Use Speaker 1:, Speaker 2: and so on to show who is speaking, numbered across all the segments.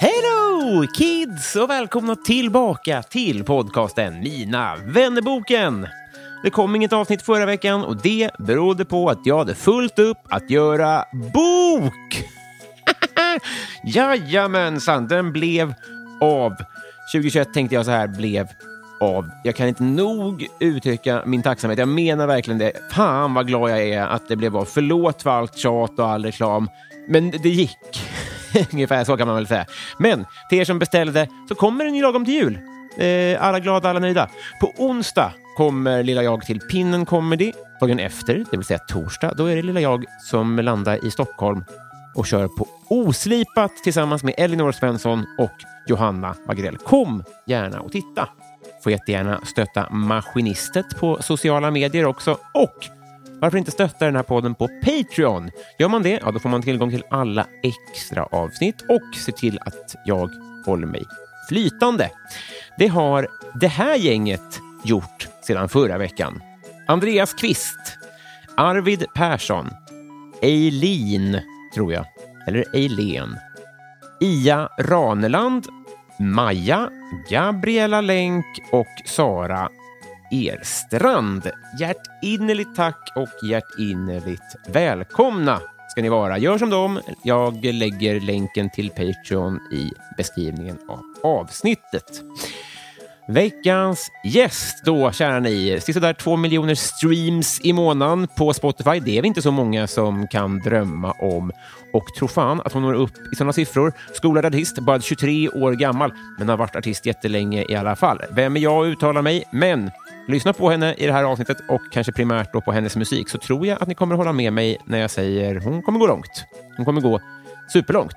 Speaker 1: Hej då kids och välkomna tillbaka till podcasten Mina vännerboken. Det kom inget avsnitt förra veckan och det berodde på att jag hade fullt upp att göra bok. Jajamensan, den blev av. 2021 tänkte jag så här, blev av. Jag kan inte nog uttrycka min tacksamhet. Jag menar verkligen det. Fan vad glad jag är att det blev av. Förlåt för allt tjat och all reklam, men det gick. Ungefär så kan man väl säga. Men till er som beställde så kommer den ju lagom till jul. Eh, alla glada, alla nöjda. På onsdag kommer Lilla Jag till Pinnen Comedy. Dagen efter, det vill säga torsdag, då är det Lilla Jag som landar i Stockholm och kör på Oslipat tillsammans med Elinor Svensson och Johanna Wagrell. Kom gärna och titta. Får jättegärna stötta Maskinistet på sociala medier också. Och varför inte stötta den här podden på Patreon? Gör man det, ja, då får man tillgång till alla extra avsnitt och se till att jag håller mig flytande. Det har det här gänget gjort sedan förra veckan. Andreas Kvist, Arvid Persson, Eileen, tror jag, eller Eileen, Ia Raneland, Maja, Gabriella Länk och Sara Erstrand. Hjärtinnerligt tack och hjärtinnerligt välkomna ska ni vara. Gör som dem. Jag lägger länken till Patreon i beskrivningen av avsnittet. Veckans gäst då, kära ni. Sisådär två miljoner streams i månaden på Spotify. Det är vi inte så många som kan drömma om. Och tro fan att hon når upp i sådana siffror. Skolad artist, bara 23 år gammal, men har varit artist jättelänge i alla fall. Vem är jag att uttala mig? Men lyssna på henne i det här avsnittet och kanske primärt då på hennes musik så tror jag att ni kommer hålla med mig när jag säger hon kommer gå långt. Hon kommer gå superlångt.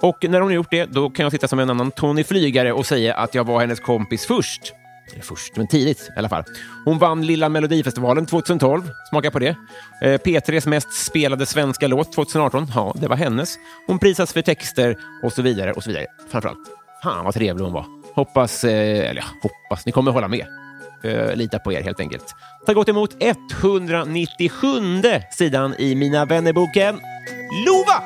Speaker 1: Och när hon har gjort det, då kan jag sitta som en annan Tony Flygare och säga att jag var hennes kompis först. Eller först, men tidigt i alla fall. Hon vann Lilla Melodifestivalen 2012. Smaka på det. Eh, P3s mest spelade svenska låt 2018. Ja, det var hennes. Hon prisas för texter och så vidare och så vidare. Framförallt, fan vad trevlig hon var. Hoppas, eh, eller ja, hoppas, ni kommer hålla med. Eh, lita på er helt enkelt. Ta gott emot 197 sidan i Mina vännerboken. Lova!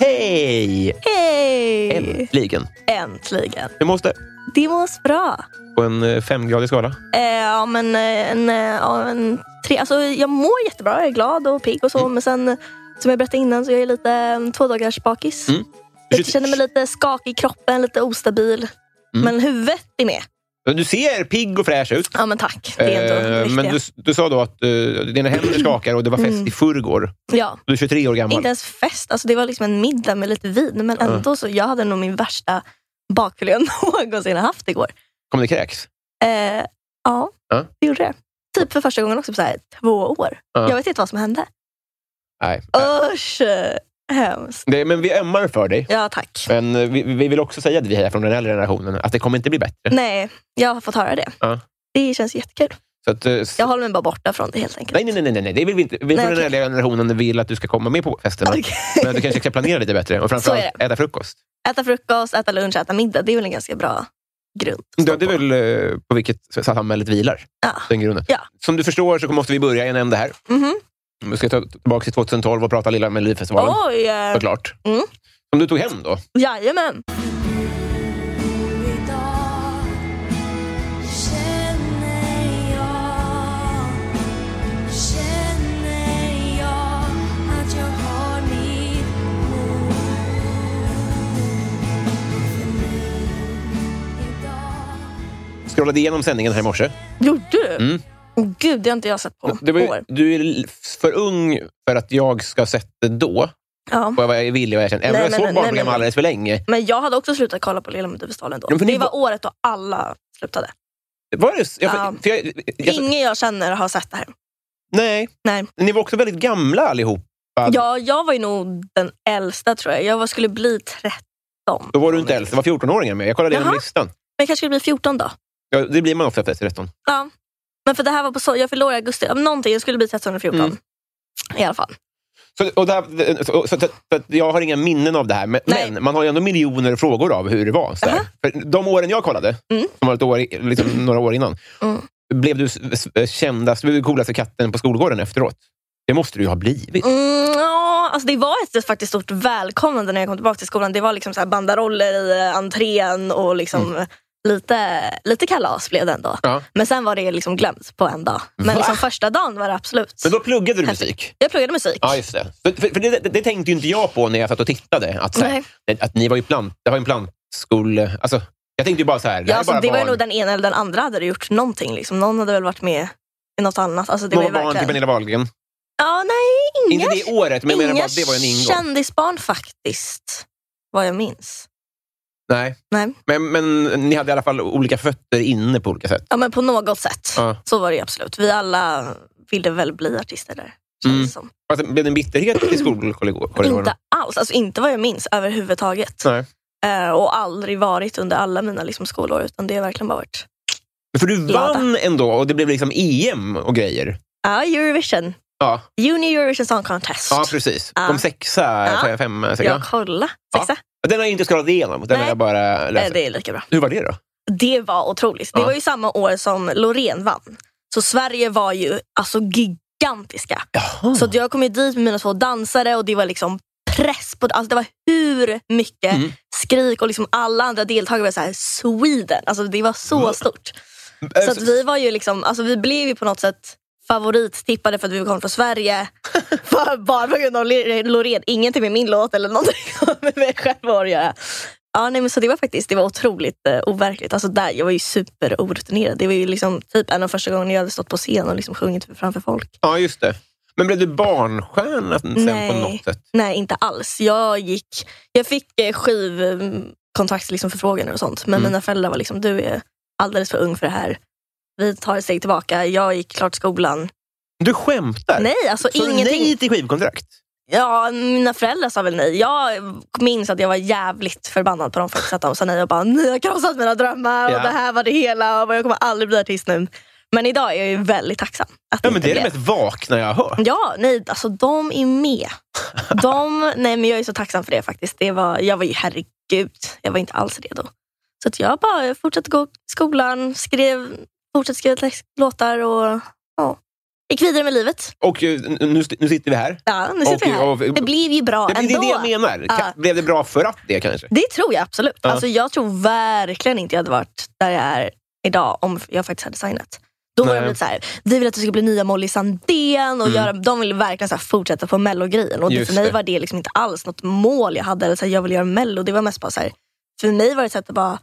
Speaker 1: Hej!
Speaker 2: Hej!
Speaker 1: Äntligen.
Speaker 2: Äntligen.
Speaker 1: Hur måste?
Speaker 2: Det mås bra.
Speaker 1: På en eh, femgradig skala?
Speaker 2: Eh, ja, men eh, en, eh, ja, en tre. Alltså, jag mår jättebra. Jag är glad och pigg och så.
Speaker 1: Mm.
Speaker 2: Men sen, som jag berättade innan, så jag är lite eh, två dagars bakis.
Speaker 1: Mm.
Speaker 2: Jag känner mig lite skakig i kroppen, lite ostabil.
Speaker 1: Mm.
Speaker 2: Men huvudet är med.
Speaker 1: Men Du ser pigg och fräsch ut.
Speaker 2: Ja, men tack. Det är ändå det
Speaker 1: Eh, men
Speaker 2: viktiga.
Speaker 1: du, du sa då att eh, dina händer skakar och det var fest i förrgår.
Speaker 2: Ja.
Speaker 1: Du är 23 år gammal.
Speaker 2: Mm. Inte ens fest. Alltså, det var liksom en middag med lite vin. Men ändå så, jag hade nog min värsta bakfylla jag någonsin har haft igår.
Speaker 1: Kommer det kräks?
Speaker 2: Eh, ja,
Speaker 1: Ja.
Speaker 2: det gjorde det. Typ för första gången också på så här, två år.
Speaker 1: Ja.
Speaker 2: Jag vet inte vad som hände.
Speaker 1: Nej.
Speaker 2: Usch! Hemskt.
Speaker 1: Det, men vi ömmar för dig.
Speaker 2: Ja, tack.
Speaker 1: Men eh, vi, vi vill också säga att vi är från den äldre generationen, att det kommer inte bli bättre.
Speaker 2: Nej, jag har fått höra det.
Speaker 1: Ja.
Speaker 2: Det känns jättekul.
Speaker 1: Så att, eh, s-
Speaker 2: Jag håller mig bara borta från det helt enkelt.
Speaker 1: nej, nej, nej, nej, nej, det vill vi inte. Vi från den
Speaker 2: okej.
Speaker 1: äldre generationen vill att du ska komma med på festerna.
Speaker 2: Okej.
Speaker 1: Men att du kanske ska planera lite bättre och framförallt äta frukost.
Speaker 2: Äta frukost, äta lunch, äta middag. Det är väl en ganska bra grund.
Speaker 1: Ja, det är väl eh, på vilket samhället vilar,
Speaker 2: Ja.
Speaker 1: den grunden.
Speaker 2: Ja.
Speaker 1: Som du förstår så måste vi börja i en ände här.
Speaker 2: Mhm.
Speaker 1: Vi ska ta tillbaka till 2012 och prata lilla Melodifestivalen,
Speaker 2: Oj! eh,
Speaker 1: såklart.
Speaker 2: Mm.
Speaker 1: Som du tog hem då.
Speaker 2: Jajamän.
Speaker 3: Idag känner jag, känner jag att jag har mitt mål för mig idag.
Speaker 1: Scrollade igenom sändningen här i morse.
Speaker 2: Gjorde du?
Speaker 1: Mm.
Speaker 2: Åh, Gud, det har inte jag sett på
Speaker 1: Det var ju,
Speaker 2: år.
Speaker 1: du är l- för ung för att jag ska ha sett det då.
Speaker 2: Ja.
Speaker 1: Och jag var villig och erkänd. Även
Speaker 2: Nej,
Speaker 1: om jag
Speaker 2: men-
Speaker 1: såg
Speaker 2: nej,
Speaker 1: barnprogram
Speaker 2: men- nej.
Speaker 1: alldeles för länge.
Speaker 2: Men jag hade också slutat kolla på Lilla Melodifestivalen då.
Speaker 1: Ja, för ni
Speaker 2: det var
Speaker 1: var-
Speaker 2: året då alla slutade.
Speaker 1: Var det, jag,
Speaker 2: Ja.
Speaker 1: för jag, jag,
Speaker 2: Ingen jag känner har sett det här.
Speaker 1: nej,
Speaker 2: Nej.
Speaker 1: ni var också väldigt gamla allihop.
Speaker 2: Ja, jag var ju nog den äldsta tror jag. Jag var, skulle bli 13.
Speaker 1: Då var du inte äldst, det var 14-åringar med. Jag kollade igenom
Speaker 2: Jaha.
Speaker 1: listan.
Speaker 2: Men jag kanske skulle bli 14 då.
Speaker 1: Ja, det blir man ofta efter 13.
Speaker 2: Ja. Men för det här var på så, jag förlorade i augusti. Ja, men Någonting, jag skulle bli 13 eller 14.
Speaker 1: Mm.
Speaker 2: I alla fall.
Speaker 1: Så, och det här, så, så, så, så att jag har inga minnen av det här, men,
Speaker 2: Nej.
Speaker 1: men man har ju ändå miljoner frågor av hur det var. Så här.
Speaker 2: Aha.
Speaker 1: För de åren jag kollade,
Speaker 2: Mm.
Speaker 1: som var ett år, i- liksom, några år innan,
Speaker 2: Mm.
Speaker 1: blev du s- s- kändast, blev du coolaste katten på skolgården efteråt? Det måste du ju ha blivit.
Speaker 2: Mm, ja, alltså det var ett faktiskt stort välkomnande när jag kom tillbaka till skolan. Det var liksom så här banderoller i eh, entrén och liksom lite, lite kalas blev det ändå.
Speaker 1: Mm. Ja.
Speaker 2: Men sen var det liksom glömt på en dag.
Speaker 1: Va?
Speaker 2: Men liksom första dagen var det absolut.
Speaker 1: Men då pluggade du
Speaker 2: Häftigt.
Speaker 1: musik.
Speaker 2: Jag pluggade musik.
Speaker 1: Ja, just det. För, för, för det, det, det tänkte ju inte jag på när jag satt och tittade. Att, så här,
Speaker 2: Nej.
Speaker 1: det- att ni var ju plant, det var ju en plantskole... Alltså, jag tänkte ju bara så här, det
Speaker 2: Ja,
Speaker 1: här
Speaker 2: alltså,
Speaker 1: är bara
Speaker 2: det var ju
Speaker 1: barn.
Speaker 2: nog den ena eller den andra hade gjort någonting. Liksom. Någon hade väl varit med i något annat. Alltså, det var ju
Speaker 1: Några barn till
Speaker 2: verkligen...
Speaker 1: Pernilla Wahlgren.
Speaker 2: Ja, nej, inga,
Speaker 1: Inte det året, men jag menar
Speaker 2: inga
Speaker 1: bara att det var en ingång.
Speaker 2: kändisbarn faktiskt. Vad jag minns.
Speaker 1: Nej.
Speaker 2: Nej.
Speaker 1: Men, men ni hade i alla fall olika fötter inne på olika sätt.
Speaker 2: Ja, men på något sätt.
Speaker 1: Ja.
Speaker 2: Så var det ju absolut. Vi alla ville väl bli artister där. känns
Speaker 1: Mm.
Speaker 2: det som.
Speaker 1: Alltså, blev det en bitterhet i skolkorridoren?
Speaker 2: Inte alls. Alltså, inte vad jag minns överhuvudtaget.
Speaker 1: Nej.
Speaker 2: Eh, och aldrig varit under alla mina liksom, skolår. Utan det har verkligen bara varit
Speaker 1: För du
Speaker 2: Glada.
Speaker 1: vann ändå och det blev liksom EM och grejer.
Speaker 2: Ja, Eurovision.
Speaker 1: Ja,
Speaker 2: Junior Eurovision Song Contest.
Speaker 1: ja precis.
Speaker 2: Ja.
Speaker 1: Kom sexa,
Speaker 2: Ja.
Speaker 1: fem- fem, sexa.
Speaker 2: jag kolla.
Speaker 1: Ja.
Speaker 2: Sexa?
Speaker 1: Den har jag inte skrollat igenom. Den har
Speaker 2: Nej.
Speaker 1: jag bara
Speaker 2: Eh,
Speaker 1: läst.
Speaker 2: det är lika bra.
Speaker 1: Hur var det då?
Speaker 2: Det var otroligt. Det
Speaker 1: Ja.
Speaker 2: var ju samma år som Loreen vann. Så Sverige var ju alltså gigantiska.
Speaker 1: Jaha.
Speaker 2: Så att jag kom ju dit med mina två dansare och det var liksom press på alltså det var hur mycket
Speaker 1: Mm.
Speaker 2: skrik och liksom alla andra deltagare var så här Sweden. Alltså det var
Speaker 1: Mm.
Speaker 2: så stort.
Speaker 1: Eh,
Speaker 2: Så att vi var ju liksom, alltså vi blev ju på något sätt favorittippade för att vi kom från Sverige. Bara- Bara på grund av Le- Loreen. Ingenting med min låt eller någonting med mig själv att göra. Ja, nej, men så det var faktiskt det var otroligt eh, overkligt. Alltså där, jag var ju superorutinerad. Det var ju liksom typ en av första gångerna jag hade stått på scen och liksom sjungit framför folk.
Speaker 1: Ja, just det. Men blev du barnstjärna sen på
Speaker 2: Nej.
Speaker 1: något sätt?
Speaker 2: Nej, inte alls. Jag gick, jag fick eh, skivkontrakt liksom förfrågningar och sånt. Men mina föräldrar var liksom, du är alldeles för ung för det här. Vi tar ett steg tillbaka. Jag gick klart skolan.
Speaker 1: Du skämtar?
Speaker 2: Nej, alltså
Speaker 1: Sa du
Speaker 2: ingenting.
Speaker 1: nej till skivkontrakt?
Speaker 2: Ja, mina föräldrar sa väl nej. Jag minns att jag var jävligt förbannad på dem faktiskt. Att de sa nej och bara, ni har krossat mina drömmar
Speaker 1: Ja.
Speaker 2: och det här var det hela och jag kommer aldrig bli artist nu. Men idag är jag ju väldigt tacksam. Att
Speaker 1: Ja,
Speaker 2: inte
Speaker 1: men det är det
Speaker 2: blev.
Speaker 1: mest vakna jag har hört.
Speaker 2: Ja, nej, alltså de är med. De, nej, men jag är så tacksam för det faktiskt. Det var, jag var ju, herregud, jag var inte alls redo. Så att jag bara fortsatte gå i skolan, skrev, fortsatte skriva text- låtar och ja, gick vidare med livet.
Speaker 1: Och eh, nu, nu sitter vi här.
Speaker 2: Ja, nu sitter vi här.
Speaker 1: och-
Speaker 2: Det blev ju bra
Speaker 1: det, det,
Speaker 2: ändå.
Speaker 1: det är det jag menar. Ka- Blev det bra för att det kanske?
Speaker 2: Det tror jag absolut.
Speaker 1: Ja.
Speaker 2: Alltså, jag tror verkligen inte jag hade varit där jag är idag om jag faktiskt hade signat. Då var
Speaker 1: Nej. Mm.
Speaker 2: de lite såhär, vi vill att du ska bli nya Molly Sandén och göra, de ville verkligen så här fortsätta på mellogrejen. Och det,
Speaker 1: Just
Speaker 2: för mig
Speaker 1: det.
Speaker 2: var det liksom inte alls något mål jag hade, eller så här, jag ville göra mello. Det var mest bara såhär, för mig var det ett sätt att bara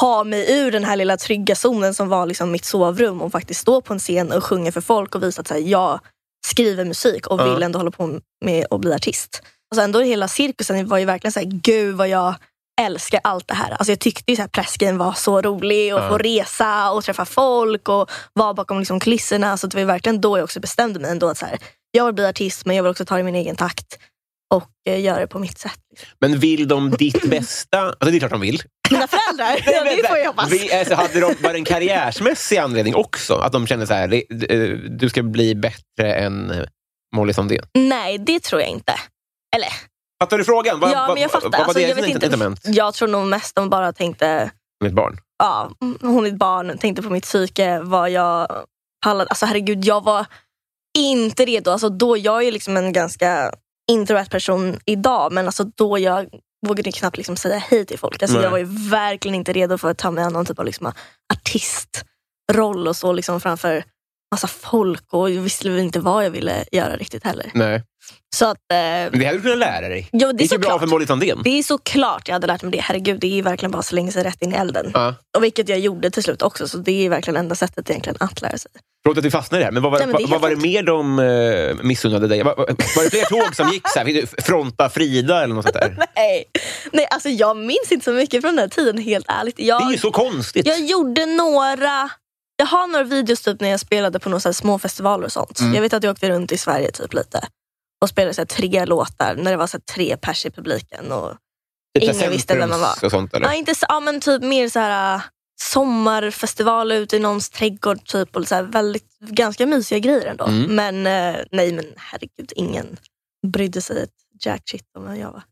Speaker 2: ta mig ur den här lilla trygga zonen som var liksom mitt sovrum och faktiskt stå på en scen och sjunga för folk och visa att så här, jag skriver musik och
Speaker 1: Ja.
Speaker 2: vill ändå hålla på med att bli artist. Alltså ändå hela cirkusen var ju verkligen så här, gud vad jag älskar allt det här. Alltså jag tyckte ju så här pressgrejen var så rolig och
Speaker 1: Ja.
Speaker 2: få resa och träffa folk och vara bakom liksom kulisserna. Så det var ju verkligen då jag också bestämde mig ändå att så här, jag vill bli artist men jag vill också ta det i min egen takt och eh, göra det på mitt sätt.
Speaker 1: Men vill de ditt bästa? Alltså det är klart de vill.
Speaker 2: Mina föräldrar, ja, det får jag hoppas.
Speaker 1: Vi, alltså, hade de bara en karriärsmässig anledning också? Att de kände så här, det- eh, du ska bli bättre än eh, Molly Sandén?
Speaker 2: Nej, det tror jag inte. Eller
Speaker 1: Fattar du frågan? Vad-
Speaker 2: ja,
Speaker 1: vad-
Speaker 2: men jag fattar.
Speaker 1: Vad var
Speaker 2: Alltså, jag,
Speaker 1: deras
Speaker 2: vet inte,
Speaker 1: incitament
Speaker 2: jag tror nog mest de bara tänkte,
Speaker 1: med ett barn?
Speaker 2: ja, hon är ett barn, tänkte på mitt psyke, vad jag pallade. Alltså herregud, jag var inte redo. Alltså, då, jag är ju liksom en ganska introvert person idag, men alltså, då jag vågade knappt liksom säga hej till folk. Alltså,
Speaker 1: Nej.
Speaker 2: jag var ju verkligen inte redo för att ta mig an någon typ av liksom, artistroll och så liksom, framför massa folk. Och jag visste väl inte vad jag ville göra riktigt heller.
Speaker 1: Nej.
Speaker 2: Så att, eh,
Speaker 1: Men det hade du kunnat lära dig.
Speaker 2: jo, det är
Speaker 1: gick ju bra
Speaker 2: såklart.
Speaker 1: för Molly Sandén.
Speaker 2: Det är såklart jag hade lärt mig det. Herregud, det är ju verkligen bara att slänga sig rätt in i elden.
Speaker 1: Ja.
Speaker 2: Och vilket jag gjorde till slut också, så det är verkligen enda sättet egentligen att lära sig.
Speaker 1: Förlåt att vi fastnar i det här, men vad var,
Speaker 2: Nej, men det är
Speaker 1: vad, vad var det
Speaker 2: helt
Speaker 1: mer de eh, missunnade dig? Var, var, var det fler tåg som gick så här? Fick du Fronta Frida eller något sånt där?
Speaker 2: Nej, nej alltså jag minns inte så mycket från den här tiden, helt ärligt.
Speaker 1: Det är
Speaker 2: Jag,
Speaker 1: ju så konstigt.
Speaker 2: jag gjorde några... Jag har några videos typ när jag spelade på några så här små festivaler och sånt.
Speaker 1: Mm.
Speaker 2: Jag vet att jag åkte runt i Sverige typ lite och spelade så här tre låtar när det var så här tre pers i publiken. Och
Speaker 1: Typ
Speaker 2: ingen visste vem man var.
Speaker 1: Och sånt, eller?
Speaker 2: Ja, inte så, ja, men typ mer så här äh, sommarfestival ute i någons trädgård typ och så här väldigt, ganska mysiga grejer ändå.
Speaker 1: Mm.
Speaker 2: Men eh, nej men herregud, ingen brydde sig ett jack shit om vem jag var.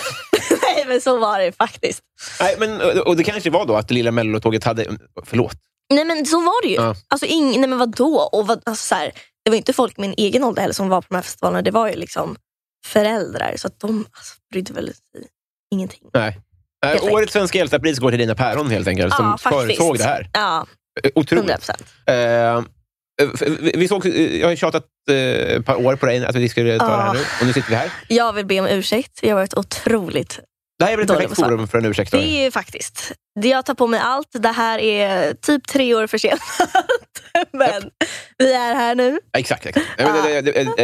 Speaker 2: nej men så var det faktiskt.
Speaker 1: Nej, men, och- och det kanske var då att det lilla mellotåget hade... Förlåt.
Speaker 2: Nej men så var det ju.
Speaker 1: Ja.
Speaker 2: Alltså ing, nej men vadå? Och vad, alltså, så här, det var inte folk min egen ålder heller som var på de här festivalerna. Det var ju liksom föräldrar. Så att de alltså, brydde väl sig ingenting.
Speaker 1: Nej. Nej,
Speaker 2: Helt
Speaker 1: Eh, årets svenska hjältepris går till Dina Päron helt enkelt, som förutsåg det här.
Speaker 2: Ja,
Speaker 1: Eh, Otroligt.
Speaker 2: 100 procent.
Speaker 1: Eh, vi- vi såg, jag har ju tjatat eh, ett par år på dig att vi skulle ta det här
Speaker 2: Ah.
Speaker 1: nu, och nu sitter vi här.
Speaker 2: Jag vill be om ursäkt. Jag har varit otroligt...
Speaker 1: Det här är väl ett
Speaker 2: Dålig
Speaker 1: perfekt
Speaker 2: besvar.
Speaker 1: forum för en ursäkt?
Speaker 2: Det
Speaker 1: då?
Speaker 2: är ju faktiskt... det- Jag tar på mig allt. Det här är typ tre år försenat. Men vi är här nu.
Speaker 1: Ja, Exakt. exakt. Nej, men, det, det, det,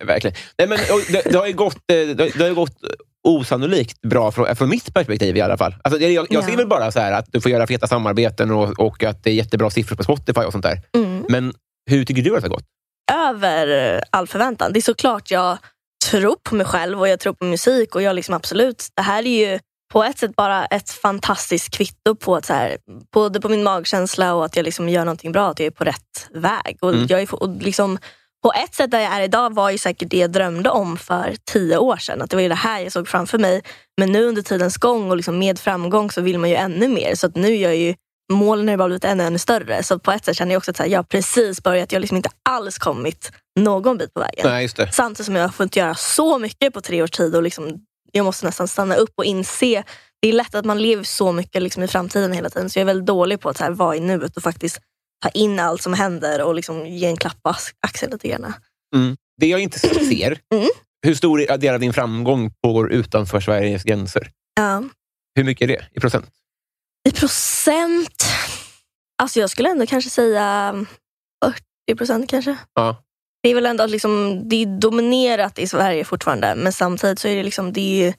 Speaker 1: eh, verkligen. Nej, men, och det, det, har ju gått, eh, det, det har ju gått osannolikt bra, från, eh, från mitt perspektiv i alla fall. Alltså, jag jag ser
Speaker 2: Ja.
Speaker 1: väl bara så här att du får göra feta samarbeten och, och att det är jättebra siffror på Spotify och sånt där.
Speaker 2: Mm.
Speaker 1: Men hur tycker du att det har gått?
Speaker 2: Över eh, all förväntan. Det är såklart jag tror på mig själv och jag tror på musik. Och jag liksom absolut, Det här är ju på ett sätt bara ett fantastiskt kvitto på, att så här, både på min magkänsla och att jag liksom gör någonting bra. Att jag är på rätt väg. Och
Speaker 1: Mm.
Speaker 2: jag är, och liksom, på ett sätt där jag är idag var ju säkert det jag drömde om för tio år sedan. Att det var ju det här jag såg framför mig. Men nu under tidens gång och liksom med framgång så vill man ju ännu mer. Så att nu är jag ju målen har ju bara blivit ännu, ännu större. Så på ett sätt känner jag också att så här, jag har precis börjat. Jag har liksom inte alls kommit någon bit på vägen.
Speaker 1: Nej, just det.
Speaker 2: Samtidigt som jag har fått göra så mycket på tre års tid. Och liksom, jag måste nästan stanna upp och inse. Det är lätt att man lever så mycket liksom i framtiden hela tiden. Så jag är väldigt dålig på att så här, vara i nuet och faktiskt ta in allt som händer och liksom ge en klapp på ax- axeln lite grann.
Speaker 1: Det jag inte ser,
Speaker 2: Mm.
Speaker 1: hur stor del av din framgång pågår utanför Sveriges gränser?
Speaker 2: Ja.
Speaker 1: Hur mycket är det i procent?
Speaker 2: I procent? Alltså jag skulle ändå kanske säga 40 procent kanske.
Speaker 1: Ja.
Speaker 2: Det är väl ändå att liksom, det är dominerat i Sverige fortfarande, men samtidigt så är det liksom, det är ju,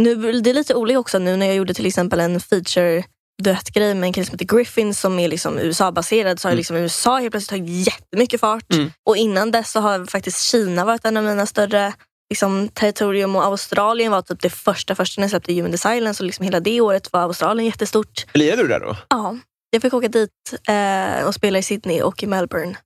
Speaker 2: nu, det är lite olika också nu när jag gjorde till exempel en feature duettgrej med en kille som heter Griffin som är liksom USA-baserad så har
Speaker 1: Mm.
Speaker 2: liksom USA helt plötsligt tagit jättemycket fart.
Speaker 1: Mm.
Speaker 2: Och innan dess så har faktiskt Kina varit en av mina större liksom, territorium och Australien var typ det första, första när jag släppte Human Design så liksom hela det året var Australien jättestort.
Speaker 1: Lirade du där då?
Speaker 2: Ja, jag fick åka dit eh, och spela i Sydney och i Melbourne.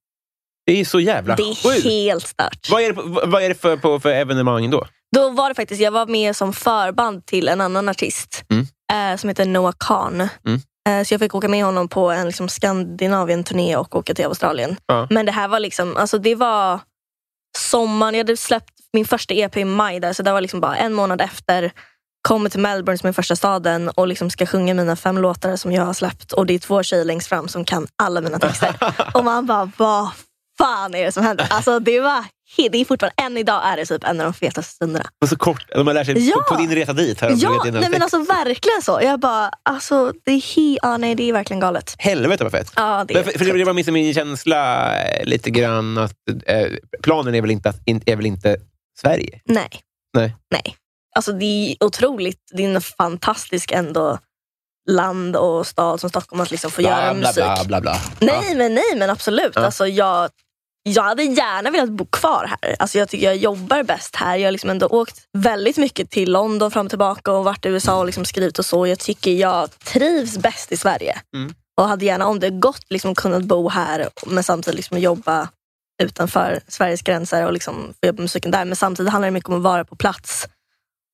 Speaker 1: Det är så jävla
Speaker 2: Det är
Speaker 1: sjukt.
Speaker 2: helt stört.
Speaker 1: Vad är det, på- vad är det för, på, för evenemang då?
Speaker 2: Då var det faktiskt, jag var med som förband till en annan artist
Speaker 1: Mm.
Speaker 2: eh, som heter Noah Kahn. Eh, så jag fick åka med honom på en liksom, Skandinavien-turné och åka till Australien.
Speaker 1: Ja.
Speaker 2: Men det här var liksom, alltså det var sommaren, jag hade släppt min första EP i maj där, så det var liksom bara en månad efter. Kommer till Melbourne som är första staden och liksom ska sjunga mina fem låtar som jag har släppt. Och det är två tjejer längst fram som kan alla mina texter. och man bara, vad fan är det som händer? Alltså det var, det är fortfarande, än idag är det typ en av de fetaste stunderna.
Speaker 1: Och så kort, de har lärt sig
Speaker 2: Ja.
Speaker 1: på, på din resa dit. Här, om du
Speaker 2: Ja,
Speaker 1: vet, innan
Speaker 2: nej men
Speaker 1: text.
Speaker 2: alltså verkligen så. Jag bara, alltså det är, he- ja, nej, det är verkligen galet.
Speaker 1: Helvete vad fett.
Speaker 2: Ja, det
Speaker 1: Men
Speaker 2: är
Speaker 1: för, för det var liksom min känsla eh, lite grann att eh, planen är väl inte, att, in, är väl inte Sverige?
Speaker 2: Nej.
Speaker 1: Nej.
Speaker 2: Nej. Alltså det är otroligt, det är en fantastisk ändå land och stad som Stockholm att liksom få göra
Speaker 1: bla,
Speaker 2: musik.
Speaker 1: bla, bla, bla.
Speaker 2: Nej, men nej, men absolut.
Speaker 1: Ja.
Speaker 2: Alltså, jag, jag hade gärna velat bo kvar här. Alltså, jag tycker jag jobbar bäst här. Jag har liksom ändå åkt väldigt mycket till London fram och tillbaka och varit i USA och liksom skrivit och så. Jag tycker jag trivs bäst i Sverige.
Speaker 1: Mm.
Speaker 2: Och hade gärna, om det gått, liksom kunnat bo här men samtidigt liksom jobba utanför Sveriges gränser och liksom få jobba med musiken där. Men samtidigt handlar det mycket om att vara på plats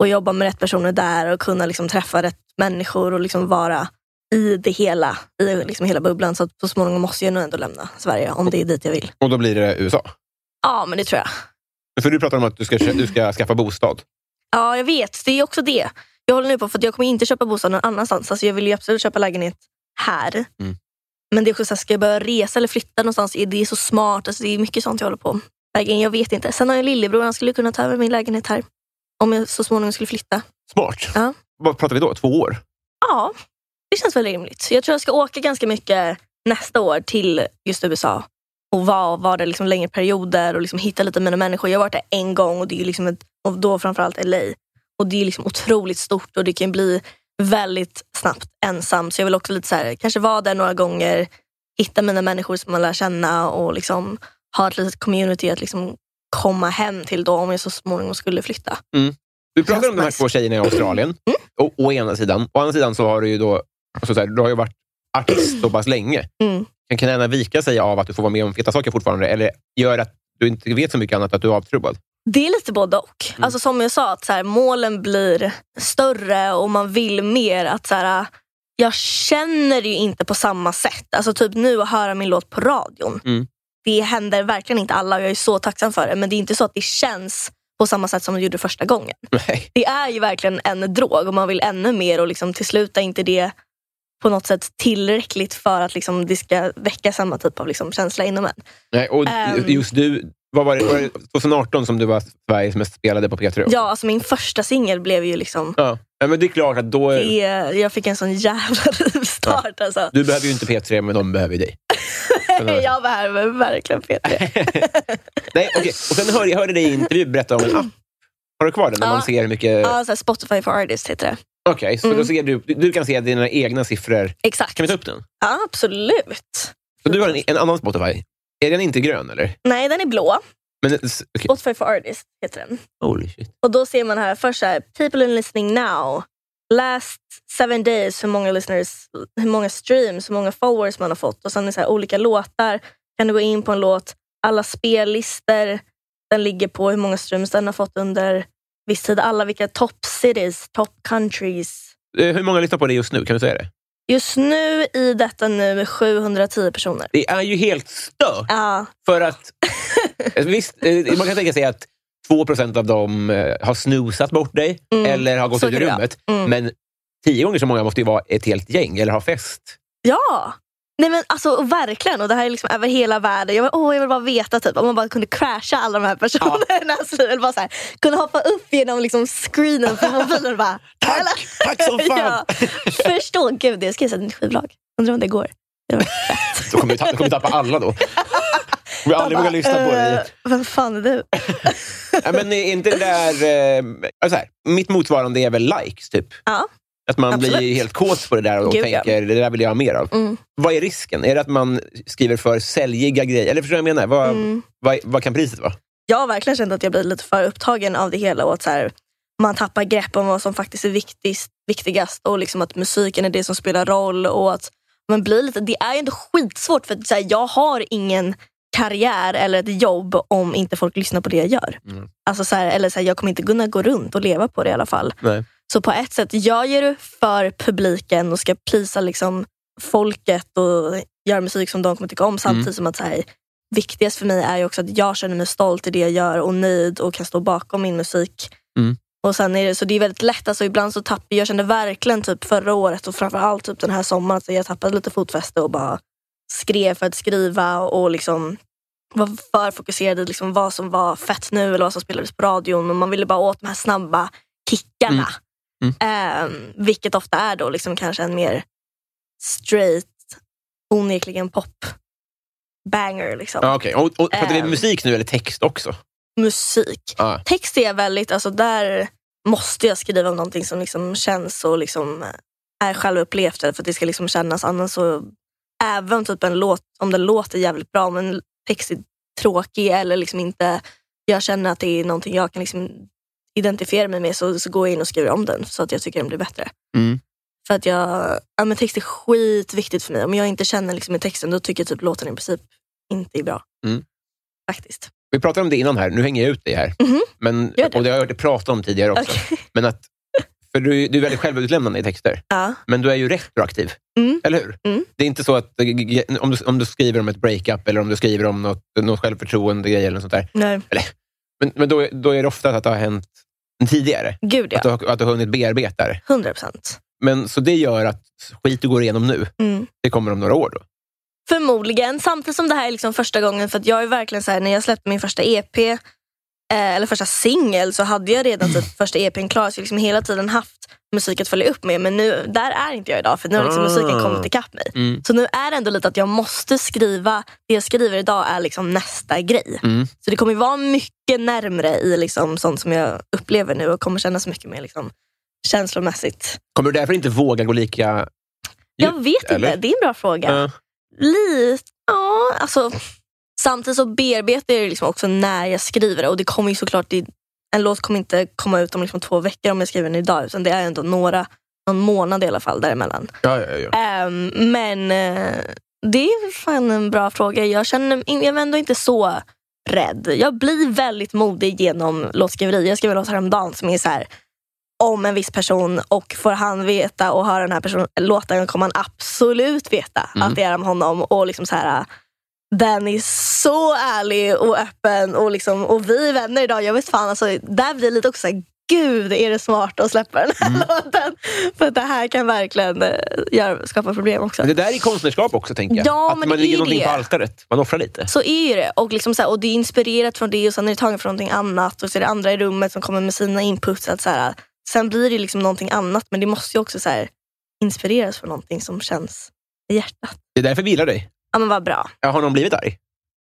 Speaker 2: och jobba med rätt personer där och kunna liksom träffa rätt människor och liksom vara i det hela, i liksom hela bubblan. Så att så småningom måste jag nog ändå lämna Sverige om det är dit jag vill.
Speaker 1: Och då blir det USA.
Speaker 2: Ja, men det tror jag.
Speaker 1: För du pratar om att du ska, kö- du ska skaffa bostad.
Speaker 2: Ja, jag vet. Det är också det. Jag håller nu på för att jag kommer inte köpa bostad någon annanstans. Alltså, jag vill ju absolut köpa lägenhet här.
Speaker 1: Mm.
Speaker 2: Men det är också så här, ska jag börja resa eller flytta någonstans? Är Det är så smart. Alltså, det är mycket sånt jag håller på med. Jag vet inte. Sen har jag en lillebror. Han skulle kunna ta över min lägenhet här. Om jag så småningom skulle flytta.
Speaker 1: Smart.
Speaker 2: Ja.
Speaker 1: Vad pratar vi då? Två år?
Speaker 2: Ja, det känns väl rimligt. Jag tror jag ska åka ganska mycket nästa år till just USA och vara var där liksom längre perioder och liksom hitta lite mina människor. Jag har varit där en gång och, det är ju liksom ett, och då framförallt LA. Och Det är liksom otroligt stort och det kan bli väldigt snabbt ensam. Så jag vill också lite så här, kanske vara där några gånger, hitta mina människor som man lär känna och liksom ha ett litet community att liksom komma hem till då om jag så småningom skulle flytta.
Speaker 1: Du pratar om de här
Speaker 2: nice.
Speaker 1: två tjejerna i Australien.
Speaker 2: Mm.
Speaker 1: Å, å ena sidan. Å andra sidan så har du ju då, alltså så här, du har ju varit artist så pass länge.
Speaker 2: Mm.
Speaker 1: Kan Kanada vika sig av att du får vara med om feta saker fortfarande? Eller gör att du inte vet så mycket annat att du är avtrubbad?
Speaker 2: Det är lite både och. Alltså som jag sa, att så här, målen blir större och man vill mer. Att så här, jag känner det ju inte på samma sätt. Alltså typ nu att höra min låt på radion.
Speaker 1: Mm.
Speaker 2: Det händer verkligen inte alla och jag är så tacksam för det. Men det är inte så att det känns på samma sätt som det gjorde första gången.
Speaker 1: Nej.
Speaker 2: Det är ju verkligen en drog och man vill ännu mer och liksom, till slut är inte det på något sätt tillräckligt för att liksom, det ska väcka samma typ av liksom, känsla inom en.
Speaker 1: Nej och
Speaker 2: Ehm.
Speaker 1: just du, vad var det, var det 2018 som du var Sveriges mest spelade på P3?
Speaker 2: Ja, alltså min första singel blev ju liksom
Speaker 1: ja. Ja, men det är klart att då...
Speaker 2: Det, jag fick en sån jävla rivstart alltså.
Speaker 1: Du behöver ju inte P3, men de behöver ju dig.
Speaker 2: Jag behöver verkligen
Speaker 1: Eh.
Speaker 2: Peter.
Speaker 1: Nej, okej. Och sen hörde jag hörde dig i en intervju berätta om en app. Har du kvar den? När
Speaker 2: Ja.
Speaker 1: man ser hur mycket...
Speaker 2: Ja, Mm. så här Spotify for Artists heter det.
Speaker 1: Okej, så då ser du, du kan se dina egna siffror.
Speaker 2: Exakt.
Speaker 1: Kan vi ta upp den?
Speaker 2: Ja, absolut.
Speaker 1: Så du har en, en annan Spotify. Är den inte grön eller?
Speaker 2: Nej, den är blå.
Speaker 1: Men, s- okej.
Speaker 2: Spotify for Artists heter den.
Speaker 1: Holy shit.
Speaker 2: Och då ser man här först så här, people in listening now. Last seven days, hur många listeners, hur många streams, hur många followers man har fått. Och sen är det så här, olika låtar. Kan du gå in på en låt, alla spellistor, den ligger på hur många streams den har fått under viss tid. Alla vilka top cities, top countries.
Speaker 1: Eh, Hur många lyssnar på det just nu? Kan du säga det?
Speaker 2: Just nu i detta nu 710 personer.
Speaker 1: Det är ju helt stört.
Speaker 2: Ja,
Speaker 1: För att, eh, visst, eh, man kan tänka sig att 2 av dem eh, har snusat bort dig
Speaker 2: Mm,
Speaker 1: eller har gått
Speaker 2: så
Speaker 1: ut ur
Speaker 2: kan det
Speaker 1: rummet.
Speaker 2: vara. Mm.
Speaker 1: Men tio gånger så många måste ju vara ett helt gäng eller ha fest.
Speaker 2: Ja! Nej men alltså och verkligen, och det här är liksom över hela världen. Jag, bara, åh, jag vill bara veta typ, om man bara kunde crasha alla de här personernas liv. Eller bara så här, kunde hoppa upp genom liksom, screenen på mobilen och bara...
Speaker 1: Tack! Tack som fan!
Speaker 2: Ja, förstå, gud jag ska göra ett skivbolag. Undrar om det går. Det var fett.
Speaker 1: Då kommer vi, ta- då kommer vi tappa alla då. Vi har aldrig
Speaker 2: Jag bara,
Speaker 1: vågat lyssna på dig.
Speaker 2: eh, Vem fan är du?
Speaker 1: Ja, men är inte det där... Eh, alltså här, mitt motsvarande är väl likes, typ?
Speaker 2: Ja.
Speaker 1: Att man blir
Speaker 2: Absolut.
Speaker 1: helt kåt på det där och
Speaker 2: Gud, ja.
Speaker 1: tänker, det där vill jag ha mer av.
Speaker 2: Mm.
Speaker 1: Vad är risken? Är det att man skriver för säljiga grejer? Eller förstår du vad jag menar? Vad,
Speaker 2: Mm.
Speaker 1: vad, vad kan priset vara?
Speaker 2: jag har verkligen känt att jag blir lite för upptagen av det hela och att så här, man tappar grepp om vad som faktiskt är viktigst, viktigast och liksom att musiken är det som spelar roll. och att man blir lite, Det är ju ändå skitsvårt för att, så här, jag har ingen karriär eller ett jobb om inte folk lyssnar på det jag gör.
Speaker 1: Mm.
Speaker 2: Alltså så här, eller så här, Jag kommer inte kunna gå runt och leva på det i alla fall.
Speaker 1: Nej.
Speaker 2: Så på ett sätt, jag gör det för publiken och ska plisa liksom folket och göra musik som de kommer tycka om samtidigt som att så här, viktigast för mig är ju också att jag känner mig stolt i det jag gör och nöjd och kan stå bakom min musik.
Speaker 1: Mm.
Speaker 2: Och sen är det, så det är väldigt lätt, alltså ibland så tappar jag, kände verkligen typ förra året och framförallt typ den här sommaren, så jag tappade lite fotfäste och bara skrev för att skriva och liksom var för fokuserad i liksom vad som var fett nu eller vad som spelades på radion och man ville bara åt de här snabba kickarna. Eh, vilket ofta är då liksom kanske en mer straight, onekligen pop banger. Liksom.
Speaker 1: Ja, okej. och, och, pratar vi
Speaker 2: Ehm.
Speaker 1: musik nu eller text också?
Speaker 2: Musik.
Speaker 1: Ja.
Speaker 2: Text är jag väldigt, alltså där måste jag skriva om någonting som liksom känns och liksom är självupplevt för att det ska liksom kännas. Annars så, även typ en låt, om den låter jävligt bra men text är tråkig eller liksom inte, jag känner att det är någonting jag kan liksom identifiera mig med så, så går jag in och skriver om den så att jag tycker den blir bättre.
Speaker 1: Mm.
Speaker 2: För att jag, ja men text är skitviktigt för mig. Om jag inte känner liksom i texten då tycker jag typ låten i princip inte är bra.
Speaker 1: Mm.
Speaker 2: Faktiskt.
Speaker 1: Vi pratade om det innan här. Nu hänger jag ut dig här.
Speaker 2: Mhm.
Speaker 1: Men,
Speaker 2: Gör det.
Speaker 1: Och det har jag hört dig prata om tidigare också.
Speaker 2: Okej.
Speaker 1: Men att För du, är- du är väldigt självutlämnande i texter,
Speaker 2: Ja.
Speaker 1: men du är ju retroaktiv.
Speaker 2: Mm.
Speaker 1: Eller hur?
Speaker 2: Mm.
Speaker 1: Det är inte så att eh, g- g- om du, om du skriver om ett breakup eller om du skriver om något, något självförtroende eller något sånt där.
Speaker 2: Nej.
Speaker 1: Men, men då, är- då är det ofta att det har hänt tidigare.
Speaker 2: Gud
Speaker 1: Att, du,
Speaker 2: ja.
Speaker 1: har- att du har hunnit bearbeta det.
Speaker 2: 100 procent.
Speaker 1: Men, så det gör att skit du går igenom nu,
Speaker 2: Mm.
Speaker 1: det kommer om några år. Då.
Speaker 2: Förmodligen. Samtidigt som det här är liksom första gången. För att jag är verkligen så här, när jag släppte min första EP, eh, eller första singel, så hade jag redan typ första EPn klar. Så jag liksom hela tiden haft musik att följa upp med. Men nu, där är inte jag idag. För nu har liksom
Speaker 1: Ah. Mm.
Speaker 2: musiken kommit ikapp mig. Så nu är det ändå lite att jag måste skriva, det jag skriver idag är liksom nästa grej.
Speaker 1: Mm.
Speaker 2: Så det kommer ju vara mycket närmre i liksom sånt som jag upplever nu och kommer kännas mycket mer liksom känslomässigt.
Speaker 1: Kommer du därför inte våga gå lika...
Speaker 2: Jag vet
Speaker 1: eller?
Speaker 2: inte, det är en bra fråga.
Speaker 1: Ja.
Speaker 2: Lite, ja alltså. Samtidigt så bearbetar jag det liksom också när jag skriver det och det kommer ju såklart, det, en låt kommer inte komma ut om liksom två veckor om jag skriver den idag utan det är ändå några, någon månad i alla fall däremellan.
Speaker 1: Ja, ja, ja.
Speaker 2: Ehm, men eh, det är fan en bra fråga. Jag känner jag är ändå inte så rädd. Jag blir väldigt modig genom låtskriveri. Jag skrev en låt häromdagen som är så här om en viss person och får han veta och har den här personen låten kommer han absolut veta att det är om honom. Och liksom så här, den är så ärlig och öppen och, liksom, och vi är vänner idag. Jag vet fan, alltså, där blir det lite också så här, gud är det smart att släppa den här låten? För att det här kan verkligen eh, göra, skapa problem också.
Speaker 1: Men det där är konstnärskap också, tänker jag.
Speaker 2: Ja,
Speaker 1: att
Speaker 2: men
Speaker 1: man
Speaker 2: det är
Speaker 1: ligger
Speaker 2: ju
Speaker 1: någonting
Speaker 2: det.
Speaker 1: på altaret. Man offrar lite.
Speaker 2: Så är ju det. Och, liksom så här, och det är inspirerat från det och sen är det taget från någonting annat. Och så är det andra i rummet som kommer med sina inputs. Att så här, sen blir det liksom någonting annat men det måste ju också så här, inspireras från någonting som känns i hjärtat.
Speaker 1: Det är därför vi gillar dig.
Speaker 2: Ja men vad bra.
Speaker 1: Ja, Har någon blivit arg?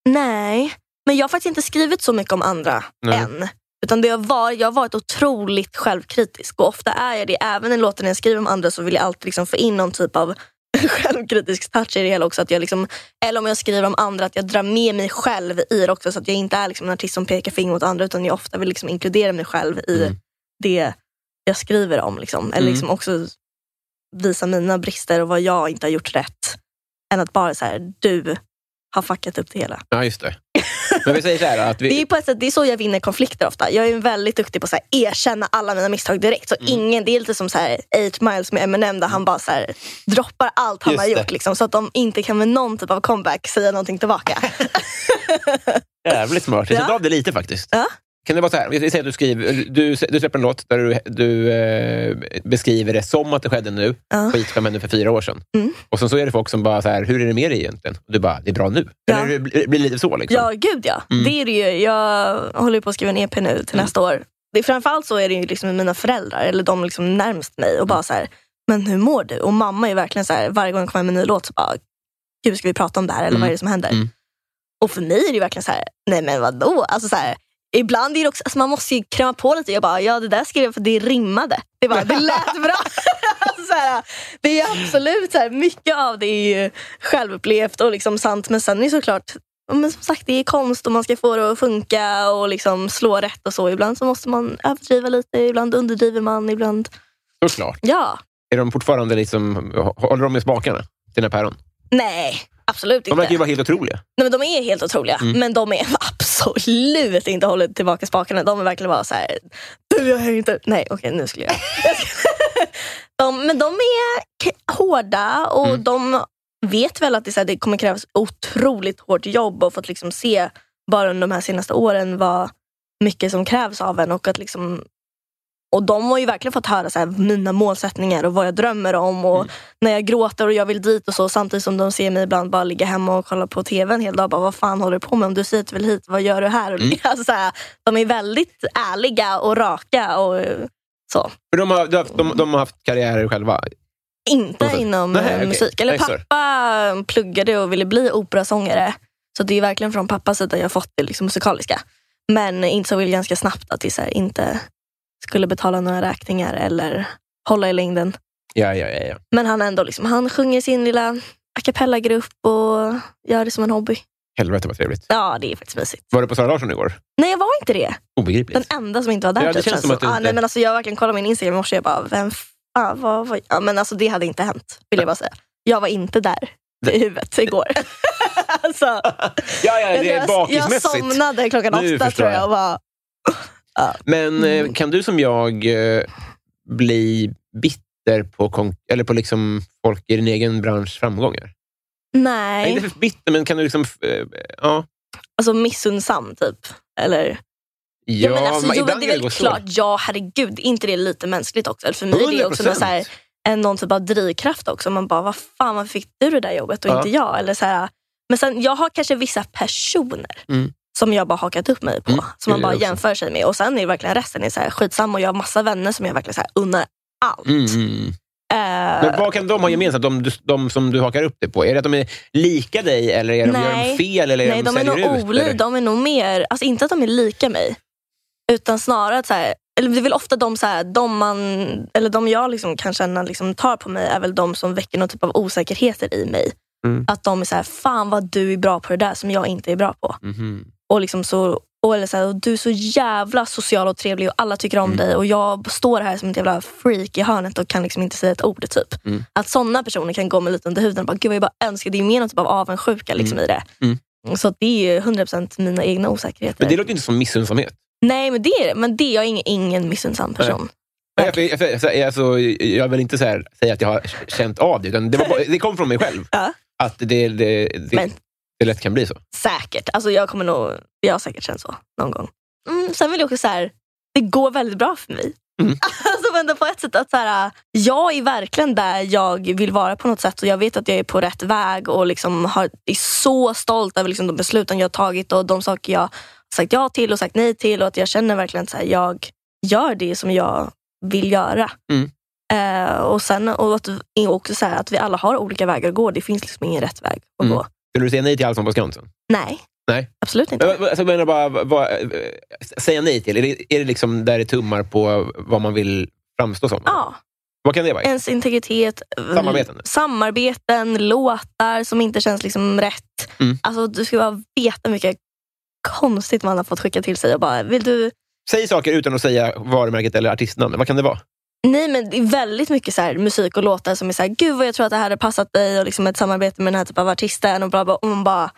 Speaker 2: Nej, men jag har faktiskt inte skrivit så mycket om andra
Speaker 1: Nej.
Speaker 2: än. Utan det har varit, jag har varit otroligt självkritisk och ofta är jag det. Även i låten när jag skriver om andra så vill jag alltid liksom få in någon typ av självkritisk touch i det hela också. Att jag liksom, eller om jag skriver om andra, att jag drar med mig själv i det också. Så att jag inte är liksom en artist som pekar finger åt andra utan jag ofta vill liksom inkludera mig själv i
Speaker 1: Mm.
Speaker 2: det jag skriver om. Liksom. Eller
Speaker 1: Mm.
Speaker 2: liksom också visa mina brister och vad jag inte har gjort rätt. Än att bara så här, du har fuckat upp det hela.
Speaker 1: Ja, just det. Men vi säger så här, att vi,
Speaker 2: Det är, på ett sätt, det är så jag vinner konflikter ofta. Jag är ju väldigt duktig på att så här, erkänna alla mina misstag direkt.
Speaker 1: Mm.
Speaker 2: Så ingen, det är lite som så här, 8 miles med Eminem där han bara så här, droppar allt han
Speaker 1: Just
Speaker 2: har
Speaker 1: det.
Speaker 2: gjort. Liksom, så att de inte kan med någon typ av comeback säga någonting tillbaka.
Speaker 1: Jävligt smart. Jag
Speaker 2: Ja.
Speaker 1: kände av det lite faktiskt.
Speaker 2: Ja.
Speaker 1: Kan det vara så här, vi säger att du, skriver, du, du släpper en låt där du, du eh, beskriver det som att det skedde nu,
Speaker 2: Ja.
Speaker 1: skit som hände för fyra år sedan.
Speaker 2: Mm.
Speaker 1: Och sen så är det folk som bara, så här, hur är det med dig egentligen? Och du bara, det är bra nu.
Speaker 2: Ja.
Speaker 1: Eller det blir- det blir lite så. Liksom.
Speaker 2: Ja, gud ja. Det är det ju. Jag håller ju på att skriva en EP nu till
Speaker 1: Mm.
Speaker 2: nästa år. Det, framförallt så är det ju liksom mina föräldrar, eller de liksom närmst mig och bara
Speaker 1: Mm.
Speaker 2: så här, men hur mår du? Och mamma är verkligen så här, varje gång jag kommer med en ny låt så bara, gud ska vi prata om det här eller vad är det som händer?
Speaker 1: Mm.
Speaker 2: Och för mig är det ju verkligen så här, nej men vadå? Alltså så här, ibland är det också, alltså man måste ju kräma på lite. Jag bara, ja det där skrev jag för det rimmade. Det, bara, det lät bra. alltså så här, det är ju absolut, så här, mycket av det är ju självupplevt och liksom sant. Men sen är det såklart, ja, men som sagt det är konst och man ska få det att funka och liksom slå rätt och så. Ibland så måste man överdriva lite, ibland underdriver man, ibland...
Speaker 1: Såklart.
Speaker 2: Ja,
Speaker 1: Är de fortfarande liksom, håller de i spakarna, dina päron?
Speaker 2: nej. Absolut
Speaker 1: De
Speaker 2: inte.
Speaker 1: verkar ju vara helt otroliga.
Speaker 2: Nej, men de är helt otroliga, men de är absolut inte hållit tillbaka spakarna. De är verkligen bara så här, du jag hänger inte... Nej okej nu skulle jag... de, men de är k- hårda och de vet väl att det, är så här, det kommer krävas otroligt hårt jobb och fått liksom se bara under de här senaste åren vad mycket som krävs av en. Och, att liksom, och de har ju verkligen fått höra så här, mina målsättningar och vad jag drömmer om. Och när jag gråter och jag vill dit och så samtidigt som de ser mig ibland bara ligga hemma och kolla på tv en hel dag. Bara, vad fan håller du på med? Om du säger att du vill hit, vad gör du här? Och
Speaker 1: Mm.
Speaker 2: Alltså, så här de är väldigt ärliga och raka. och eh, så.
Speaker 1: För de har, de, har haft- de, de har haft karriärer själva.
Speaker 2: Inte
Speaker 1: Okej.
Speaker 2: inom
Speaker 1: Alltså, Nej,
Speaker 2: eh,
Speaker 1: okej.
Speaker 2: musik. Eller
Speaker 1: Nej, sorry.
Speaker 2: pappa pluggade och ville bli operasångare. Så det är verkligen från pappas sida jag fått det liksom musikaliska. Men insåg väl ganska snabbt att det så här, inte skulle betala några räkningar eller hålla i längden.
Speaker 1: Ja, ja, ja. ja.
Speaker 2: Men han ändå liksom, han sjunger i sin lilla a cappella-grupp och gör det som en hobby.
Speaker 1: Helvete vad trevligt.
Speaker 2: Ja, det är faktiskt mysigt.
Speaker 1: Var du på Sara Larsson igår?
Speaker 2: Nej, jag var inte det.
Speaker 1: Obegripligt.
Speaker 2: Den enda som inte var där.
Speaker 1: Ja, det känns som att du
Speaker 2: ah,
Speaker 1: inte-
Speaker 2: nej, men alltså, Jag verkligen kollade min Instagram i morse och jag bara, vem f- ah, vad, vad? Ja, men alltså, det hade inte hänt, vill jag bara säga. Jag var inte där i huvudet igår. alltså,
Speaker 1: ja, ja,
Speaker 2: jag,
Speaker 1: det är
Speaker 2: jag, jag
Speaker 1: bakismässigt.
Speaker 2: somnade klockan
Speaker 1: Nu
Speaker 2: åtta
Speaker 1: förstår
Speaker 2: tror jag.
Speaker 1: jag.
Speaker 2: Och bara,
Speaker 1: Men eh, kan du som jag eh, bli bitter på, konk- eller på liksom folk i din egen branschs framgångar? Nej.
Speaker 2: Nej,
Speaker 1: Inte för bitter, men kan du liksom... eh, Ja.
Speaker 2: alltså missunnsam typ. Eller? Ja, men alltså,
Speaker 1: man-
Speaker 2: jo, men
Speaker 1: ibland
Speaker 2: det
Speaker 1: kan
Speaker 2: är
Speaker 1: gå
Speaker 2: väl
Speaker 1: så.
Speaker 2: klart, ja herregud, inte det är lite mänskligt också? Eller För mig är det också någon, så här,
Speaker 1: 100%.
Speaker 2: en, någon typ av drivkraft också. Man bara, vad fan varför fick du det där jobbet och
Speaker 1: Ja.
Speaker 2: inte jag? Eller så här, men sen, jag har kanske vissa personer
Speaker 1: Mm.
Speaker 2: som jag bara hakat upp mig på.
Speaker 1: Mm,
Speaker 2: Som man
Speaker 1: det är
Speaker 2: bara
Speaker 1: det också.
Speaker 2: jämför sig med. Och sen är det verkligen resten är så här, skitsam och jag har massa vänner som jag verkligen så här, unnar allt.
Speaker 1: Mm, mm. mm.
Speaker 2: Eh,
Speaker 1: Men vad kan de ha gemensamt, de, du- de som du hakar upp dig på? Är det att de är lika dig, eller är de, gör de
Speaker 2: Nej.
Speaker 1: fel, eller är
Speaker 2: Nej,
Speaker 1: de,
Speaker 2: de är nog
Speaker 1: säljer ut?
Speaker 2: olika.
Speaker 1: eller?
Speaker 2: De är nog mer, alltså inte att de är lika mig. Utan snarare att så här, eller det är väl ofta de, så här, de, man, eller de jag liksom kan känna liksom tar på mig är väl de som väcker någon typ av osäkerheter i mig.
Speaker 1: Mm.
Speaker 2: Att de är så här, fan vad du är bra på det där som jag inte är bra på.
Speaker 1: Mhm.
Speaker 2: Och liksom så, och eller så här, och du är så jävla social och trevlig och alla tycker om
Speaker 1: Mm.
Speaker 2: dig och jag står här som ett jävla freak i hörnet och kan liksom inte säga ett ord. typ.
Speaker 1: Mm.
Speaker 2: Att sådana personer kan gå mig lite under huden och bara, gud vad jag bara önskar, det är mer någon typ av avundsjuka liksom, i det.
Speaker 1: Mm.
Speaker 2: Så att det är ju 100% mina egna osäkerheter.
Speaker 1: Men det låter inte som missunnsamhet.
Speaker 2: Nej, men det är det. Men det, jag är ingen, ingen missunnsam person.
Speaker 1: Nej, jag, jag, jag, jag, alltså, jag vill inte så här, säga att jag har känt av det, utan det, var, bara- det kom från mig själv.
Speaker 2: Ja.
Speaker 1: Att det, det, det,
Speaker 2: Men-
Speaker 1: det lätt kan bli så.
Speaker 2: Säkert. Alltså jag kommer nog, jag har säkert känt så någon gång. Mm, sen vill jag också så här, det går väldigt bra för mig.
Speaker 1: Mm.
Speaker 2: alltså men ändå på ett sätt att så här, jag är verkligen där jag vill vara på något sätt och jag vet att jag är på rätt väg och liksom har, är så stolt över liksom de besluten jag har tagit och de saker jag har sagt ja till och sagt nej till och att jag känner verkligen att jag gör det som jag vill göra.
Speaker 1: Mm.
Speaker 2: Eh, och sen och att, är också så här, att vi alla har olika vägar att gå. Det finns liksom ingen rätt väg att
Speaker 1: Mm.
Speaker 2: gå.
Speaker 1: Skulle du säga nej till Allsång på Skansen?
Speaker 2: Nej.
Speaker 1: Nej.
Speaker 2: Absolut inte.
Speaker 1: Jag- Alltså, jag menar bara, vad- vad, säga nej till, är det, är det liksom där det tummar på vad man vill framstå som?
Speaker 2: Ja, Eh.
Speaker 1: Vad kan det vara?
Speaker 2: ens integritet. mm,
Speaker 1: Samarbeten?
Speaker 2: Samarbeten, låtar som inte känns liksom rätt.
Speaker 1: Mm.
Speaker 2: Alltså Du ska bara veta hur mycket konstigt man har fått skicka till sig. Och bara, vill du...
Speaker 1: Säg saker utan att säga varumärket eller artistnamnet. Vad kan det vara?
Speaker 2: Nej men det är väldigt mycket så här, musik och låtar som är så här, gud vad jag tror att det här hade passat dig och liksom ett samarbete med den här typen av artisten. Och bla bla, och man bara,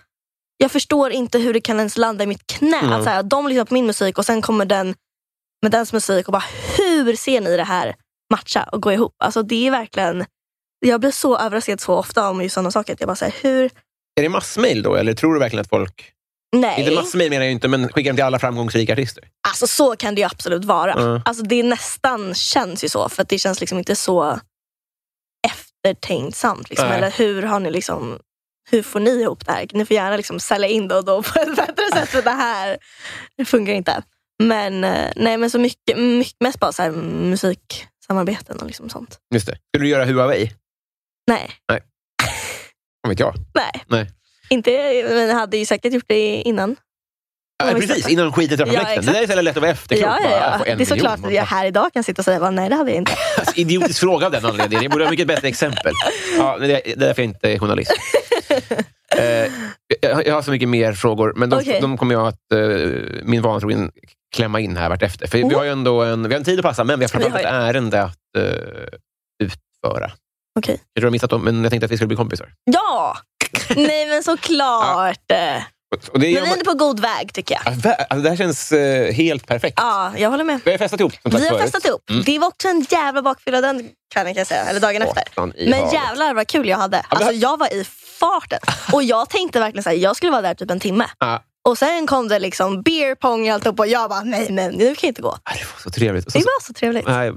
Speaker 2: jag förstår inte hur det kan ens landa i mitt knä.
Speaker 1: Mm.
Speaker 2: Att så här, de lyssnar på min musik och sen kommer den med dens musik och bara, hur ser ni det här matcha och gå ihop? Alltså det är verkligen, jag blir så överraskad så ofta om just sådana saker. Att jag bara, så här, hur?
Speaker 1: Är det massmail då, eller tror du verkligen att folk...
Speaker 2: Nej.
Speaker 1: Inte massmail menar jag inte, men skicka dem till alla framgångsrika artister.
Speaker 2: Alltså så kan det ju absolut vara.
Speaker 1: Ja.
Speaker 2: Alltså det är nästan känns ju så, för att det känns liksom inte så eftertänksamt. Liksom.
Speaker 1: Nej.
Speaker 2: Eller hur har ni liksom, hur får ni ihop det här? Ni får gärna liksom sälja in det och då på ett bättre sätt, för det här funkar inte. Men eh, nej, men så mycket, mycket mest bara så här musiksamarbeten och liksom sånt.
Speaker 1: Just det. Skulle du göra Huawei?
Speaker 2: Nej,
Speaker 1: Vad vet jag?
Speaker 2: nej.
Speaker 1: Nej.
Speaker 2: Inte, men jag hade ju säkert gjort det innan.
Speaker 1: Ja,
Speaker 2: Ja, men
Speaker 1: precis,
Speaker 2: exakt.
Speaker 1: innan skiten träffar
Speaker 2: Ja,
Speaker 1: fläkten. Det
Speaker 2: exakt.
Speaker 1: där är så jävla lätt att vara efterklok.
Speaker 2: ja,
Speaker 1: Bara,
Speaker 2: ja,
Speaker 1: jag
Speaker 2: ja.
Speaker 1: får en
Speaker 2: Det
Speaker 1: miljon.
Speaker 2: är såklart
Speaker 1: Man
Speaker 2: att jag
Speaker 1: bara,
Speaker 2: här idag kan sitta och säga, bara, nej det hade jag inte.
Speaker 1: Idiotisk fråga av den anledningen. Jag borde ha mycket bättre exempel. Ja, men det, det är därför jag inte är journalist. Eh, jag, jag har så mycket mer frågor, men de,
Speaker 2: Okej.
Speaker 1: de kommer jag att, eh, min vana trogen, klämma in här vartefter. För vi har ju ändå en, vi har en tid att passa, men vi har framförallt
Speaker 2: Oh. Vi
Speaker 1: ett
Speaker 2: har
Speaker 1: ärende att eh, utföra.
Speaker 2: Okej.
Speaker 1: Jag tror jag missat dem, men jag tänkte att vi skulle bli kompisar.
Speaker 2: Ja! Nej men såklart.
Speaker 1: Och- Och det,
Speaker 2: Men
Speaker 1: är,
Speaker 2: vi är ändå på god väg tycker jag.
Speaker 1: alltså, det här känns eh, helt perfekt.
Speaker 2: Ja, jag håller med.
Speaker 1: Vi har festat ihop, som sagt
Speaker 2: Vi har
Speaker 1: förut.
Speaker 2: festat ihop.
Speaker 1: Mm.
Speaker 2: Det var också en jävla bakfylla den kvällen kan jag säga, eller dagen efter.
Speaker 1: Fartan i
Speaker 2: Men
Speaker 1: havet.
Speaker 2: jävlar vad kul jag hade.
Speaker 1: men det
Speaker 2: Alltså
Speaker 1: här-
Speaker 2: jag var i farten. Och jag tänkte verkligen så här, jag skulle vara där typ en timme.
Speaker 1: Ja.
Speaker 2: Och sen kom det liksom beer pong och alltihop och jag bara, nej men nu kan jag inte gå.
Speaker 1: Ah, Det var så trevligt. Och så,
Speaker 2: Det var så trevligt.
Speaker 1: Nej,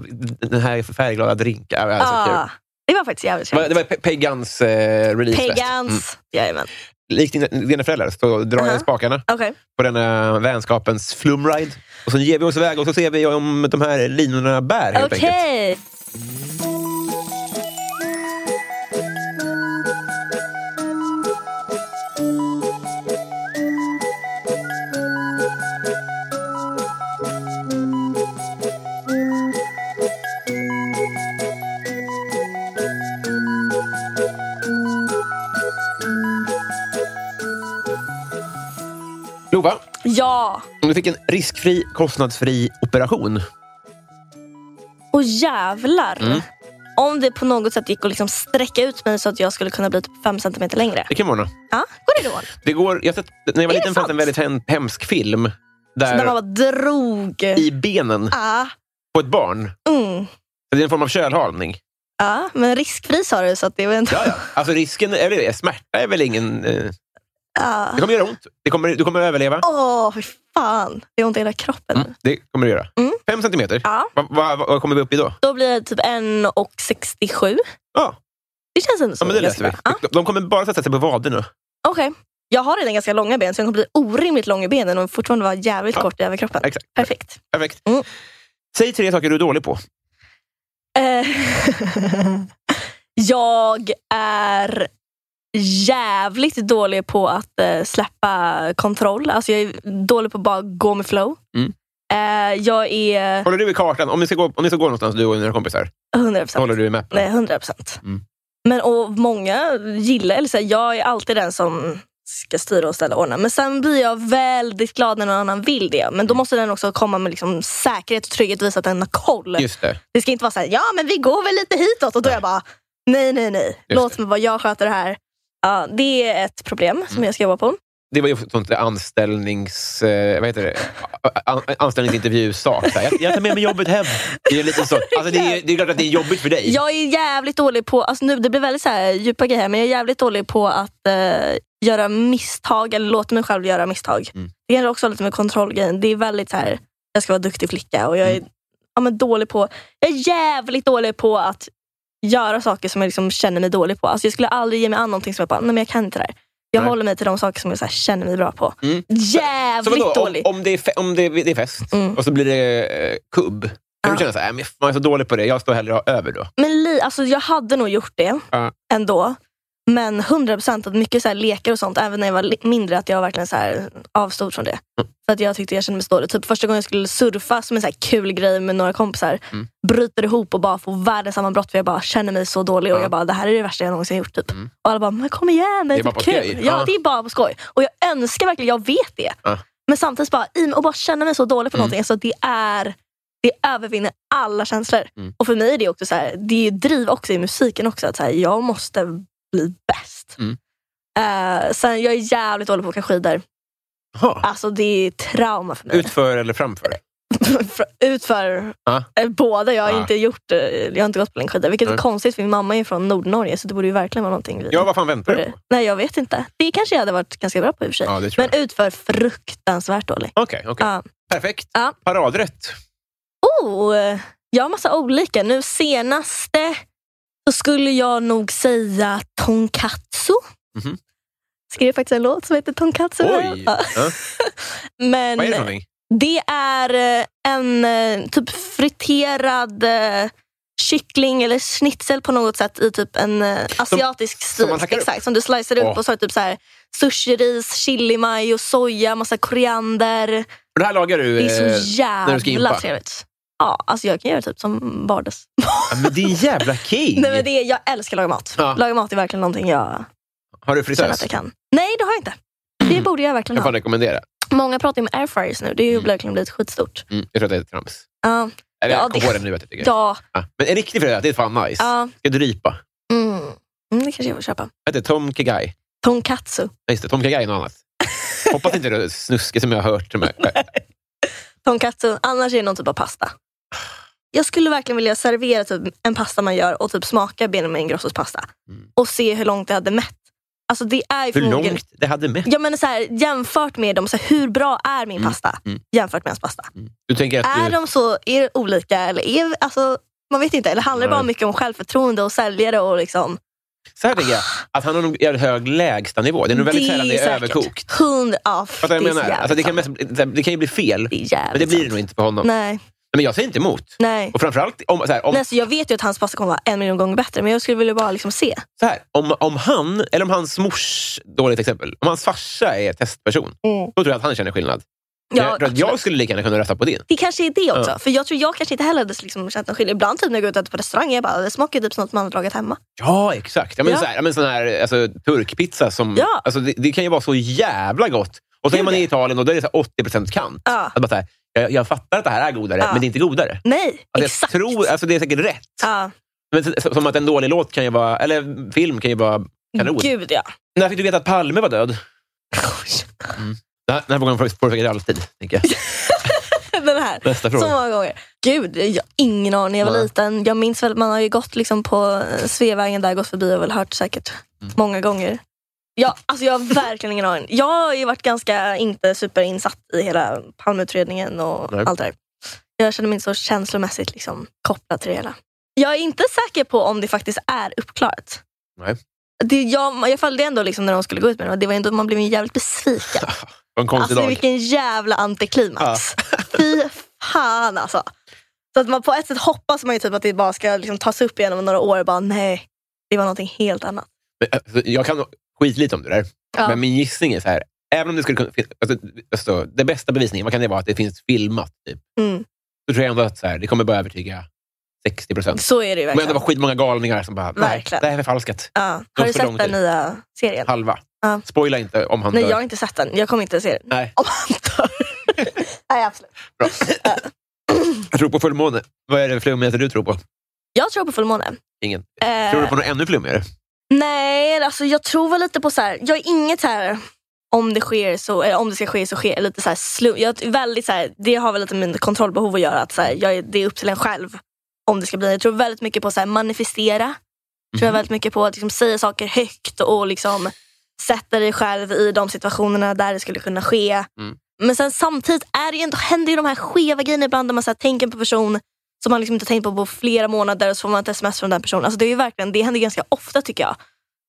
Speaker 1: Den här färgglada drinken. Det, ah.
Speaker 2: Ja, det var faktiskt jävligt
Speaker 1: det
Speaker 2: trevligt.
Speaker 1: var Pe- Peggans eh, releasefest. Mm.
Speaker 2: Peggans. Jajamän.
Speaker 1: Likt dina, dina föräldrar så drar jag i
Speaker 2: Aha.
Speaker 1: spakarna
Speaker 2: Okej.
Speaker 1: på denna vänskapens flumride. Och sen ger vi oss iväg och så ser vi om de här linorna bär helt enkelt.
Speaker 2: Okej.
Speaker 1: Lova,
Speaker 2: Ja.
Speaker 1: om du fick en riskfri, kostnadsfri operation.
Speaker 2: Och jävlar.
Speaker 1: Mm.
Speaker 2: Om det på något sätt gick att liksom sträcka ut mig så att jag skulle kunna bli typ fem centimeter längre.
Speaker 1: Det kan vara något.
Speaker 2: Ja, går det då?
Speaker 1: Det går, jag har sett, när jag var
Speaker 2: Är det
Speaker 1: liten fanns en
Speaker 2: sant?
Speaker 1: väldigt hem- hemsk film
Speaker 2: Så när man
Speaker 1: där
Speaker 2: bara drog.
Speaker 1: i benen
Speaker 2: Ah,
Speaker 1: på ett barn
Speaker 2: mm.
Speaker 1: Det är en form av kölhalning.
Speaker 2: Ja, men riskfri sa du så att det var inte...
Speaker 1: Ja, ja. Alltså risken, är det, smärta är väl ingen... Eh,
Speaker 2: Ja.
Speaker 1: det kommer göra ont. Det kommer, du kommer överleva.
Speaker 2: Åh, fy fan. Det är ont i hela kroppen.
Speaker 1: Mm, det kommer du göra.
Speaker 2: Mm.
Speaker 1: Fem centimeter.
Speaker 2: Ja,
Speaker 1: Vad va, va vad kommer vi upp i då?
Speaker 2: då blir det typ 1,67.
Speaker 1: Ja,
Speaker 2: Det känns ändå
Speaker 1: ja
Speaker 2: som
Speaker 1: men det
Speaker 2: ganska
Speaker 1: löser vi.
Speaker 2: bra. Ja,
Speaker 1: De- De kommer bara sätta sig på vaderna.
Speaker 2: Okej. Jag har redan ganska långa ben så jag kommer bli orimligt lång i benen och fortfarande vara jävligt
Speaker 1: Ja.
Speaker 2: kort i överkroppen.
Speaker 1: Exakt.
Speaker 2: Perfekt.
Speaker 1: Perfekt.
Speaker 2: Mm.
Speaker 1: Säg tre saker du är dålig på.
Speaker 2: Eh, jag är jävligt dålig på att eh, släppa kontroll. Alltså jag är dålig på att bara gå med flow.
Speaker 1: Mm.
Speaker 2: Eh, jag är
Speaker 1: Håller du i kartan? Om ni ska gå, om ni ska gå någonstans, du och dina kompisar,
Speaker 2: 100
Speaker 1: så håller du i mappen?
Speaker 2: Nej, 100 procent.
Speaker 1: Mm.
Speaker 2: Men och många gillar, eller så här, jag är alltid den som ska styra och ställa och ordna. Men sen blir jag väldigt glad när någon annan vill det.
Speaker 1: Mm.
Speaker 2: Men då måste den också komma med liksom säkerhet och trygghet och visa att den har koll.
Speaker 1: Just det.
Speaker 2: Det ska inte vara så här, ja men vi går väl lite hitåt och då är jag bara, nej nej nej. Låt mig vara, jag sköter det här. Ja, det är ett problem som jag ska jobba på.
Speaker 1: Det var ju sånt där anställnings... Eh, vad heter det? An, anställningsintervju-sak. Så här, Jag, jag tar med mig jobbet hem. Det är, lite så. Alltså, det, är, det är klart att det är jobbigt för dig.
Speaker 2: Jag är jävligt dålig på, alltså nu, det blir väldigt så här djupa grejer här, men jag är jävligt dålig på att eh, göra misstag eller låta mig själv göra misstag.
Speaker 1: Mm.
Speaker 2: Det kanske också har lite med kontrollgrejen. Det är väldigt så här, jag ska vara duktig flicka och jag är
Speaker 1: Mm.
Speaker 2: ja, men dålig på, jag är jävligt dålig på att göra saker som jag liksom känner mig dålig på. Alltså jag skulle aldrig ge mig an någonting som jag bara, nej men jag kan inte det här. Jag
Speaker 1: Nej.
Speaker 2: håller mig till de saker som jag så här, känner mig bra på.
Speaker 1: Mm. Så
Speaker 2: Jävligt
Speaker 1: vadå, om,
Speaker 2: dålig.
Speaker 1: om, det är fe, om det, är- det är fest
Speaker 2: Mm.
Speaker 1: och så blir det eh, kubb, kan
Speaker 2: Ja.
Speaker 1: du känna så här, "Äh, men fan, jag är så dålig på det, jag står hellre över då.
Speaker 2: Men li, alltså jag hade nog gjort det
Speaker 1: Ja.
Speaker 2: ändå. Men 100% att mycket så här lekar och sånt, även när jag var li- mindre, att jag verkligen så här avstod från det.
Speaker 1: Mm.
Speaker 2: För att jag tyckte jag kände mig så dålig. Typ första gången jag skulle surfa, som en så här kul grej med några kompisar,
Speaker 1: Mm.
Speaker 2: bryter ihop och bara får världens sammanbrott för jag bara känner mig så dålig. Och jag bara, det här är det värsta jag någonsin gjort. Typ. Och alla bara, men kom igen, det är,
Speaker 1: Mm. Det är bara
Speaker 2: typ
Speaker 1: på
Speaker 2: kul.
Speaker 1: skoj.
Speaker 2: Ja,
Speaker 1: Ja.
Speaker 2: det är bara på skoj. Och jag önskar verkligen, jag vet det.
Speaker 1: Ja. Mm.
Speaker 2: Men samtidigt bara, i- och bara känna mig så dålig för någonting. Alltså, det är det övervinner alla känslor.
Speaker 1: Mm.
Speaker 2: Och för mig är det också så här, det är ju driv också i musiken också. Att så här, jag måste bli bäst.
Speaker 1: Mm.
Speaker 2: Eh, sen jag är jävligt dålig på att åka skidor.
Speaker 1: Jaha.
Speaker 2: Alltså det är trauma för mig.
Speaker 1: Utför eller framför?
Speaker 2: Utför
Speaker 1: Ja.
Speaker 2: eh, båda. Jag har,
Speaker 1: Ja.
Speaker 2: inte gjort, eh, jag har inte gått på längdskidor. Vilket är
Speaker 1: Nej.
Speaker 2: konstigt för min mamma är från Nordnorge så det borde ju verkligen vara någonting vi
Speaker 1: Ja, vad fan väntar du
Speaker 2: borde...
Speaker 1: på?
Speaker 2: Nej jag vet inte. Det kanske jag hade varit ganska bra på i och för sig.
Speaker 1: Ja, det tror
Speaker 2: Men
Speaker 1: jag.
Speaker 2: utför fruktansvärt dålig.
Speaker 1: Okej, okej.
Speaker 2: Ja.
Speaker 1: perfekt.
Speaker 2: Ja.
Speaker 1: Paradrätt.
Speaker 2: Oh, eh, jag har massa olika. Nu senaste så skulle jag nog säga tonkatsu.
Speaker 1: Mhm.
Speaker 2: Skrev faktiskt en låt som heter Tonkatsu.
Speaker 1: Oj!
Speaker 2: Ja.
Speaker 1: Ja.
Speaker 2: Men
Speaker 1: Vad är det för någonting?
Speaker 2: det är eh, en eh, typ friterad eh, kyckling eller schnitzel på något sätt i typ en eh, asiatisk stil.
Speaker 1: man hackar upp?
Speaker 2: Exakt, som du slicer upp
Speaker 1: Åh.
Speaker 2: och så är det typ så här sushiris, chilimajo, soja, massa koriander.
Speaker 1: Och det här lagar du...
Speaker 2: Det är
Speaker 1: eh,
Speaker 2: så
Speaker 1: när du ska
Speaker 2: jävla
Speaker 1: impa.
Speaker 2: trevligt. Ja, alltså jag kan göra typ som vardags.
Speaker 1: ja, men din jävla king!
Speaker 2: Nej, men det är, jag älskar att laga mat.
Speaker 1: Ja.
Speaker 2: Laga mat är verkligen någonting jag
Speaker 1: Har du
Speaker 2: känner att
Speaker 1: frisös?
Speaker 2: jag kan. Nej, det har jag inte. Det borde jag verkligen
Speaker 1: Jag Mm. får
Speaker 2: ha.
Speaker 1: rekommendera.
Speaker 2: Många pratar ju om airfryers nu. Det är ju verkligen blivit skitstort.
Speaker 1: Mm, jag tror att det är trams.
Speaker 2: Ja,
Speaker 1: Eller
Speaker 2: Ja,
Speaker 1: jag kom
Speaker 2: det-
Speaker 1: på det nu att jag tycker.
Speaker 2: ja,
Speaker 1: Ja. Men en riktig frisös, det är fan nice.
Speaker 2: ja.
Speaker 1: Ska drypa.
Speaker 2: Mm. Mm, det kanske jag får köpa.
Speaker 1: Vad heter det? Tom Kagai? Nej,
Speaker 2: Tonkatsu.
Speaker 1: just det. Tom Kagai är något annat. Hoppas inte det är snuske som jag har hört. Som jag,
Speaker 2: Tonkatsu. Annars är det någon typ av pasta. Jag skulle verkligen vilja servera typ en pasta man gör och typ smaka Benjamin Ingrossos pasta. Och se hur långt det hade mätt. Alltså det är ju
Speaker 1: Mm. hur
Speaker 2: förmodligen-
Speaker 1: långt det hade mätt.
Speaker 2: Jag menar så här, jämfört med dem, så här, hur bra är min
Speaker 1: Mm,
Speaker 2: pasta
Speaker 1: mm.
Speaker 2: jämfört med hans pasta?
Speaker 1: Du tänker att
Speaker 2: Är
Speaker 1: du...
Speaker 2: de så är det olika? Eller är, alltså, man vet inte. Eller handlar det bara
Speaker 1: Nej.
Speaker 2: mycket om självförtroende och säljare? Och liksom,
Speaker 1: Så här tänker jag, att han har en jävligt hög lägstanivå. Det är nog väldigt sällan det är överkokt.
Speaker 2: Hundra, ja, f-
Speaker 1: Fattar du vad jag
Speaker 2: är så
Speaker 1: menar?
Speaker 2: jävligt
Speaker 1: Alltså, det, kan
Speaker 2: sant.
Speaker 1: mest, det kan ju bli fel,
Speaker 2: det är jävligt
Speaker 1: men det blir det
Speaker 2: sant.
Speaker 1: nog inte på honom. Nej.
Speaker 2: Nej,
Speaker 1: Men jag säger inte emot.
Speaker 2: nej.
Speaker 1: Och framförallt, om, så här, om,
Speaker 2: nej så alltså, jag vet ju att hans pasta kommer vara en miljon gånger bättre, men jag skulle vilja bara liksom se.
Speaker 1: så här, om, om han, eller om hans mors, dåligt exempel, om hans farsa är testperson, då tror jag att han känner skillnad.
Speaker 2: Mm. Ja,
Speaker 1: jag, tror att jag
Speaker 2: absolut.
Speaker 1: skulle lika gärna kunna rösta på din.
Speaker 2: Det kanske är det också. För jag tror jag kanske inte heller hade liksom känt någon skillnad. Ibland typ när jag går ut och äter på restaurang, jag bara, det smakar ju typ som något man har lagat hemma.
Speaker 1: Ja, exakt. Ja, men
Speaker 2: Ja.
Speaker 1: Så här, ja, men sån här alltså, turkpizza, som,
Speaker 2: Ja.
Speaker 1: alltså, det, det kan ju vara så jävla gott. Och så
Speaker 2: Gud,
Speaker 1: är man
Speaker 2: ja.
Speaker 1: i Italien och då är det så här 80 procent kant.
Speaker 2: Ja.
Speaker 1: Att bara så här, jag, jag fattar att det här är godare,
Speaker 2: Ja.
Speaker 1: men det är inte godare.
Speaker 2: Nej,
Speaker 1: Alltså,
Speaker 2: exakt.
Speaker 1: Jag tror, alltså, det är säkert rätt.
Speaker 2: Ja.
Speaker 1: Men, så- så- som att en dålig låt kan ju vara, eller film kan ju vara kanon.
Speaker 2: Gud ja.
Speaker 1: När fick du veta att Palme var död? Den här, den här frågan får får du säkert alltid. Tänker jag.
Speaker 2: den här.
Speaker 1: Nästa fråga.
Speaker 2: Så många gånger. Gud, jag har ingen aning. Jag var
Speaker 1: Nej.
Speaker 2: liten. Jag minns väl, man har ju gått liksom på eh, Sveavägen där, gått förbi och väl hört säkert
Speaker 1: Mm.
Speaker 2: många gånger. Ja, alltså jag har verkligen ingen aning. Jag har ju varit ganska inte superinsatt i hela Palmeutredningen och
Speaker 1: Nej.
Speaker 2: allt det där. Jag känner mig inte så känslomässigt liksom, kopplad till det hela. Jag är inte säker på om det faktiskt är uppklarat.
Speaker 1: Nej.
Speaker 2: Det, jag, jag följde ändå liksom när de skulle gå ut med det och det var ändå, man blev ju jävligt besviken.
Speaker 1: Vad en konstig
Speaker 2: Alltså
Speaker 1: dag.
Speaker 2: vilken jävla antiklimax. Fy fan alltså. Så att man på ett sätt hoppas man ju typ att det bara ska liksom tas upp igen om några år. Bara, nej, det var någonting helt annat.
Speaker 1: Men, alltså, jag kan skitlite om det där,
Speaker 2: Ja.
Speaker 1: men min gissning är så här. Även om det skulle kunna fin- alltså, alltså, det bästa bevisningen, vad kan det vara? Att det finns filmat. Typ.
Speaker 2: Mm.
Speaker 1: Då tror jag ändå att så här, det kommer börja övertyga 60 procent.
Speaker 2: Så är det ju
Speaker 1: Men det
Speaker 2: verkligen.
Speaker 1: var skitmånga galningar som bara, nej,
Speaker 2: Verkligen.
Speaker 1: det här är förfalskat.
Speaker 2: ja. Har du
Speaker 1: för lång
Speaker 2: sett den
Speaker 1: tid.
Speaker 2: nya serien?
Speaker 1: Halva.
Speaker 2: Ja.
Speaker 1: Spoila inte om han
Speaker 2: Nej,
Speaker 1: dör.
Speaker 2: jag har inte sett den. Jag kommer inte se den.
Speaker 1: Nej,
Speaker 2: Om han dör. nej, absolut.
Speaker 1: bra. jag tror på fullmåne. Vad är det flummigaste du tror på?
Speaker 2: Jag tror på fullmåne.
Speaker 1: Ingen.
Speaker 2: Eh,
Speaker 1: Tror du på något ännu flummigare?
Speaker 2: Nej, alltså jag tror väl lite på så här. Jag är inget så här om det sker så, eller om det ska ske så sker lite så här slum. Jag är väldigt så här, det har väl lite med min kontrollbehov att göra. Att så här, jag, är- det är upp till en själv om det ska bli. Jag tror väldigt mycket på så här, manifestera. Tror jag väldigt mycket på att liksom, säga saker högt och liksom sätta dig själv i de situationerna där det skulle kunna ske. Men sen samtidigt är det ju ändå, händer ju de här skeva grejerna ibland där man så här, tänker på en person som man liksom inte tänkt på på flera månader och så får man ett sms från den personen. Alltså, det, är ju verkligen, det händer ganska ofta tycker jag.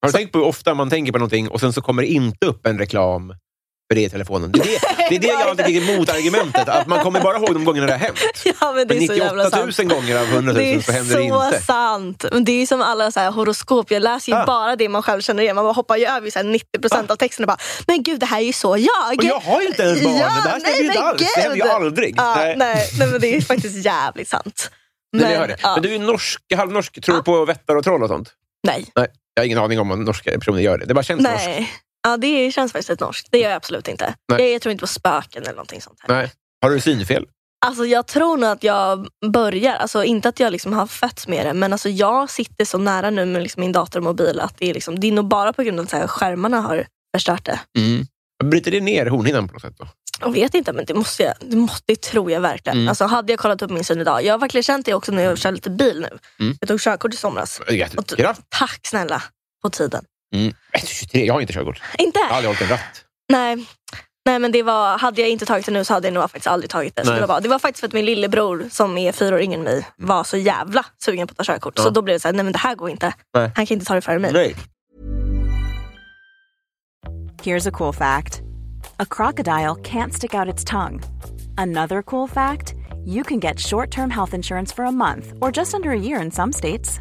Speaker 1: Har du tänkt på hur ofta man tänker på någonting och sen så kommer det inte upp en reklam för det i telefonen? Det är det, det, är det jag alltid tycker är motargumentet. Att man kommer bara ihåg de gångerna det har hänt.
Speaker 2: Ja, men det
Speaker 1: Men
Speaker 2: är så
Speaker 1: 98
Speaker 2: jävla
Speaker 1: 000
Speaker 2: sant.
Speaker 1: gånger av 100
Speaker 2: Det
Speaker 1: 000 så
Speaker 2: är
Speaker 1: liksom händer det
Speaker 2: så
Speaker 1: inte.
Speaker 2: sant. Men det är ju som alla så här horoskop. Jag läser ju
Speaker 1: Ah.
Speaker 2: bara det man själv känner igen. Man bara hoppar ju över så här 90 procent av texten och bara, men gud det här är ju så jag.
Speaker 1: Och jag har ju inte ens barn. det här stämmer ju inte
Speaker 2: men
Speaker 1: alls. Det händer ju
Speaker 2: gud.
Speaker 1: aldrig.
Speaker 2: Ja, nej.
Speaker 1: nej.
Speaker 2: Nej, men det är ju faktiskt jävligt sant.
Speaker 1: Men, jag hör det.
Speaker 2: ja,
Speaker 1: men du är norsk, halvnorsk. Tror du på vättar och troll och sånt?
Speaker 2: nej.
Speaker 1: Nej, jag har ingen aning om om norska personer gör det. Det bara känns norskt.
Speaker 2: nej. Ja, det känns faktiskt lite norskt. Det gör jag absolut inte.
Speaker 1: Nej.
Speaker 2: Jag, jag tror inte på spöken eller någonting sånt. Här.
Speaker 1: Nej. Har du synfel?
Speaker 2: Alltså jag tror nog att jag börjar, alltså inte att jag liksom har fötts med det, men alltså jag sitter så nära nu med liksom min dator och mobil att det är, liksom, det är nog bara på grund av att så här, skärmarna har förstört det.
Speaker 1: Bryter det ner hornhinnan på något sätt? Då?
Speaker 2: Jag vet inte, men det, måste jag, det, måste, det tror jag verkligen. Alltså hade jag kollat upp min syn idag, jag har verkligen känt det också när jag kör lite bil nu. Jag tog körkort i somras.
Speaker 1: Det är
Speaker 2: Och t-
Speaker 1: Jättekraft.
Speaker 2: Tack snälla, på tiden.
Speaker 1: Mm. Nej, 23. Jag har inte körkort.
Speaker 2: Inte?
Speaker 1: Jag har aldrig hållit en ratt.
Speaker 2: Nej. Nej men det var, hade jag inte tagit det nu så hade jag nog faktiskt aldrig tagit det. Så
Speaker 1: Nej.
Speaker 2: det, var, det var faktiskt för att min lillebror som är fyra år yngre än mig var så jävla sugen på att ta körkort. Så
Speaker 1: Ja.
Speaker 2: då blev det så här, nej men det här går inte.
Speaker 1: Nej.
Speaker 2: Han kan inte ta det före mig.
Speaker 1: Nej.
Speaker 4: Here's a cool fact a crocodile can't stick out its tongue. Another cool fact you can get short term health insurance for a month or just under a year in some states.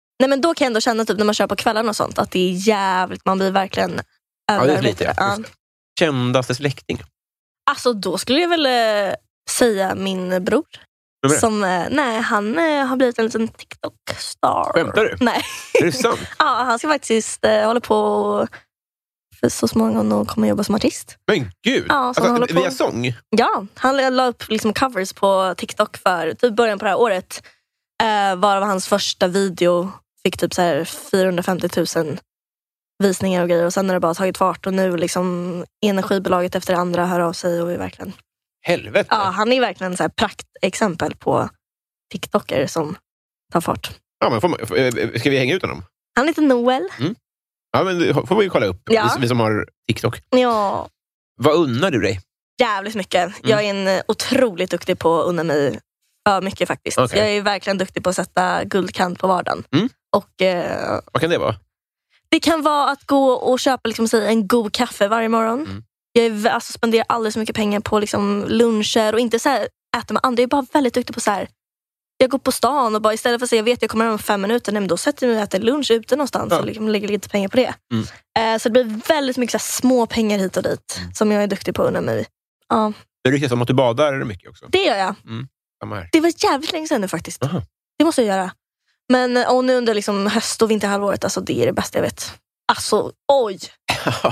Speaker 2: Nej men då kan jag ändå känna typ när man kör på kvällarna och sånt att det är jävligt, man blir verkligen
Speaker 1: Ja, det är
Speaker 2: överarbetad.
Speaker 1: lite, ja.
Speaker 2: Ja.
Speaker 1: Just det. Kändaste släkting?
Speaker 2: Alltså då skulle jag väl eh, säga min bror.
Speaker 1: Vem är det?
Speaker 2: Som, eh, nej han eh, har blivit en liten TikTok-star.
Speaker 1: Skämtar du?
Speaker 2: Nej.
Speaker 1: Är det sant?
Speaker 2: Ja, han ska faktiskt eh, hålla på och- för så småningom och kommer jobba som artist.
Speaker 1: Men gud! Alltså,
Speaker 2: Ja, så han håller på.
Speaker 1: via sång?
Speaker 2: Ja, han la upp liksom covers på TikTok för typ början på det här året. Eh, varav hans första video fick typ så här 450 000 visningar och grejer. Och sen har det bara tagit fart och nu liksom energibolaget efter det andra hör av sig. Och är verkligen,
Speaker 1: Helvete!
Speaker 2: ja, han är verkligen så här praktexempel på TikToker som tar fart.
Speaker 1: Ja, men får man, får- eh, ska vi hänga ut honom?
Speaker 2: Han heter Noel.
Speaker 1: Ja, men det får vi ju kolla upp,
Speaker 2: Ja.
Speaker 1: vi, vi som har TikTok.
Speaker 2: Ja,
Speaker 1: Vad unnar du dig?
Speaker 2: jävligt mycket.
Speaker 1: Mm.
Speaker 2: Jag är en eh, otroligt duktig på att unna mig för mycket faktiskt.
Speaker 1: Okej.
Speaker 2: Jag är verkligen duktig på att sätta guldkant på vardagen.
Speaker 1: Mm.
Speaker 2: Och eh,
Speaker 1: Vad kan det vara?
Speaker 2: Det kan vara att gå och köpa liksom, säg, en god kaffe varje morgon.
Speaker 1: Mm.
Speaker 2: Jag är, vä- alltså, spenderar alldeles för mycket pengar på liksom, luncher och inte så här, äta med andra. Jag är bara väldigt duktig på så här. Jag går på stan och bara istället för att säga jag vet jag kommer hem om fem minuter, nej, men då sätter jag mig och äter lunch ute någonstans
Speaker 1: Ja.
Speaker 2: och liksom, lägger lite pengar på det.
Speaker 1: Mm.
Speaker 2: Eh, så det blir väldigt mycket så här, små pengar hit och dit
Speaker 1: Mm.
Speaker 2: som jag är duktig på att unna mig. Ja,
Speaker 1: Det ryktas om att du badar mycket också.
Speaker 2: det gör jag.
Speaker 1: Samma här.
Speaker 2: Det var jävligt länge sedan nu faktiskt.
Speaker 1: Aha.
Speaker 2: Det måste jag göra. Men eh, och nu under liksom höst och vinterhalvåret, alltså det är det bästa jag vet. Alltså oj!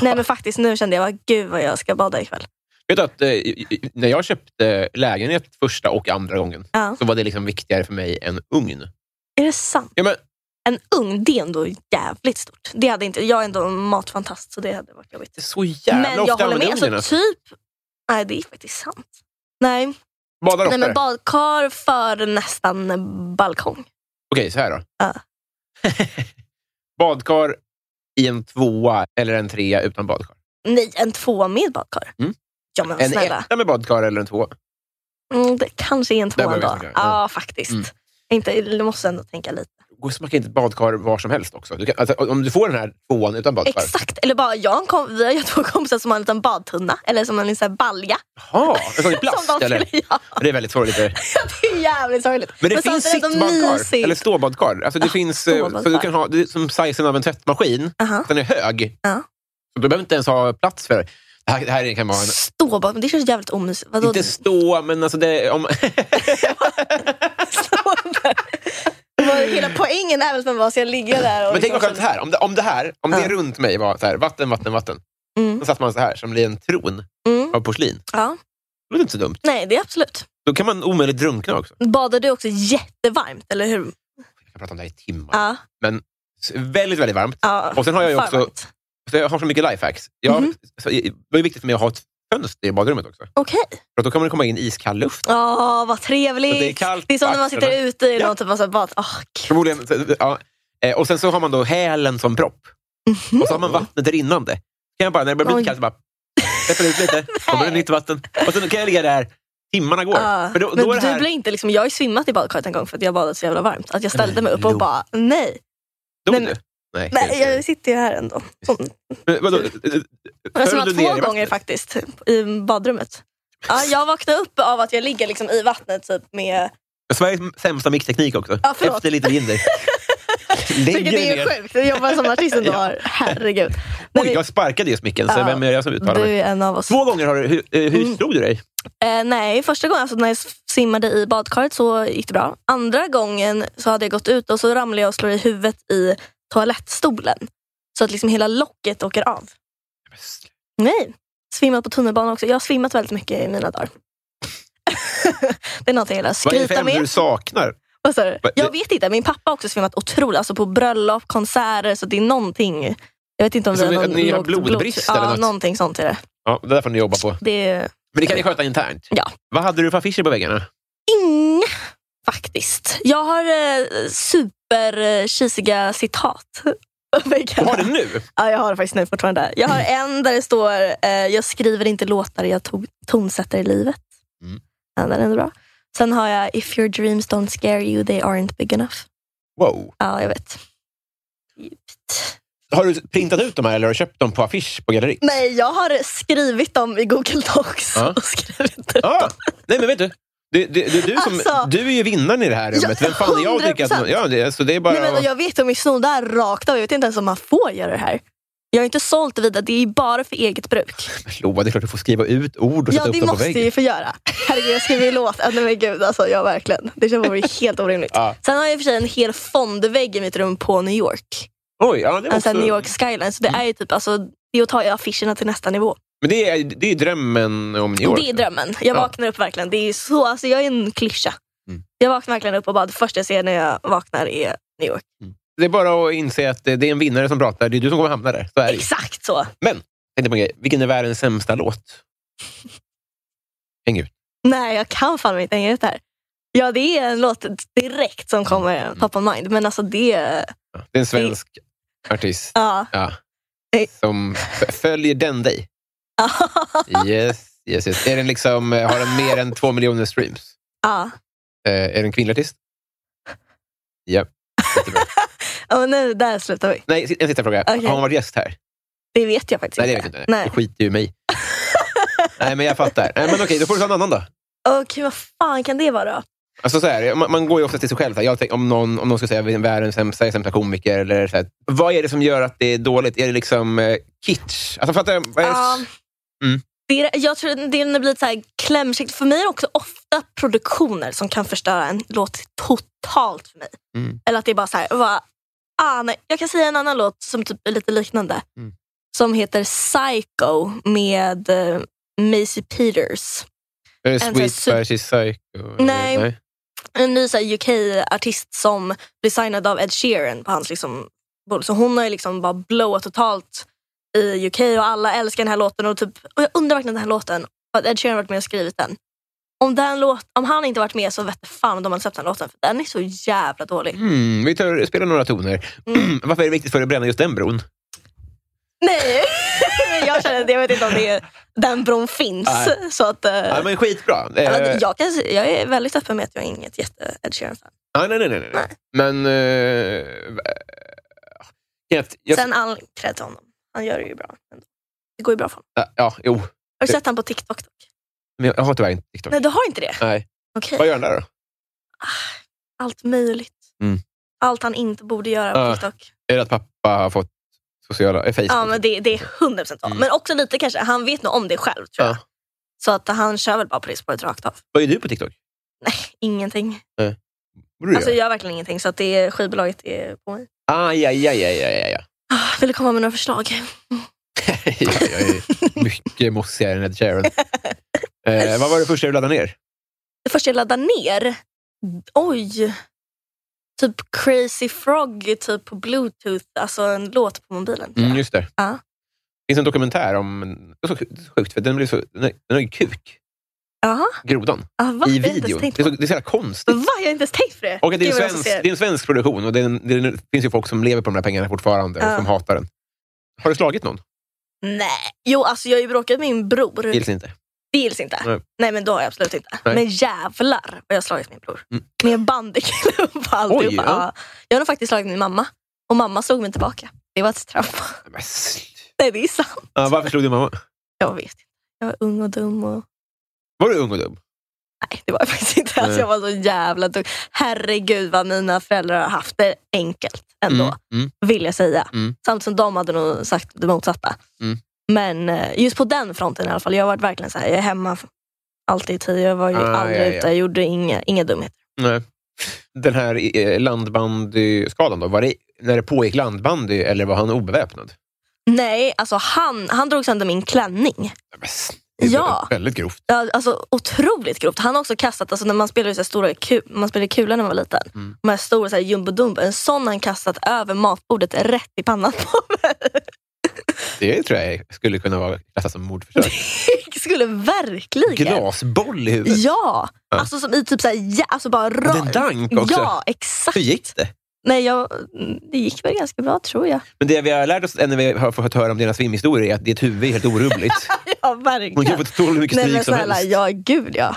Speaker 2: Nej men faktiskt, nu kände jag bara, gud vad jag ska bada ikväll.
Speaker 1: Vet du att eh, i- i- när jag köpte lägenhet första och andra gången
Speaker 2: Ja.
Speaker 1: så var det liksom viktigare för mig än ugn.
Speaker 2: Är det sant?
Speaker 1: Ja, men,
Speaker 2: En ugn, det är ändå jävligt stort. Det hade inte, jag är ändå en matfantast så det hade varit jobbigt.
Speaker 1: det är så jävla
Speaker 2: men jag
Speaker 1: ofta
Speaker 2: håller med,
Speaker 1: använder ugnen.
Speaker 2: alltså,
Speaker 1: Alltså.
Speaker 2: typ... Nej det är faktiskt sant. Nej,
Speaker 1: Badar
Speaker 2: Nej
Speaker 1: oftare.
Speaker 2: men badkar för nästan balkong.
Speaker 1: Okej, så här då.
Speaker 2: Ja.
Speaker 1: badkar i en tvåa eller en trea utan badkar.
Speaker 2: Nej, en tvåa med badkar.
Speaker 1: Mm.
Speaker 2: Ja men
Speaker 1: En
Speaker 2: snälla.
Speaker 1: etta med badkar eller en tvåa.
Speaker 2: Mm, det kanske är en
Speaker 1: Där
Speaker 2: tvåa
Speaker 1: börjar vi
Speaker 2: ändå.
Speaker 1: snacka, ja.
Speaker 2: Ja, faktiskt.
Speaker 1: Mm.
Speaker 2: Inte, du måste ändå tänka lite.
Speaker 1: Och smacka inte ett badkar var som helst också. Du kan, alltså, om du får den här tvåan utan badkar.
Speaker 2: Exakt. Eller bara, jag har en kom, vi har ju två kompisar som har en liten badtunna. Eller som har en liten så här balja.
Speaker 1: Jaha, en sån i plast
Speaker 2: som de
Speaker 1: eller?
Speaker 2: skulle göra.
Speaker 1: Det är väldigt sorgligt. det.
Speaker 2: Det är jävligt sorgligt.
Speaker 1: Men det
Speaker 2: samtidigt
Speaker 1: finns
Speaker 2: är de
Speaker 1: sittbadkar,
Speaker 2: mysigt.
Speaker 1: eller ståbadkar. Alltså det finns, eh, så
Speaker 2: ståbadkar.
Speaker 1: du kan ha, det är som sizen av en tvättmaskin.
Speaker 2: Aha.
Speaker 1: Den är hög.
Speaker 2: Ja.
Speaker 1: Så du behöver inte ens ha plats för det. Det här, det här kan vara en...
Speaker 2: Stå bak, men det känns jävligt omysigt. Vadå?
Speaker 1: Inte stå, men alltså det... Om,
Speaker 2: Stå där. Vad- Hela poängen är väl att man bara ska ligga där. Och
Speaker 1: men tänk
Speaker 2: liksom-
Speaker 1: också att det här, om det, om det här, om det
Speaker 2: Ja.
Speaker 1: runt mig var så här, vatten, vatten, vatten.
Speaker 2: Mm.
Speaker 1: Då satt man så här, som blir en tron
Speaker 2: Mm.
Speaker 1: av porslin.
Speaker 2: Ja.
Speaker 1: Det låter inte så dumt.
Speaker 2: Nej, det är absolut.
Speaker 1: Då kan man omöjligt drunkna också.
Speaker 2: Badar du också jättevarmt, eller hur?
Speaker 1: Jag kan prata om det här i timmar.
Speaker 2: Ja.
Speaker 1: S- Väldigt, väldigt varmt.
Speaker 2: ja.
Speaker 1: Och sen har jag ju
Speaker 2: För
Speaker 1: också-
Speaker 2: varmt.
Speaker 1: Så jag har så mycket lifehacks. Jag,
Speaker 2: Mhm.
Speaker 1: så, det var viktigt för mig att ha ett fönster i badrummet också.
Speaker 2: Okej.
Speaker 1: För att då kommer det komma in iskall luft.
Speaker 2: Ja, vad trevligt.
Speaker 1: Så det är kallt
Speaker 2: det är som när man
Speaker 1: på
Speaker 2: sitter
Speaker 1: akterna.
Speaker 2: ute i
Speaker 1: Ja.
Speaker 2: någon typ av så här bad. Åh, gud.
Speaker 1: Förmodligen. så- Ja. Eh, Och sen så har man då hälen som propp. Och så har man vattnet rinnande. Kan jag bara, när det börjar bli
Speaker 2: Mhm. Oj.
Speaker 1: lite kallt, så bara släpper ut lite. kommer det nytt vatten. Och sen kan jag ligga där. Timmarna går.
Speaker 2: Ja,
Speaker 1: För då,
Speaker 2: ah. men
Speaker 1: då är det
Speaker 2: du
Speaker 1: här,
Speaker 2: blir inte liksom, jag har ju svimmat i badkaret en gång för att jag badat så jävla varmt. Att jag ställde mig upp och
Speaker 1: Lo.
Speaker 2: bara, nej.
Speaker 1: dog
Speaker 2: nej,
Speaker 1: du? Nej.
Speaker 2: nej jag sitter ju här ändå.
Speaker 1: Men Vadå?
Speaker 2: Jag har
Speaker 1: Föll du
Speaker 2: svimmat
Speaker 1: ner i
Speaker 2: två
Speaker 1: vattnet?
Speaker 2: gånger faktiskt, i badrummet. Ja, jag vaknade upp av att jag ligger liksom i vattnet typ med...
Speaker 1: Sveriges sämsta mixteknik också.
Speaker 2: Ja, förlåt.
Speaker 1: Efter lite hinder. Lägger
Speaker 2: Vilket är
Speaker 1: ner.
Speaker 2: sjukt, jag jobbar som artist ändå. Herregud. Nej,
Speaker 1: Oj,
Speaker 2: men-
Speaker 1: jag sparkade just micken, så
Speaker 2: Ja.
Speaker 1: vem är jag som uttalar
Speaker 2: du
Speaker 1: mig?
Speaker 2: är en av oss.
Speaker 1: Två gånger har du... Hur, eh, hur
Speaker 2: Mm.
Speaker 1: drog du dig?
Speaker 2: Eh, nej, första gången alltså, när jag simmade i badkaret så gick det bra. Andra gången så hade jag gått ut och så ramlade jag och slog i huvudet i toalettstolen. Så att liksom hela locket åker av. Nej, svimmat på tunnelbanan också. Jag har svimmat väldigt mycket i mina dagar. det är något jag gillar att
Speaker 1: Vad är det för
Speaker 2: skryta
Speaker 1: ämne
Speaker 2: med.
Speaker 1: du saknar?
Speaker 2: Vad sa du?
Speaker 1: Vad-
Speaker 2: Jag vet inte, min pappa har också svimmat otroligt. Alltså på bröllop, konserter, så det är någonting. Jag vet inte om
Speaker 1: Så
Speaker 2: vi
Speaker 1: ni-
Speaker 2: har någon
Speaker 1: att ni har
Speaker 2: lågt
Speaker 1: blodbrist
Speaker 2: blod-
Speaker 1: eller
Speaker 2: Ja,
Speaker 1: något?
Speaker 2: någonting sånt är det.
Speaker 1: Ja, det där får ni jobba på.
Speaker 2: det är...
Speaker 1: Men det kan ni sköta internt?
Speaker 2: Ja.
Speaker 1: Vad hade du för affischer på väggarna?
Speaker 2: Inga faktiskt. Jag har eh, superkisiga citat. på
Speaker 1: Du
Speaker 2: väggarna.
Speaker 1: har det nu?
Speaker 2: Ja, jag har det faktiskt nu fortfarande. Jag har en där det står eh, Jag skriver inte låtar, jag to- tonsätter i livet.
Speaker 1: Mm.
Speaker 2: Ja, den är ändå bra. Sen har jag If your dreams don't scare you, they aren't big enough.
Speaker 1: Wow.
Speaker 2: Ja, jag vet. Djupt.
Speaker 1: Har du printat ut dem här eller har du köpt dem på affisch på galleri?
Speaker 2: Nej, jag har skrivit dem i Google Docs.
Speaker 1: Ja.
Speaker 2: Och skrivit ut
Speaker 1: Ah, nej, men vet du. Det, det, det, är du, som,
Speaker 2: Alltså.
Speaker 1: du är ju vinnaren i det här rummet.
Speaker 2: Ja,
Speaker 1: Vem fan är jag att tycka att...
Speaker 2: 100%.
Speaker 1: Ja, det, så det är bara...
Speaker 2: Nej, men, och
Speaker 1: att-
Speaker 2: jag vet om jag snodde det här rakt av. Jag vet inte ens om man får göra det här. Jag har inte sålt det vidare. Det är ju bara för eget bruk.
Speaker 1: Loa, det är klart du får skriva ut ord och
Speaker 2: Ja,
Speaker 1: sätta
Speaker 2: det
Speaker 1: upp dem på
Speaker 2: måste jag ju
Speaker 1: väggen.
Speaker 2: få göra. Herregud, jag skriver ju låt. Äh, Nej men gud, alltså, jag verkligen. Det känns bara helt orimligt.
Speaker 1: Ja.
Speaker 2: Sen har jag i och för sig en hel fondvägg i mitt rum på New York.
Speaker 1: Oj, ja, det Mm. är
Speaker 2: Alltså
Speaker 1: också...
Speaker 2: New York skyline. Så det är ju typ, alltså, det är att ta affischerna till nästa nivå.
Speaker 1: Men det är, det är drömmen om New York.
Speaker 2: Det är drömmen. Jag
Speaker 1: Ja.
Speaker 2: vaknar upp verkligen. Det är så, alltså, jag är en klyscha.
Speaker 1: Mm.
Speaker 2: Jag vaknar verkligen upp och bara det första jag ser när jag vaknar är New York.
Speaker 1: Det är bara att inse att det det är en vinnare som pratar. Det är du som kommer hamna där. Så är det ju.
Speaker 2: Exakt så.
Speaker 1: Tänkte på en grej. Vilken är världens sämsta låt? Häng ut.
Speaker 2: Nej, jag kan fan inte hänga ut det här. Ja, det är en låt direkt som kommer
Speaker 1: Mm.
Speaker 2: top of mind. Men alltså det...
Speaker 1: Ja, Det är en svensk artist
Speaker 2: Ja.
Speaker 1: ja,
Speaker 2: Nej.
Speaker 1: som f- följer den dig. Yes, yes, yes. Är den liksom, eh, har den mer än två miljoner streams?
Speaker 2: ja.
Speaker 1: Eh, är den kvinnlig artist? Ja. Jättebra.
Speaker 2: Ja, nu, där slutar vi.
Speaker 1: Nej, en sista fråga.
Speaker 2: Okej.
Speaker 1: Har hon varit gäst här?
Speaker 2: Det vet jag faktiskt
Speaker 1: Nej, det vet
Speaker 2: inte.
Speaker 1: jag inte.
Speaker 2: Nej.
Speaker 1: Det skiter ju i mig. Nej, men jag fattar. Nej, men okej, då får du ta en annan då.
Speaker 2: Okej, vad fan kan det vara då?
Speaker 1: Alltså så här, man, man går ju ofta till sig själv. Så här, jag tänker, om, någon, om någon ska säga vem är världens sämsta, sämsta komiker, eller så här, vad är det som gör att det är dåligt? Är det liksom eh, kitsch? Alltså, fattar jag, vad är det?
Speaker 2: Ja.
Speaker 1: Mm.
Speaker 2: Det är, jag tror det är- det blir lite så här klämkäckt. För mig är det också ofta produktioner som kan förstöra en låt totalt för mig.
Speaker 1: Mm.
Speaker 2: Eller att det är bara så här, bara, ah, nej. jag kan säga en annan låt som typ är lite liknande.
Speaker 1: Mm.
Speaker 2: Som heter Psycho med eh, Macy Peters.
Speaker 1: Är det
Speaker 2: en
Speaker 1: eh, Sweet
Speaker 2: sån här
Speaker 1: But She's Psycho?
Speaker 2: Nej. En ny så här UK-artist som designad av Ed Sheeran på hans liksom, bolag. Så hon har ju liksom bara blowat totalt i UK och alla älskar den här låten. Och, typ, och jag undrar verkligen den här låten, för att Ed Sheeran har varit med och skrivit den. Om, den låt, om han inte varit med så vete fan om de hade släppt den låten, för den är så jävla dålig.
Speaker 1: Mm, vi tar, spelar några toner.
Speaker 2: Mm.
Speaker 1: Varför är det viktigt för dig att bränna just den bron?
Speaker 2: Nej, jag känner att jag vet inte om det är, den bron finns.
Speaker 1: Nej.
Speaker 2: Så att, eh,
Speaker 1: Ja, men skitbra. Eh,
Speaker 2: men jag, kan, jag är väldigt öppen med att jag är inget jätte Ed Sheeran-fan.
Speaker 1: ah, nej, nej, nej, nej. Men... eh, jag, jag,
Speaker 2: Sen all cred till honom. Han gör det ju bra. ändå. Det går ju bra för honom.
Speaker 1: ja, jo.
Speaker 2: Har du sett han på TikTok? Dock?
Speaker 1: Men jag, jag har tyvärr inte TikTok.
Speaker 2: Nej, du har inte det?
Speaker 1: Nej.
Speaker 2: Okej.
Speaker 1: Vad gör den där då?
Speaker 2: Allt möjligt.
Speaker 1: Mm.
Speaker 2: Allt han inte borde göra på
Speaker 1: Ja.
Speaker 2: TikTok.
Speaker 1: Är det att pappa har fått sociala... eh, Facebook?
Speaker 2: Ja, men det, det är 100 procent
Speaker 1: Mm.
Speaker 2: Men också lite kanske, han vet nog om det själv tror jag.
Speaker 1: Ja.
Speaker 2: Så att han kör väl bara på det spåret rakt av.
Speaker 1: Vad är du på TikTok?
Speaker 2: Ingenting.
Speaker 1: Vad du
Speaker 2: Alltså
Speaker 1: gör?
Speaker 2: jag gör verkligen ingenting, så att det är, skivbolaget är på mig.
Speaker 1: Aj, aj, aj, aj, aj, aj, aj.
Speaker 2: Ah, Vill du komma med några förslag?
Speaker 1: jag är mycket mossigare än Ed Sheeran. Eh, vad var det första du laddade ner?
Speaker 2: Det första jag laddar ner, oj. Typ Crazy Frog typ på bluetooth, alltså en låt på mobilen. tror jag.
Speaker 1: Mm, just det.
Speaker 2: Ja.
Speaker 1: Det finns en dokumentär om... Det är så sjukt- det är så sjukt, för den, blir så, den har- den har ju kuk,
Speaker 2: Jaha,
Speaker 1: grodan,
Speaker 2: ah, va?
Speaker 1: i
Speaker 2: Jag har inte
Speaker 1: videon.
Speaker 2: ens tänkt
Speaker 1: Det är så,
Speaker 2: på det.
Speaker 1: det är så jävla konstigt.
Speaker 2: Va? Jag har inte ens tänkt på det.
Speaker 1: Och att det, är
Speaker 2: Gud,
Speaker 1: en
Speaker 2: vad jag
Speaker 1: svensk,
Speaker 2: associerar.
Speaker 1: det är en svensk produktion och det, är en, det, är en, det finns ju folk som lever på de här pengarna fortfarande och
Speaker 2: Ja. Mm.
Speaker 1: som hatar den. Har du slagit någon?
Speaker 2: Nej. Jo, alltså jag har ju bråkat med min bror.
Speaker 1: Gills inte.
Speaker 2: Det gills inte.
Speaker 1: Nej.
Speaker 2: Nej. men då har jag absolut inte.
Speaker 1: Nej.
Speaker 2: Men jävlar vad jag har slagit min bror.
Speaker 1: Mm.
Speaker 2: Med en bandyklubb och alltihopa.
Speaker 1: ja.
Speaker 2: Ja. Jag har nog faktiskt slagit min mamma. Och mamma slog mig tillbaka. Det var ett straff.
Speaker 1: Men sl-
Speaker 2: Nej, det är sant.
Speaker 1: Ja, varför slog du mamma?
Speaker 2: Jag vet inte. Jag var ung och dum. Och...
Speaker 1: Var du ung och dum?
Speaker 2: Nej, det var jag faktiskt inte.
Speaker 1: Nej.
Speaker 2: Alltså, jag var så jävla dum. Herregud vad mina föräldrar har haft det enkelt ändå.
Speaker 1: Mm.
Speaker 2: Vill jag säga.
Speaker 1: Mm.
Speaker 2: Samtidigt som de hade nog sagt det motsatta.
Speaker 1: Mm.
Speaker 2: Men eh, just på den fronten i alla fall. Jag har varit verkligen så här, jag är hemma f- alltid i tio. Jag var ju
Speaker 1: Ah,
Speaker 2: aldrig
Speaker 1: ja, ja.
Speaker 2: ute. Jag gjorde inga, inga dumheter.
Speaker 1: Nej. Den här eh, landbandyskadan, då, var det, när det pågick landbandy eller var han obeväpnad?
Speaker 2: Nej, alltså han, han drog sönder min klänning.
Speaker 1: Men sl- det är
Speaker 2: Ja.
Speaker 1: Väldigt grovt.
Speaker 2: Ja, Alltså otroligt grovt. Han har också kastat, alltså när man spelade så här stora ku- man spelade kula när man var liten.
Speaker 1: Mm.
Speaker 2: De här stora så här jumbo En sån har han kastat över matbordet rätt i pannan på mig.
Speaker 1: Det tror jag skulle kunna vara klassat som mordförsök.
Speaker 2: Det skulle verkligen...
Speaker 1: Glasboll i huvudet.
Speaker 2: Ja, alltså som i typ såhär, ja, alltså bara
Speaker 1: Och en
Speaker 2: rakt.
Speaker 1: dank också.
Speaker 2: Ja, exakt.
Speaker 1: Hur gick det?
Speaker 2: Nej, jag, det gick väl ganska bra tror jag.
Speaker 1: Men det vi har lärt oss när vi har fått höra om dina svimhistorier är att ditt huvud är helt orubbligt.
Speaker 2: Ja,
Speaker 1: Hon kan få
Speaker 2: verkligen.
Speaker 1: tåla hur mycket
Speaker 2: Nej men
Speaker 1: stryk som
Speaker 2: snälla,
Speaker 1: helst.
Speaker 2: ja gud ja.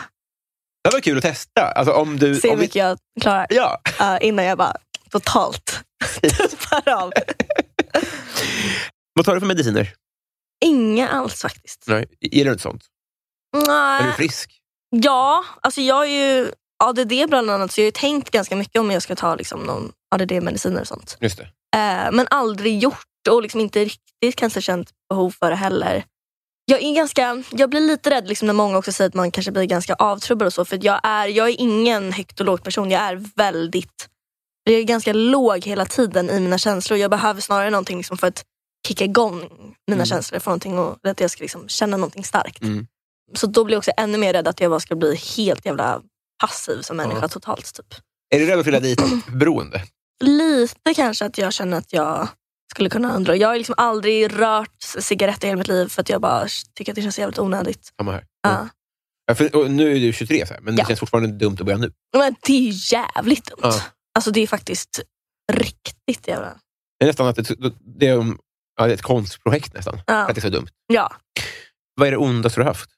Speaker 1: Det var kul att testa. Alltså, om du,
Speaker 2: Se hur
Speaker 1: om vi-
Speaker 2: mycket jag klarar
Speaker 1: Ja,
Speaker 2: eh, innan jag bara totalt tuppar av.
Speaker 1: vad tar du för mediciner?
Speaker 2: Inga alls faktiskt.
Speaker 1: Nej. Gillar du inte sånt? Är du
Speaker 2: Nej.
Speaker 1: frisk?
Speaker 2: Ja, alltså jag har ju ADD bland annat, så jag har ju tänkt ganska mycket om jag ska ta liksom, någon ADD-mediciner och sånt.
Speaker 1: Just det.
Speaker 2: Eh, men aldrig gjort och liksom inte riktigt kanske känt behov för det heller. Jag, är ganska, jag blir lite rädd liksom, när många också säger att man kanske blir ganska avtrubbad och så, för att jag är, jag är ingen högt och låg person. Jag är väldigt jag är ganska låg hela tiden i mina känslor. Jag behöver snarare någonting liksom, för att kicka igång mina
Speaker 1: Mm.
Speaker 2: känslor, för någonting och, att jag ska liksom, känna någonting starkt.
Speaker 1: Mm.
Speaker 2: Så då blir jag också ännu mer rädd att jag bara ska bli helt jävla passiv som människa
Speaker 1: Ja.
Speaker 2: totalt. Typ.
Speaker 1: Är du rädd att fylla dit beroende?
Speaker 2: Lite kanske att jag känner att jag skulle kunna undra. Jag har liksom aldrig rört cigaretter i hela mitt liv för att jag bara tycker att det känns jävligt onödigt.
Speaker 1: Samma här.
Speaker 2: Ja.
Speaker 1: Ja, för, och nu är du 23, så här, men det
Speaker 2: Ja.
Speaker 1: känns fortfarande dumt att börja nu.
Speaker 2: Men det är ju jävligt dumt.
Speaker 1: Ja.
Speaker 2: Alltså det är faktiskt riktigt jävla...
Speaker 1: Det är nästan att det, det, är, om- ja, det är ett konstprojekt nästan,
Speaker 2: Ja.
Speaker 1: att det är så dumt.
Speaker 2: Ja.
Speaker 1: Vad är det ondaste du har haft?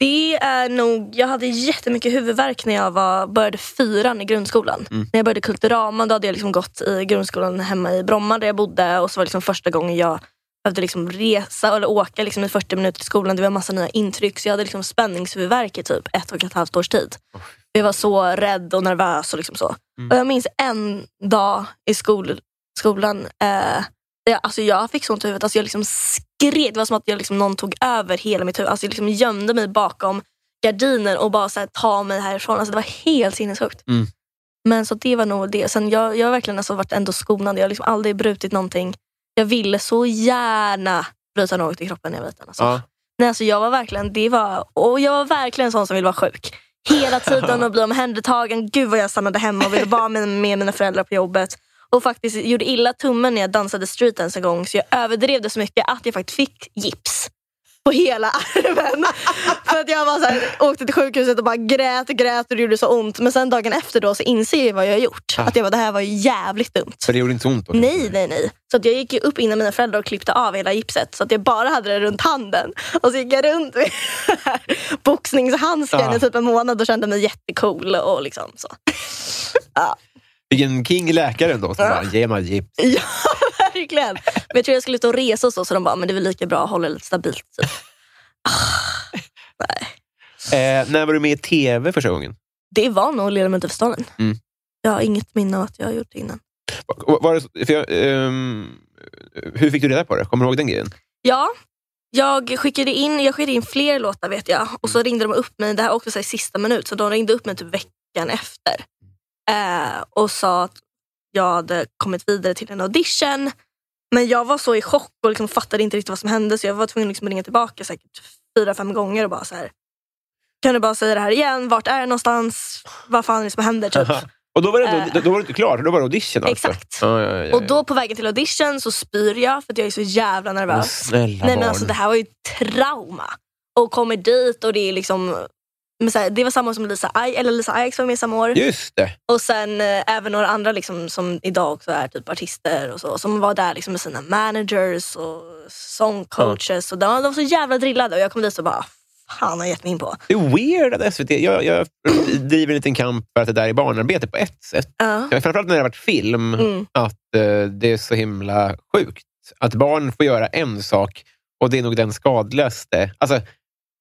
Speaker 2: Det är nog, jag hade jättemycket huvudvärk när jag var, började fyran i grundskolan. När jag började Kulturama då hade jag liksom gått i grundskolan hemma i Bromma där jag bodde och så var det liksom första gången jag behövde liksom resa eller åka liksom i 40 minuter till skolan. Det var massa nya intryck så jag hade liksom spänningshuvudvärk i typ ett och ett halvt års tid. Jag var så rädd och nervös. Och liksom så.
Speaker 1: Mm.
Speaker 2: Och jag minns en dag i skol, skolan, eh, där jag, alltså jag fick så ont i huvudet. Alltså jag liksom skrek. Det var som att jag liksom, någon tog över hela mitt huvud. Alltså jag liksom gömde mig bakom gardinen och bara så här, ta mig härifrån. Alltså det var helt sinnessjukt.
Speaker 1: Mm.
Speaker 2: Men så det var nog det. Sen jag, jag har verkligen alltså varit ändå skonad. Jag har liksom aldrig brutit någonting. Jag ville så gärna bryta något i kroppen när jag var liten. Alltså.
Speaker 1: Ja.
Speaker 2: Nej, alltså jag var verkligen det var, och jag var verkligen en sån som ville vara sjuk. Hela tiden och bli omhändertagen. Gud vad jag stannade hemma och ville vara med, med mina föräldrar på jobbet. Och faktiskt gjorde illa tummen när jag dansade streetdance en gång så jag överdrev det så mycket att jag faktiskt fick gips på hela armen. För att jag var så här, åkte till sjukhuset och bara grät och grät och det gjorde så ont. Men sen dagen efter då så inser jag vad jag har gjort. Att jag bara, det här var ju jävligt dumt.
Speaker 1: Så det gjorde inte så ont? då?
Speaker 2: Nej, nej, nej. Så att jag gick ju upp innan mina föräldrar och klippte av hela gipset så att jag bara hade det runt handen. Och så gick jag runt med boxningshandsken
Speaker 1: Ja.
Speaker 2: i typ en månad och kände mig jättecool. Och liksom så.
Speaker 1: Vilken king läkare ändå. som bara, Ge mig gips.
Speaker 2: Ja, verkligen. Men jag tror jag skulle ut och resa och så, så de bara, men det är väl lika bra att hålla det lite stabilt. Typ.
Speaker 1: Eh, när var du med i tv första gången?
Speaker 2: Det var nog ledamot av staden.
Speaker 1: Mm.
Speaker 2: Jag har inget minne av att jag har gjort det innan.
Speaker 1: Var, var det, för jag, ehm, hur fick du reda på det? Kommer du ihåg den grejen?
Speaker 2: Ja, jag skickade in, jag skickade in fler låtar vet jag. Och så ringde de upp mig, det här var också så här, i sista minut, så de ringde upp mig typ veckan efter. Eh, och sa att jag hade kommit vidare till en audition. Men jag var så i chock och liksom fattade inte riktigt vad som hände så jag var tvungen liksom att ringa tillbaka säkert fyra, fem gånger och bara så här. Kan du bara säga det här igen? Vart är jag någonstans? Vad fan är det som händer? Typ.
Speaker 1: Och då var, det ändå,
Speaker 2: Eh.
Speaker 1: då, då var det inte klart, då var det audition alltså?
Speaker 2: Exakt.
Speaker 1: Ja, ja, ja, ja.
Speaker 2: Och då på vägen till audition så spyr jag för att jag är så jävla
Speaker 1: Men
Speaker 2: nervös.
Speaker 1: snälla
Speaker 2: Nej
Speaker 1: barn.
Speaker 2: men alltså det här var ju trauma. Och kommer dit och det är liksom men så här, det var samma år som Lisa, I, eller Lisa Ajax var med samma år.
Speaker 1: Just det.
Speaker 2: Och sen eh, även några andra liksom, som idag också är typ artister och så, som var där liksom, med sina managers och sångcoaches. Och de, de var så jävla drillade och jag kom dit och bara, "Ah, fan har jag gett mig in på?
Speaker 1: Det är weird att SVT... Jag, jag driver en liten kamp för att det där är barnarbete på ett sätt.
Speaker 2: Ja.
Speaker 1: Ja, Framförallt när det har varit film,
Speaker 2: Mm.
Speaker 1: att eh, det är så himla sjukt. Att barn får göra en sak och det är nog den skadligaste. Alltså,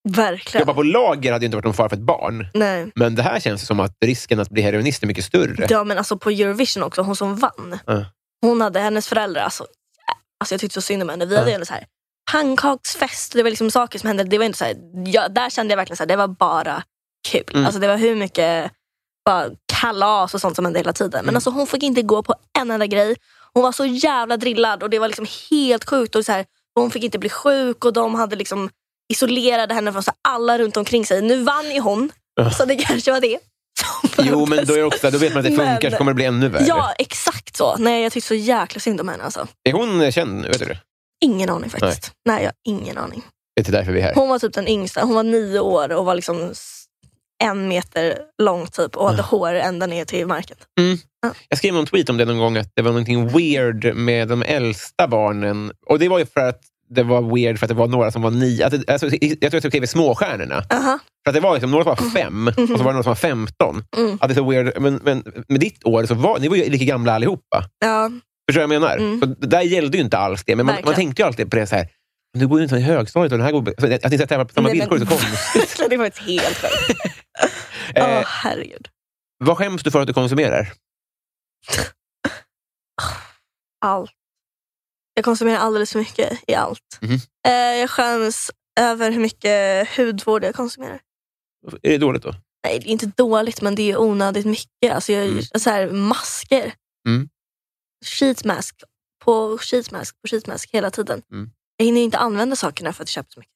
Speaker 2: Verkligen.
Speaker 1: Jobba på lager hade ju inte varit någon fara för ett barn.
Speaker 2: Nej.
Speaker 1: Men det här känns som att risken att bli heroinist är mycket större.
Speaker 2: Ja men alltså på Eurovision också, hon som vann.
Speaker 1: Ja.
Speaker 2: Hon hade hennes föräldrar, alltså, jä- alltså jag tyckte så synd om henne. Vi hade ju ändå så här pannkaksfest, det var liksom saker som hände. Det var inte så här, jag, där kände jag verkligen att det var bara kul. Alltså det var hur mycket bara kalas och sånt som hände hela tiden.
Speaker 1: Mm.
Speaker 2: Men alltså hon fick inte gå på en enda grej. Hon var så jävla drillad och det var liksom helt sjukt. Och så här, hon fick inte bli sjuk och de hade liksom isolerade henne från så här alla runt omkring sig. Nu vann ju hon, så det kanske var det. som
Speaker 1: Jo, men då, är det
Speaker 2: behövdes.
Speaker 1: också, då vet man att det
Speaker 2: Men-
Speaker 1: funkar, så kommer det bli ännu värre.
Speaker 2: Ja, exakt så. Nej, jag tyckte så jäkla synd om henne. Alltså.
Speaker 1: Är hon känd nu? Vet du? det?
Speaker 2: Ingen aning faktiskt. Nej. jag har ingen aning.
Speaker 1: Det är inte därför vi är här.
Speaker 2: Hon var typ den yngsta. Hon var nio år och var liksom s- en meter lång typ och hade hår ända ner till marken.
Speaker 1: Jag skrev någon tweet om det någon gång, att det var någonting weird med de äldsta barnen. Och det var ju för att det var weird för att det var några som var nio. Att det, alltså, jag tror jag skrev i Småstjärnorna.
Speaker 2: Aha.
Speaker 1: För att det var liksom, några som var fem och så var det några som var femton.
Speaker 2: Mhm. Mm.
Speaker 1: Att det är så weird. Men, men med ditt år, så var, ni var ju lika gamla allihopa.
Speaker 2: Ja,
Speaker 1: Förstår du vad jag menar?
Speaker 2: Mm.
Speaker 1: Så det där gällde ju inte alls det, men man, man
Speaker 2: Verkligen.
Speaker 1: tänkte ju alltid på det så här. Nu går ju inte i högstadiet och den här går... så Att ni tävlar på samma
Speaker 2: Nej, men-
Speaker 1: villkor är så konstigt.
Speaker 2: verkligen, det var ett helt sjukt. Åh,
Speaker 1: Eh,
Speaker 2: herregud.
Speaker 1: vad skäms du för att du konsumerar?
Speaker 2: Allt. Jag konsumerar alldeles för mycket i allt.
Speaker 1: Mhm.
Speaker 2: Eh, jag skäms över hur mycket hudvård jag konsumerar.
Speaker 1: Är det dåligt då?
Speaker 2: Nej, det är inte dåligt men det är onödigt mycket. Alltså jag,
Speaker 1: Mm.
Speaker 2: så här, masker.
Speaker 1: Mm.
Speaker 2: Sheetmask på sheetmask på sheetmask hela tiden.
Speaker 1: Mm.
Speaker 2: Jag hinner inte använda sakerna för att jag köpt så mycket.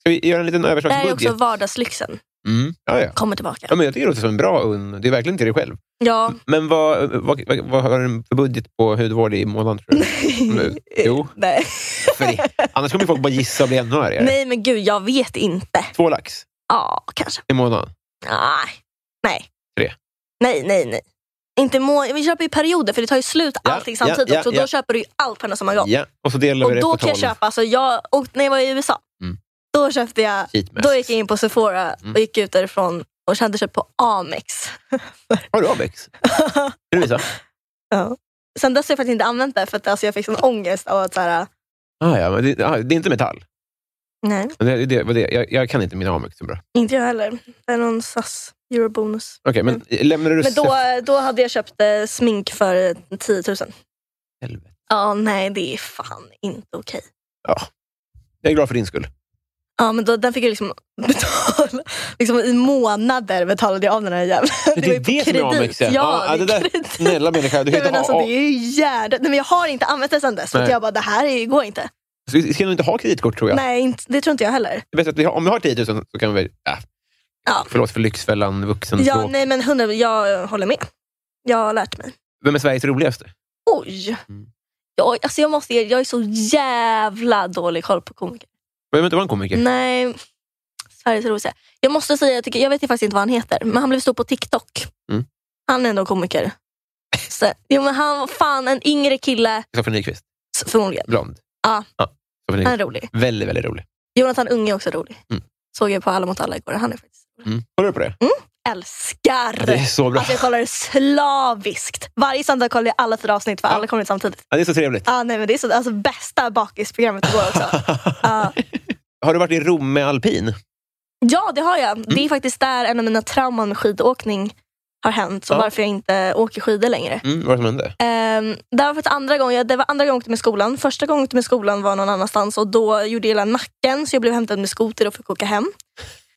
Speaker 1: Ska vi göra en liten
Speaker 2: Det här är
Speaker 1: överslagsbudget?
Speaker 2: också vardagslyxen.
Speaker 1: Mm. Ja, ja.
Speaker 2: Kommer tillbaka.
Speaker 1: Ja, men jag tycker det låter som en bra unn. Det är verkligen till dig själv.
Speaker 2: Ja.
Speaker 1: Men vad, vad, vad, vad har du för budget på hudvård i månaden? Tror du? Men- Mm. jo.
Speaker 2: Nej.
Speaker 1: För det, annars kommer ju folk bara gissa och bli ännu argare.
Speaker 2: Nej men gud, jag vet inte.
Speaker 1: Två lax
Speaker 2: Ja, kanske.
Speaker 1: i månaden.
Speaker 2: Nej. Nej.
Speaker 1: Tre.
Speaker 2: Nej, nej, nej. Inte må- vi köper ju perioder för det tar ju slut
Speaker 1: Ja,
Speaker 2: allting
Speaker 1: ja,
Speaker 2: samtidigt.
Speaker 1: ja,
Speaker 2: så
Speaker 1: ja.
Speaker 2: då köper du ju allt på en och samma gång.
Speaker 1: Ja. Och så delar vi
Speaker 2: Och
Speaker 1: det
Speaker 2: då
Speaker 1: på
Speaker 2: kan
Speaker 1: tolv.
Speaker 2: jag köpa, alltså jag, och när jag var i USA,
Speaker 1: Mm.
Speaker 2: Då köpte jag,
Speaker 1: Sheet mask.
Speaker 2: då gick jag in på Sephora och gick ut därifrån och kände sig på Amex.
Speaker 1: Har du Abex? Kan du visa?
Speaker 2: Ja. Sen dess har jag faktiskt inte använt det för att alltså, jag fick sån ångest av att så här,
Speaker 1: Ah, ja, men det, ah, det är inte metall.
Speaker 2: nej,
Speaker 1: Men Det, det, var det, jag, jag kan inte mina Amex så bra.
Speaker 2: inte jag heller. Det är någon SAS eurobonus.
Speaker 1: Okej, men lämnar du...
Speaker 2: Mm. Men då, då hade jag köpt eh, smink för 10 000.
Speaker 1: Helvete.
Speaker 2: Ja, nej det är fan inte okej.
Speaker 1: Ja. Jag är glad för din skull.
Speaker 2: Ja, men då, den fick jag liksom betala. Liksom, I månader betalade jag av den här jäveln.
Speaker 1: Men
Speaker 2: var ju på kredit. Ja, det är
Speaker 1: där,
Speaker 2: kredit.
Speaker 1: snälla människa, du kan
Speaker 2: Nej, men
Speaker 1: inte
Speaker 2: alltså,
Speaker 1: ha...
Speaker 2: det är ju jävla... Nej, men jag har inte använt det sen dess. För att
Speaker 1: Nej.
Speaker 2: jag bara, det här är, går inte.
Speaker 1: Så Vi ska nog inte ha kreditkort tror jag.
Speaker 2: Nej, inte, det tror inte jag heller.
Speaker 1: Det är bättre att vi har, om vi har 10 000 så kan vi... Äh,
Speaker 2: Ja.
Speaker 1: Förlåt för Lyxfällan, vuxenspråk.
Speaker 2: Ja, nej, men hundra, jag håller med. Jag har lärt mig.
Speaker 1: Vem är Sveriges roligaste?
Speaker 2: Oj!
Speaker 1: Mm.
Speaker 2: Jag, alltså jag, måste, jag är så jävla dålig koll på komiker.
Speaker 1: Vem inte var en komiker?
Speaker 2: Mm. Nej, Sveriges roligaste. Jag måste säga, jag, tycker, jag vet ju faktiskt inte vad han heter, men han blev stor på TikTok.
Speaker 1: Mm. Han
Speaker 2: Han är ändå komiker. Så, jo, men han var fan en yngre kille,
Speaker 1: Kristoffer Nyqvist.
Speaker 2: s- förmodligen.
Speaker 1: Blond.
Speaker 2: Ja.
Speaker 1: Kristoffer
Speaker 2: Han är
Speaker 1: Nyqvist.
Speaker 2: rolig.
Speaker 1: Väldigt, väldigt rolig.
Speaker 2: Jonathan Unge är också rolig.
Speaker 1: Mm.
Speaker 2: Såg jag på Alla mot alla igår. Han är faktiskt
Speaker 1: Mm. Kollar du på det?
Speaker 2: älskar!
Speaker 1: Det är så bra.
Speaker 2: Alltså jag kollar slaviskt. Varje söndag kollar jag alla fyra avsnitt för
Speaker 1: Ja.
Speaker 2: alla kommer ut samtidigt.
Speaker 1: Ja, det är så trevligt.
Speaker 2: Ah, nej, men det är så, alltså, bästa bakisprogrammet igår också. Ah. Ja.
Speaker 1: Har du varit i Rom med alpin?
Speaker 2: Ja, det har jag. Det är faktiskt där en av mina trauman med skidåkning har hänt. Så
Speaker 1: Ja.
Speaker 2: varför jag inte åker skidor längre.
Speaker 1: Mm, vad var det som hände?
Speaker 2: Ehm, det var faktiskt andra gången, ja, det var andra gången jag åkte med skolan. Första gången jag åkte med skolan var någon annanstans och då gjorde jag illa nacken så jag blev hämtad med skoter och fick åka hem.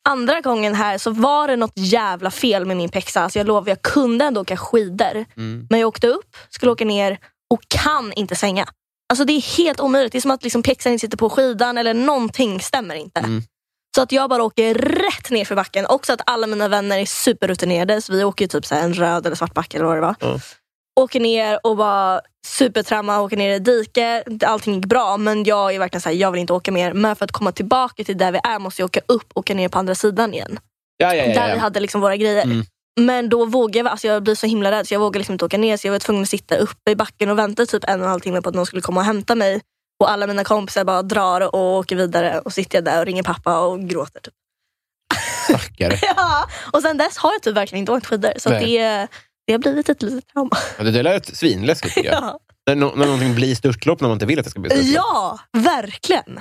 Speaker 2: Andra gången här så var det något jävla fel med min pexa. Alltså jag lovar, jag kunde ändå åka skidor.
Speaker 1: Mm.
Speaker 2: Men jag åkte upp, skulle åka ner och kan inte svänga. Alltså det är helt omöjligt. Det är som att liksom pexan inte sitter på skidan eller någonting stämmer inte.
Speaker 1: Mm.
Speaker 2: Så att jag bara åker rätt ner för backen. Också att alla mina vänner är superrutinerade så vi åker ju typ så här en röd eller svart backe eller vad det var.
Speaker 1: Ja.
Speaker 2: Åker ner och bara supertramma, åker ner i dike. Allting gick bra men jag är verkligen så här, jag vill inte åka mer. Men för att komma tillbaka till där vi är måste jag åka upp och åka ner på andra sidan igen
Speaker 1: Ja, ja,
Speaker 2: där vi
Speaker 1: ja,
Speaker 2: hade liksom våra grejer.
Speaker 1: Eh. Mm.
Speaker 2: Men då vågade jag, alltså jag blev så himla rädd så jag vågade liksom inte åka ner så jag var tvungen att sitta uppe i backen och vänta typ en och en halv timme på att någon skulle komma och hämta mig. Och alla mina kompisar bara drar och åker vidare och sitter jag där och ringer pappa och gråter. Typ.
Speaker 1: ja. Stackare.
Speaker 2: Ja. Och sen dess har jag typ verkligen inte åkt skidor så att
Speaker 1: Nej.
Speaker 2: det, det har blivit ett litet trauma.
Speaker 1: Ja, det där lät svinläskigt tycker jag.
Speaker 2: Ja,
Speaker 1: När, no- när någonting blir störtlopp när man inte vill att det ska bli störtlopp.
Speaker 2: ja verkligen.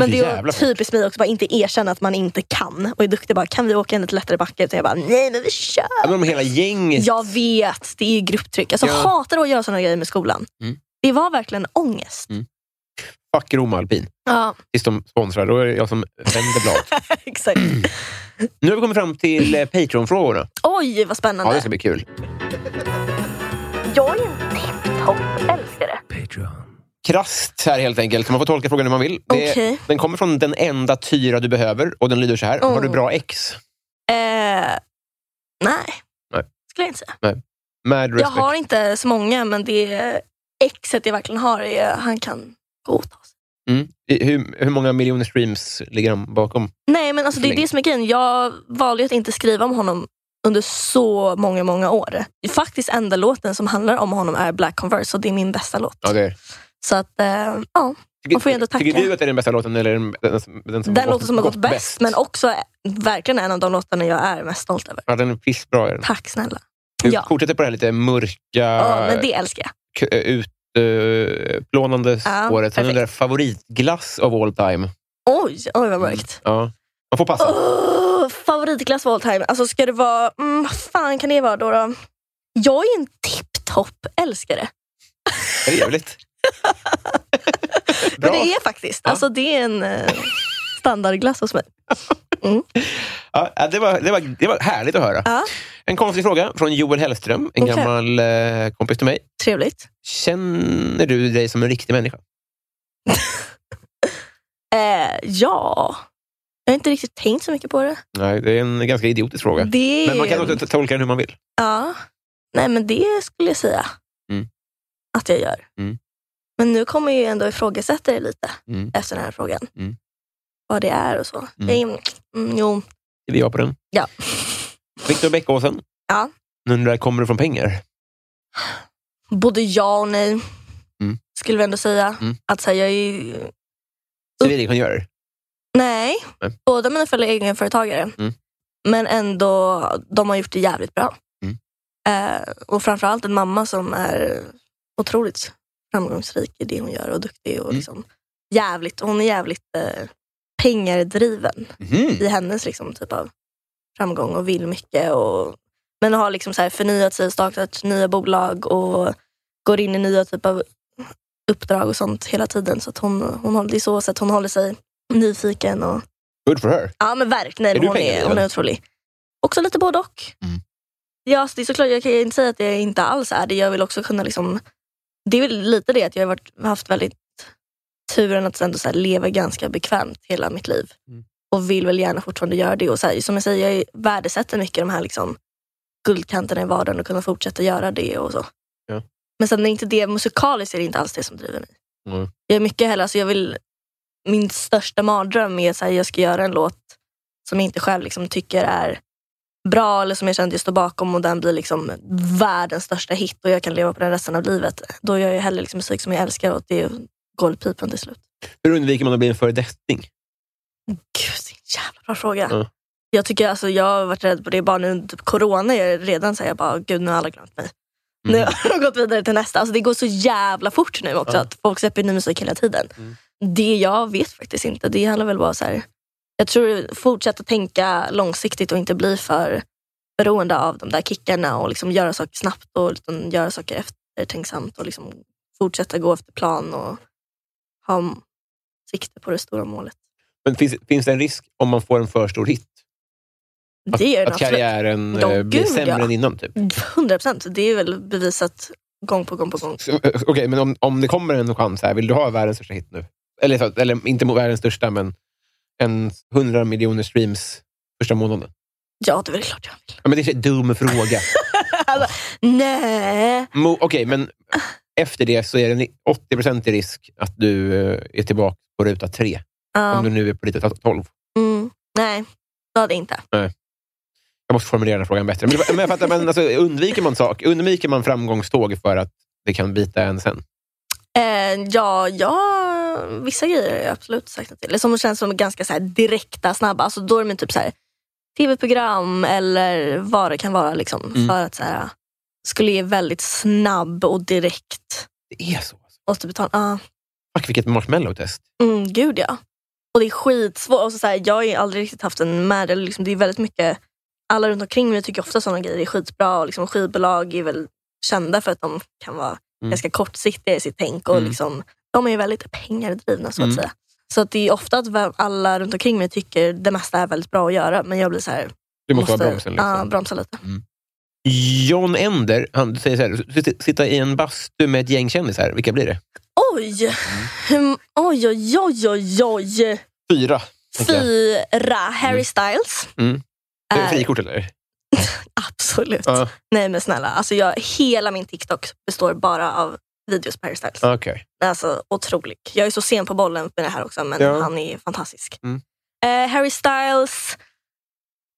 Speaker 2: Men
Speaker 1: så
Speaker 2: det är
Speaker 1: jävla
Speaker 2: ju
Speaker 1: fort.
Speaker 2: typiskt mig också, bara inte erkänna att man inte kan och är duktig. Bara, kan vi åka en lite lättare backe? Utan jag bara, nej men vi kör!
Speaker 1: Ja, men om hela gänget...
Speaker 2: Jag vet, det är ju grupptryck. Alltså,
Speaker 1: Ja.
Speaker 2: Jag hatar att göra såna grejer med skolan.
Speaker 1: Mm.
Speaker 2: Det var verkligen ångest.
Speaker 1: Fuck Rom Alpin.
Speaker 2: Ja,
Speaker 1: Tills de sponsrar, då är det jag som vänder blad.
Speaker 2: exakt.
Speaker 1: nu har vi kommit fram till eh, Patreon-frågorna.
Speaker 2: Oj, vad
Speaker 1: Ja,
Speaker 2: spännande.
Speaker 1: det ska bli kul.
Speaker 2: Jag är en tipptopp-älskare.
Speaker 1: Krasst här helt enkelt. Man får tolka frågan hur man vill. Det-
Speaker 2: Okej.
Speaker 1: Den kommer från den enda tyra du behöver och den lyder så här. Har du
Speaker 2: Oh.
Speaker 1: bra ex?
Speaker 2: Eh, nej.
Speaker 1: Nej.
Speaker 2: skulle jag inte säga.
Speaker 1: Mad respect.
Speaker 2: Jag har inte så många, men det exet jag verkligen har, är, han kan godta sig.
Speaker 1: mm. I- hur, hur många miljoner streams ligger han bakom?
Speaker 2: Nej, men alltså, det är
Speaker 1: Länge.
Speaker 2: det som är grejen. Jag valde ju att inte skriva om honom under så många, många år. Faktiskt enda låten som handlar om honom är Black Converse och det är min bästa låt.
Speaker 1: Ja, det är.
Speaker 2: Så att, eh, ja. Man får ju ändå tacka.
Speaker 1: Tycker du att det är den bästa låten eller den, den, som- den som
Speaker 2: Den
Speaker 1: har
Speaker 2: låten som har gått bäst, men också verkligen en av de låtarna jag är mest stolt över.
Speaker 1: Ja, den är pissbra. Är den.
Speaker 2: Tack snälla.
Speaker 1: Du
Speaker 2: Ja.
Speaker 1: fortsätter på det här lite mörka,
Speaker 2: Ja, men det älskar jag.
Speaker 1: k- eh, utplånande
Speaker 2: Ja,
Speaker 1: spåret. Sen är det där favoritglass of all time.
Speaker 2: Oj, oj vad mörkt.
Speaker 1: Mm, Ja. Man får passa.
Speaker 2: Oh, favoritglass of all time. Alltså ska det vara, mm, vad fan kan det vara då? då? Jag är en tipptopp älskare.
Speaker 1: Trevligt. Bra.
Speaker 2: Men det är faktiskt. Alltså det är en eh, standardglass hos mig.
Speaker 1: Ja, ja, det, var, det, var, det var härligt att höra.
Speaker 2: Ja.
Speaker 1: En konstig fråga från Joel Hellström, en
Speaker 2: Okej.
Speaker 1: gammal eh, kompis till mig.
Speaker 2: Trevligt.
Speaker 1: Känner du dig som en riktig människa?
Speaker 2: Eh, ja, jag har inte riktigt tänkt så mycket på det.
Speaker 1: Nej, det är en ganska idiotisk fråga.
Speaker 2: det är
Speaker 1: Men man kan
Speaker 2: ju-
Speaker 1: också t- tolka den hur man vill.
Speaker 2: Ja, nej men det skulle jag säga
Speaker 1: Mm.
Speaker 2: att jag gör.
Speaker 1: Mm.
Speaker 2: Men nu kommer jag ju ändå ifrågasätta det lite
Speaker 1: Mm.
Speaker 2: efter den här frågan.
Speaker 1: Mm.
Speaker 2: Vad det är och så. Jag är- mm, jo,
Speaker 1: Det blir jag på den.
Speaker 2: ja.
Speaker 1: Viktor Bäckåsen.
Speaker 2: Ja.
Speaker 1: Nu undrar, kommer du från pengar?
Speaker 2: Både ja och nej,
Speaker 1: Mm.
Speaker 2: skulle vi ändå säga.
Speaker 1: Mm.
Speaker 2: Att så här, jag är
Speaker 1: Civilingenjörer?
Speaker 2: Nej,
Speaker 1: Nej.
Speaker 2: båda mina föräldrar är egenföretagare.
Speaker 1: Mm.
Speaker 2: Men ändå, de har gjort det jävligt bra.
Speaker 1: Mm.
Speaker 2: Eh, och framförallt en mamma som är otroligt framgångsrik i det hon gör och duktig. Och
Speaker 1: Mm.
Speaker 2: liksom, jävligt, hon är jävligt eh, pengadriven
Speaker 1: Mhm.
Speaker 2: i hennes liksom, typ av framgång och vill mycket. Och, men har liksom så här förnyat sig och startat nya bolag och går in i nya typ av uppdrag och sånt hela tiden. Så att hon, hon, håller- det är så att hon håller sig nyfiken. Och,
Speaker 1: Good for her.
Speaker 2: ja men verkligen,
Speaker 1: Är du
Speaker 2: Nej, men hon, är,
Speaker 1: pengadriven?
Speaker 2: hon är otrolig. Också lite både och.
Speaker 1: Mm.
Speaker 2: Ja, så det är såklart, jag kan ju inte säga att jag inte alls är det. Jag vill också kunna liksom, det är väl lite det att jag har varit, haft väldigt turen att ändå så här leva ganska bekvämt hela mitt liv.
Speaker 1: Mm.
Speaker 2: Och vill väl gärna fortfarande göra det. Och så här, som jag säger, jag värdesätter mycket de här liksom, guldkanterna i vardagen och kunna fortsätta göra det och så.
Speaker 1: Ja.
Speaker 2: Men sen är inte det, musikaliskt är det inte alls det som driver mig.
Speaker 1: Nej.
Speaker 2: Jag är mycket hellre, alltså jag vill, min största mardröm är att jag ska göra en låt som jag inte själv liksom tycker är bra eller som jag känner att jag står bakom och den blir liksom världens största hit och jag kan leva på den resten av livet. Då gör jag hellre liksom musik som jag älskar och det går i pipan till slut.
Speaker 1: Hur undviker man att bli en föredetting?
Speaker 2: Gud, det är en jävla bra fråga.
Speaker 1: Ja.
Speaker 2: Jag tycker alltså, jag har varit rädd på det bara nu under corona. Jag är redan säger jag bara, gud nu har alla glömt mig.
Speaker 1: Mm.
Speaker 2: Nu har de gått vidare till nästa. Alltså, det går så jävla fort nu också
Speaker 1: Ja. Mm.
Speaker 2: att folk släpper ny musik hela tiden. Det jag vet faktiskt inte. Det handlar väl bara så här. Jag tror fortsätta tänka långsiktigt och inte bli för beroende av de där kickarna och liksom göra saker snabbt och utan göra saker eftertänksamt och liksom fortsätta gå efter plan och ha m- sikte på det stora målet.
Speaker 1: Men finns, finns det en risk om man får en för stor hit? Att,
Speaker 2: Det är den
Speaker 1: att
Speaker 2: absolut.
Speaker 1: karriären
Speaker 2: Ja,
Speaker 1: eh, blir
Speaker 2: gud,
Speaker 1: sämre
Speaker 2: ja.
Speaker 1: än innan? Typ.
Speaker 2: 100 procent. Det är väl bevisat gång på gång på gång.
Speaker 1: Så, eh, Okej, men om, om det kommer en chans här, vill du ha världens största hit nu? Eller, så- eller inte mot världens största, men en 100 miljoner streams första månaden.
Speaker 2: Ja, det är väl klart jag vill.
Speaker 1: Ja, men det är en dum fråga.
Speaker 2: Nej.
Speaker 1: Mo- Okej, men efter det så är det 80 i risk att du eh, är tillbaka på ruta tre.
Speaker 2: Ja.
Speaker 1: Om du nu är på ruta 12.
Speaker 2: Mm. Nej, det hade jag inte.
Speaker 1: Jag måste formulera den här frågan bättre. Men, men jag fattar, men alltså, undviker man sak, undviker man framgångståg för att det kan bita en sen?
Speaker 2: Eh, ja, ja, vissa grejer har jag absolut sagt nej till. Eller som känns som ganska så här direkta, snabba. Alltså, då är det typ så här, tv-program eller vad det kan vara. Liksom,
Speaker 1: Mm.
Speaker 2: För att så här, skulle ge väldigt snabb och direkt
Speaker 1: Det är så. alltså.
Speaker 2: återbetalning. Ja.
Speaker 1: Fuck, vilket marshmallow-test.
Speaker 2: Mm, gud ja. Och det är skitsvårt. Och så så här, jag har ju aldrig riktigt haft en med, eller liksom, det är väldigt mycket, alla runt omkring mig tycker ofta sådana grejer är skitbra och liksom, skivbolag är väl kända för att de kan vara ganska kortsiktiga i sitt tänk och
Speaker 1: Mm.
Speaker 2: liksom, de är ju väldigt pengadrivna så att
Speaker 1: Mm.
Speaker 2: säga. Så att det är ofta att vä- alla runt omkring mig tycker det mesta är väldigt bra att göra men jag blir så här,
Speaker 1: Du måste, vara bromsen. Liksom.
Speaker 2: ja, bromsa lite.
Speaker 1: John Ender, han säger så här, "Sitt- sitta i en bastu med ett gäng kändisar. Vilka blir det?
Speaker 2: Oj!
Speaker 1: Mm.
Speaker 2: Hum, oj, oj, oj, oj, oj.
Speaker 1: Fyra. tänker jag.
Speaker 2: Fyra. Harry Styles.
Speaker 1: Mm. Är det
Speaker 2: är-
Speaker 1: frikort eller?
Speaker 2: Absolut.
Speaker 1: Ja,
Speaker 2: Nej men snälla, alltså jag, hela min TikTok består bara av videos på Harry Styles.
Speaker 1: okej.
Speaker 2: Alltså otrolig. Jag är så sen på bollen med det här också men
Speaker 1: Ja.
Speaker 2: han är fantastisk.
Speaker 1: Mm.
Speaker 2: Eh, Harry Styles,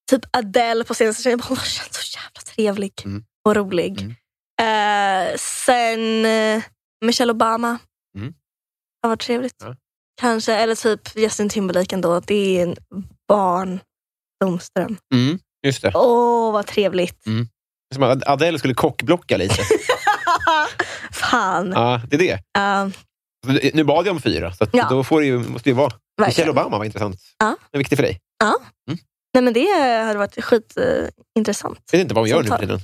Speaker 2: typ Adele på senaste tiden. Hon känns så jävla trevlig
Speaker 1: Mm.
Speaker 2: och rolig.
Speaker 1: Mm.
Speaker 2: Eh, sen eh, Michelle Obama.
Speaker 1: Mm.
Speaker 2: Det har varit trevligt.
Speaker 1: Ja.
Speaker 2: Kanske, eller typ Justin Timberlake ändå. Det är en barndomsdröm.
Speaker 1: Mm, just det.
Speaker 2: Åh vad trevligt.
Speaker 1: Som att Adele skulle kockblocka lite.
Speaker 2: Fan.
Speaker 1: ja, det är det.
Speaker 2: Ja,
Speaker 1: Så Nu bad jag om fyra, så att
Speaker 2: Ja.
Speaker 1: då får det ju, måste det ju vara. Michelle
Speaker 2: verkligen.
Speaker 1: Obama var intressant.
Speaker 2: Ja.
Speaker 1: Det är viktigt för dig.
Speaker 2: Nej, men det hade varit skitintressant.
Speaker 1: Jag vet inte vad hon gör nu för
Speaker 2: Samtal.
Speaker 1: tiden.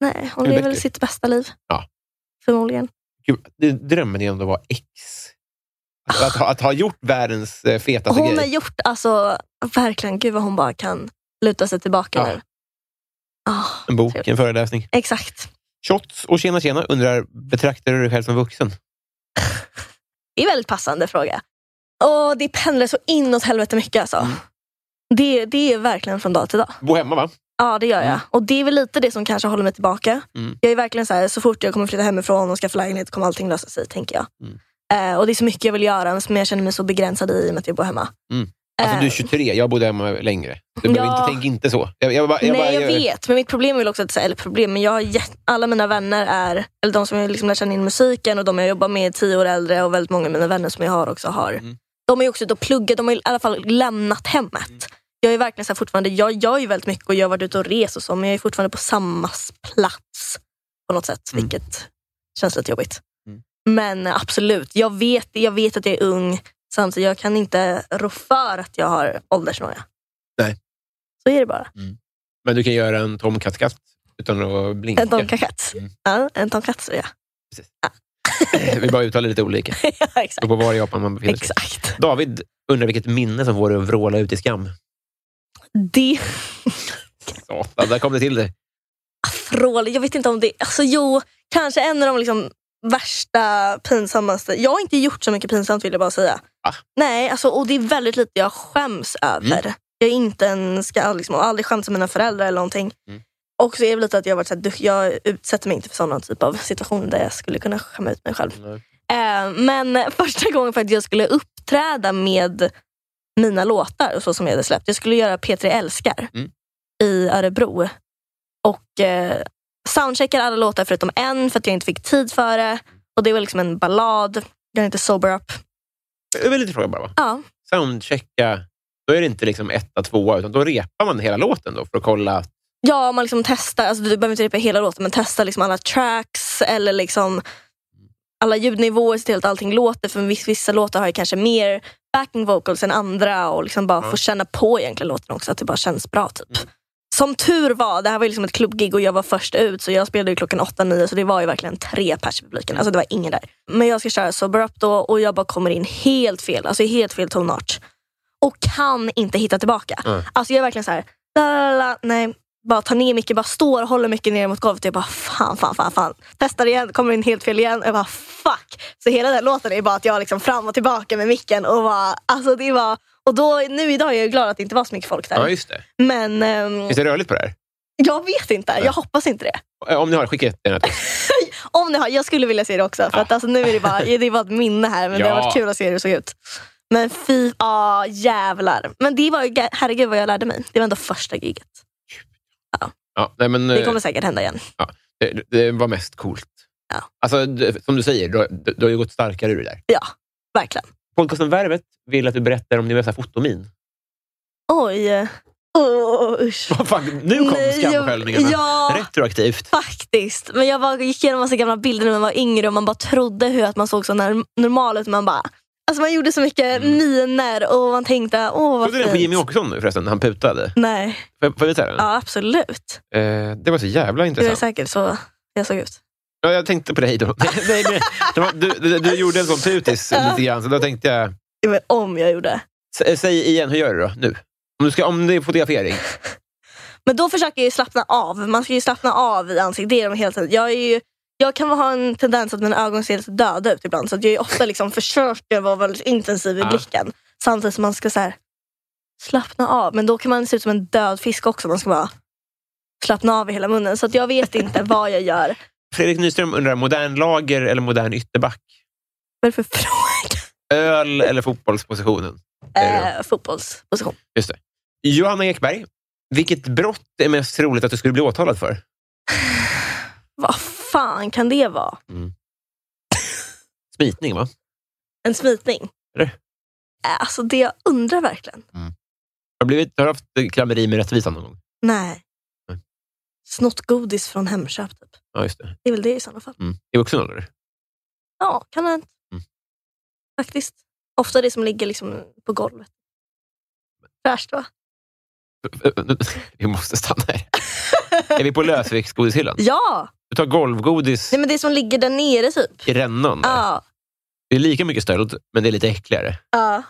Speaker 2: Nej, hon
Speaker 1: Hur
Speaker 2: lever
Speaker 1: väcker
Speaker 2: väl
Speaker 1: det?
Speaker 2: sitt bästa liv.
Speaker 1: Ja.
Speaker 2: Förmodligen.
Speaker 1: Gud, det- drömmen är ändå att vara ex. Att, att, ha- att ha gjort världens eh, fetaste
Speaker 2: hon har
Speaker 1: grej.
Speaker 2: gjort, alltså verkligen, gud vad hon bara kan luta sig tillbaka
Speaker 1: Ja.
Speaker 2: nu. Ah,
Speaker 1: En bok, en föreläsning.
Speaker 2: exakt.
Speaker 1: Shots och tjena tjena undrar, betraktar du dig själv som vuxen?
Speaker 2: Det är en väldigt passande fråga. Åh, det pendlar så inåt helvete mycket alltså.
Speaker 1: Mm.
Speaker 2: Det, det är verkligen från dag till dag.
Speaker 1: Bo hemma va?
Speaker 2: Ja, det gör jag.
Speaker 1: Mm.
Speaker 2: Och det är väl lite det som kanske håller mig tillbaka.
Speaker 1: Mm.
Speaker 2: Jag är verkligen så här, så fort jag kommer flytta hemifrån och skaffa lägenhet kommer allting lösa sig, tänker jag.
Speaker 1: Mm.
Speaker 2: Eh, och det är så mycket jag vill göra, men jag känner mig så begränsad i i och med att jag bor hemma.
Speaker 1: Alltså
Speaker 2: Eh.
Speaker 1: du är 23, jag bodde hemma längre. Du behöver
Speaker 2: Ja.
Speaker 1: inte, tänk inte så. Jag, jag, bara- jag, bara-
Speaker 2: Nej, jag
Speaker 1: jag-
Speaker 2: vet. Men mitt problem är väl också att, eller problem, men jag har jätt, alla mina vänner är, eller de som jag liksom lär känna in musiken och de jag jobbar med är tio år äldre och väldigt många av mina vänner som jag har också har.
Speaker 1: Mm.
Speaker 2: de har ju också ute och pluggat, de har i alla fall lämnat hemmet. Jag är verkligen så här fortfarande, jag gör ju väldigt mycket och jag har varit ute och rest och så, men jag är fortfarande på samma plats på något sätt,
Speaker 1: Mm.
Speaker 2: vilket känns lite jobbigt.
Speaker 1: Mm.
Speaker 2: Men eh, absolut, jag vet, jag vet att jag är ung, samtidigt jag kan inte rå för att jag har åldersnoja.
Speaker 1: Nej.
Speaker 2: Så är det bara.
Speaker 1: Men du kan göra en tomkattkast utan att blinka.
Speaker 2: En tomkatts.
Speaker 1: Mm.
Speaker 2: Ja, en tomkatsu, ja.
Speaker 1: Vi bara uttalar lite olika.
Speaker 2: ja
Speaker 1: Och
Speaker 2: exakt.
Speaker 1: på var i Japan man befinner sig.
Speaker 2: exakt.
Speaker 1: David undrar vilket minne som får dig att vråla ut i skam.
Speaker 2: Det
Speaker 1: Satan, där kom det till det.
Speaker 2: afrol, jag vet inte om det... Alltså jo, kanske en av de liksom värsta, pinsammaste... Jag har inte gjort så mycket pinsamt vill jag bara säga.
Speaker 1: Ah.
Speaker 2: Nej, alltså, och det är väldigt lite jag skäms över.
Speaker 1: Mm.
Speaker 2: Jag är inte en ska, liksom, har aldrig skämt med mina föräldrar eller någonting.
Speaker 1: Mm.
Speaker 2: Och så är det väl lite att jag, har varit så här, duck- jag utsätter mig inte för sådana typ av situationer där jag skulle kunna skämma ut mig själv. Eh, men första gången för att jag skulle uppträda med mina låtar och så som jag hade släppt. Jag skulle göra P3 älskar
Speaker 1: Mm.
Speaker 2: i Örebro. Och eh, soundcheckade alla låtar förutom en för att jag inte fick tid för det. Och det var liksom en ballad. Jag är inte sober up.
Speaker 1: Jag vill lite fråga bara. va?
Speaker 2: Ja,
Speaker 1: Soundchecka, då är det inte liksom etta, tvåa, utan då repar man hela låten då för att kolla.
Speaker 2: ja man liksom testar, alltså du behöver inte repa hela låten men testa liksom alla tracks eller liksom alla ljudnivåer se till att allting låter. För vissa, vissa låtar har ju kanske mer backing vocals än andra och liksom bara
Speaker 1: Ja.
Speaker 2: få känna på egentligen låten också, att det bara känns bra. typ. Som tur var, det här var ju liksom ett klubbgig och jag var först ut så jag spelade ju klockan 8-9 så det var ju verkligen tre pers i publiken. Alltså det var ingen där. Men jag ska köra Sober Up då och jag bara kommer in helt fel, alltså i helt fel tonart. Och kan inte hitta tillbaka.
Speaker 1: Mm.
Speaker 2: Alltså jag är verkligen så här, la, la, la, nej. Bara tar ner mycket, bara står och håller mycket ner mot golvet. Jag bara fan, fan, fan, fan. Testar igen, kommer in helt fel igen. Jag bara fuck. Så hela den låten är bara att jag liksom fram och tillbaka med micken. Och, bara, alltså det var, och då, nu idag är jag ju glad att det inte var så mycket folk där.
Speaker 1: Ja, just det.
Speaker 2: Men ehm,
Speaker 1: Finns det rörligt på det här?
Speaker 2: jag vet inte. Jag hoppas inte det.
Speaker 1: Eh, Om ni har, skicka jättegärna till oss.
Speaker 2: Om ni har, jag skulle vilja se det också. För att alltså, nu är det bara, det är bara ett minne här. Men det har
Speaker 1: Ja.
Speaker 2: varit kul att se hur det såg ut. Men fy, ah, jävlar. Men det var ju, ga- herregud vad jag lärde mig. Det var ändå första giget.
Speaker 1: Ja, nej, men,
Speaker 2: Det
Speaker 1: eh,
Speaker 2: kommer säkert hända igen.
Speaker 1: det, det var mest coolt.
Speaker 2: Ja.
Speaker 1: Alltså, det, som du säger, du, har- du, du har ju gått starkare ur det där.
Speaker 2: Ja, verkligen.
Speaker 1: Podcasten Värvet vill att du berättar om din bästa fotomin.
Speaker 2: Oj. Oh, usch.
Speaker 1: Vad fan, nu kom
Speaker 2: Nej, jag-
Speaker 1: skamsköljningarna.
Speaker 2: Ja,
Speaker 1: Retroaktivt.
Speaker 2: faktiskt. Men jag bara gick igenom massa gamla bilder när man var yngre och man bara trodde hur att man såg så när- normal ut. Man bara, alltså man gjorde så mycket miner och man tänkte, åh
Speaker 1: Såg
Speaker 2: vad
Speaker 1: Mm. du den på Jimmy
Speaker 2: fint.
Speaker 1: Åkesson nu förresten? när Han putade.
Speaker 2: Nej,
Speaker 1: Får jag- får jag visa den?
Speaker 2: ja absolut.
Speaker 1: Eh, det var så jävla
Speaker 2: Det är
Speaker 1: intressant.
Speaker 2: säkert så jag såg ut.
Speaker 1: Ja, jag tänkte på dig då. Nej, men, det var- du, du, du gjorde en sån putis lite grann, så då tänkte jag...
Speaker 2: Ja, men Om jag gjorde.
Speaker 1: S- säg igen, hur gör du då? Nu? Om, du ska, om det är fotografering.
Speaker 2: Men då försöker jag ju slappna av. Man ska ju slappna av i ansiktet. Det är de hela tiden. Jag, är ju, jag kan ha en tendens att mina ögon ser lite döda ut ibland. Så att jag är ofta liksom försöker vara väldigt intensiv i
Speaker 1: Ja.
Speaker 2: blicken. Samtidigt som man ska så här, slappna av. Men då kan man se ut som en död fisk också. Man ska bara slappna av i hela munnen. Så att jag vet inte vad jag gör. Vad
Speaker 1: Fredrik Nyström undrar, modern lager eller modern ytterback?
Speaker 2: är det för fråga?
Speaker 1: Öl eller fotbollspositionen? Det är det.
Speaker 2: Eh, fotbollsposition.
Speaker 1: Johanna Ekberg, vilket brott är mest troligt att du skulle bli åtalad för?
Speaker 2: Vad fan kan det vara?
Speaker 1: Smitning, va?
Speaker 2: En smitning?
Speaker 1: Är det?
Speaker 2: Eh, Alltså det jag undrar verkligen.
Speaker 1: Har du, blivit, har du haft eh, klammeri med rättvisan någon gång?
Speaker 2: Nej.
Speaker 1: Nej.
Speaker 2: Snott godis från Hemköp typ.
Speaker 1: Ja, just det.
Speaker 2: Det är väl det i sådana fall.
Speaker 1: Mm. I vuxen ålder?
Speaker 2: Ja, kan man.
Speaker 1: Mm.
Speaker 2: Faktiskt. Ofta det som ligger liksom på golvet. Fräscht va?
Speaker 1: Vi måste stanna här. Är vi på lösviktsgodishyllan?
Speaker 2: Ja!
Speaker 1: Du tar golvgodis
Speaker 2: Nej, men det som ligger där nere typ.
Speaker 1: i rännan. där.
Speaker 2: Ja.
Speaker 1: Det är lika mycket stöld, men det är lite äckligare.
Speaker 2: ja.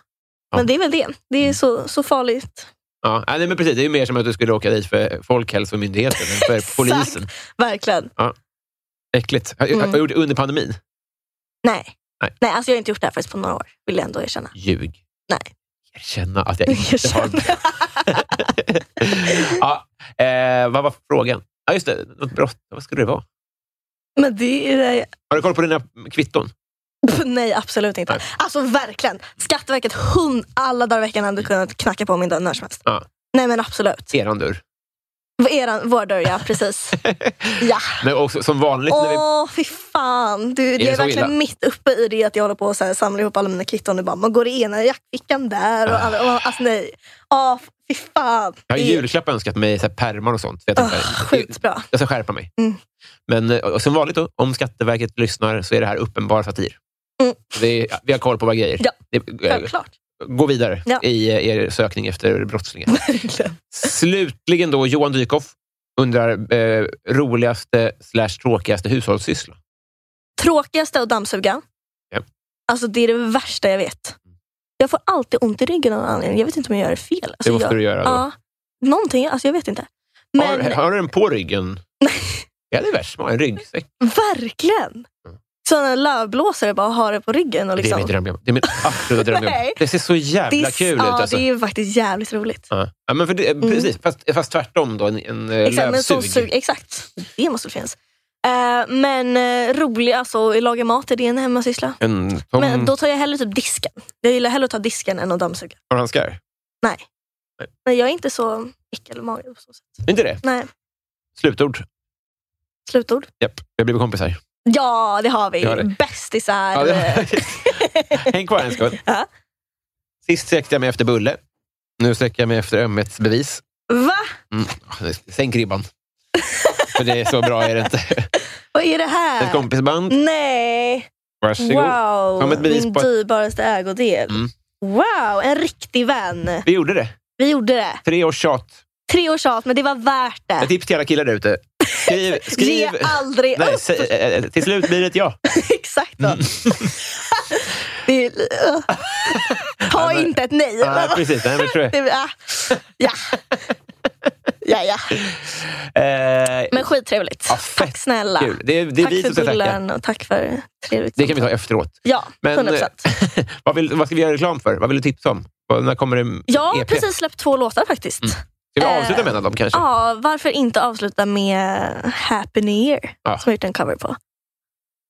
Speaker 1: Ja.
Speaker 2: Men det är väl det. Det är så, så farligt.
Speaker 1: Ja, nej, men precis. Det är ju mer som att du skulle åka dit för Folkhälsomyndigheten än för
Speaker 2: Exakt.
Speaker 1: polisen.
Speaker 2: Verkligen.
Speaker 1: Äckligt. Har, har-
Speaker 2: Mm.
Speaker 1: har du gjort det under pandemin?
Speaker 2: Nej.
Speaker 1: Nej.
Speaker 2: Nej, alltså jag har inte gjort det här faktiskt på några år. Vill jag ändå erkänna.
Speaker 1: Ljug.
Speaker 2: Nej.
Speaker 1: Erkänna att jag inte har...
Speaker 2: Erkänna.
Speaker 1: ja, eh, vad var frågan? Ja, just det. Något brott. Vad skulle det vara?
Speaker 2: Men det är...
Speaker 1: Har du koll på dina kvitton?
Speaker 2: Pff, Nej, absolut inte.
Speaker 1: Nej.
Speaker 2: Alltså verkligen. Skatteverket, hund, alla dagar i veckan hade kunnat knacka på min dörr när som helst.
Speaker 1: Ja.
Speaker 2: Nej men absolut.
Speaker 1: Eran dörr.
Speaker 2: Eran, vår dörr, ja. Precis. Ja.
Speaker 1: Men också, som vanligt när vi...
Speaker 2: Åh, fy fan. Du, jag
Speaker 1: det
Speaker 2: är
Speaker 1: så
Speaker 2: verkligen
Speaker 1: illa?
Speaker 2: mitt uppe i det att jag håller på och så här, samlar ihop alla mina kvitton. Och bara, man går i ena jackfickan där. Och alla, och, alltså nej. Åh, fy fan.
Speaker 1: Jag har i
Speaker 2: Det är
Speaker 1: julklapp önskat mig så här, pärmar och sånt. Jag,
Speaker 2: Ugh, sjukt bra.
Speaker 1: jag ska skärpa mig.
Speaker 2: Mm.
Speaker 1: Men eh, och som vanligt, då, om Skatteverket lyssnar så är det här uppenbar satir.
Speaker 2: Mm.
Speaker 1: Det är, vi har koll på våra grejer.
Speaker 2: Ja,
Speaker 1: Det- eh,
Speaker 2: Självklart.
Speaker 1: gå vidare
Speaker 2: Ja.
Speaker 1: i eh, er sökning efter brottslingar. Slutligen då, Johan Dykhoff undrar eh, roligaste slash tråkigaste hushållssyssla.
Speaker 2: Tråkigaste att dammsuga.
Speaker 1: Ja.
Speaker 2: Alltså det är det värsta jag vet. Jag får alltid ont i ryggen av någon anledning. Jag vet inte om jag gör fel. Alltså,
Speaker 1: Det måste
Speaker 2: jag,
Speaker 1: du göra. Då.
Speaker 2: Ja, någonting, alltså jag vet inte.
Speaker 1: har,
Speaker 2: Men
Speaker 1: har du den på ryggen? Jag hade värst med en ryggsäck.
Speaker 2: verkligen! Sådana lövblåsare bara har det på ryggen. Och
Speaker 1: Mm. Det är
Speaker 2: liksom,
Speaker 1: min drömjobb. Det är min absoluta drömjobb.
Speaker 2: Nej.
Speaker 1: Det ser så jävla
Speaker 2: är-
Speaker 1: kul ut.
Speaker 2: ja,
Speaker 1: Alltså.
Speaker 2: det är ju faktiskt jävligt roligt.
Speaker 1: Ja. Ja, men för det, Precis, fast, fast tvärtom då. En, en eh,
Speaker 2: Exakt, men sån
Speaker 1: lövsug.
Speaker 2: sug, exakt. det måste väl finnas. Eh, men eh, rolig, alltså laga mat, är det en hemmasyssla?
Speaker 1: En tom
Speaker 2: Men då tar jag hellre typ disken. Jag gillar hellre att ta disken än att dammsuga.
Speaker 1: franskar.
Speaker 2: Nej.
Speaker 1: Nej.
Speaker 2: Nej, jag är inte så äckelmagad på så sätt.
Speaker 1: Inte det?
Speaker 2: Nej,
Speaker 1: Slutord.
Speaker 2: slutord.
Speaker 1: Japp, vi har blivit kompisar.
Speaker 2: Ja, det har vi.
Speaker 1: Vi har det.
Speaker 2: Bästisar.
Speaker 1: Ja, det- Häng kvar en sekund.
Speaker 2: Ja.
Speaker 1: Sist sträckte jag mig efter bulle. Nu sträcker jag mig efter ömhetsbevis.
Speaker 2: Va?
Speaker 1: Mm. Sänk ribban. För det är så bra är det inte.
Speaker 2: Vad är det här?
Speaker 1: Ett kompisband.
Speaker 2: Nej,
Speaker 1: Varsågod.
Speaker 2: wow.
Speaker 1: Som ett bevis
Speaker 2: Min
Speaker 1: på att-
Speaker 2: dyrbaraste ägodel.
Speaker 1: Mm.
Speaker 2: Wow, en riktig vän.
Speaker 1: Vi gjorde det.
Speaker 2: Vi gjorde det.
Speaker 1: Tre års tjat.
Speaker 2: Tre års tjat, men det var värt
Speaker 1: Ett
Speaker 2: det.
Speaker 1: tips till alla killar där ute. Skriv.
Speaker 2: Ge
Speaker 1: skriv.
Speaker 2: aldrig
Speaker 1: Nej, Mm.
Speaker 2: upp.
Speaker 1: sä, eh, eh, till slut blir det ett ja.
Speaker 2: Exakt. Då. det är, uh. Ta
Speaker 1: men-
Speaker 2: inte ett nej.
Speaker 1: Nej, precis. Nej, men tror jag.
Speaker 2: Det är- ah. ja. ja, ja.
Speaker 1: Eh,
Speaker 2: Men skittrevligt.
Speaker 1: Ja, fett
Speaker 2: tack snälla.
Speaker 1: kul. Det är, det är
Speaker 2: tack
Speaker 1: vi som
Speaker 2: för
Speaker 1: ska tacka.
Speaker 2: bullen och tack för trevligt
Speaker 1: Det kan vi ta
Speaker 2: samtal.
Speaker 1: efteråt.
Speaker 2: Ja,
Speaker 1: Men, eh,
Speaker 2: 100
Speaker 1: vad, vill, vad ska vi göra reklam för? Vad vill du tipsa om? Vad- När kommer det
Speaker 2: Jag har
Speaker 1: EP?
Speaker 2: precis släppt två låtar
Speaker 1: Mm,
Speaker 2: faktiskt.
Speaker 1: Ska vi
Speaker 2: eh,
Speaker 1: avsluta med en av dem kanske?
Speaker 2: Ja, varför inte avsluta med Happy New Year
Speaker 1: Ja.
Speaker 2: som jag gjort en cover på.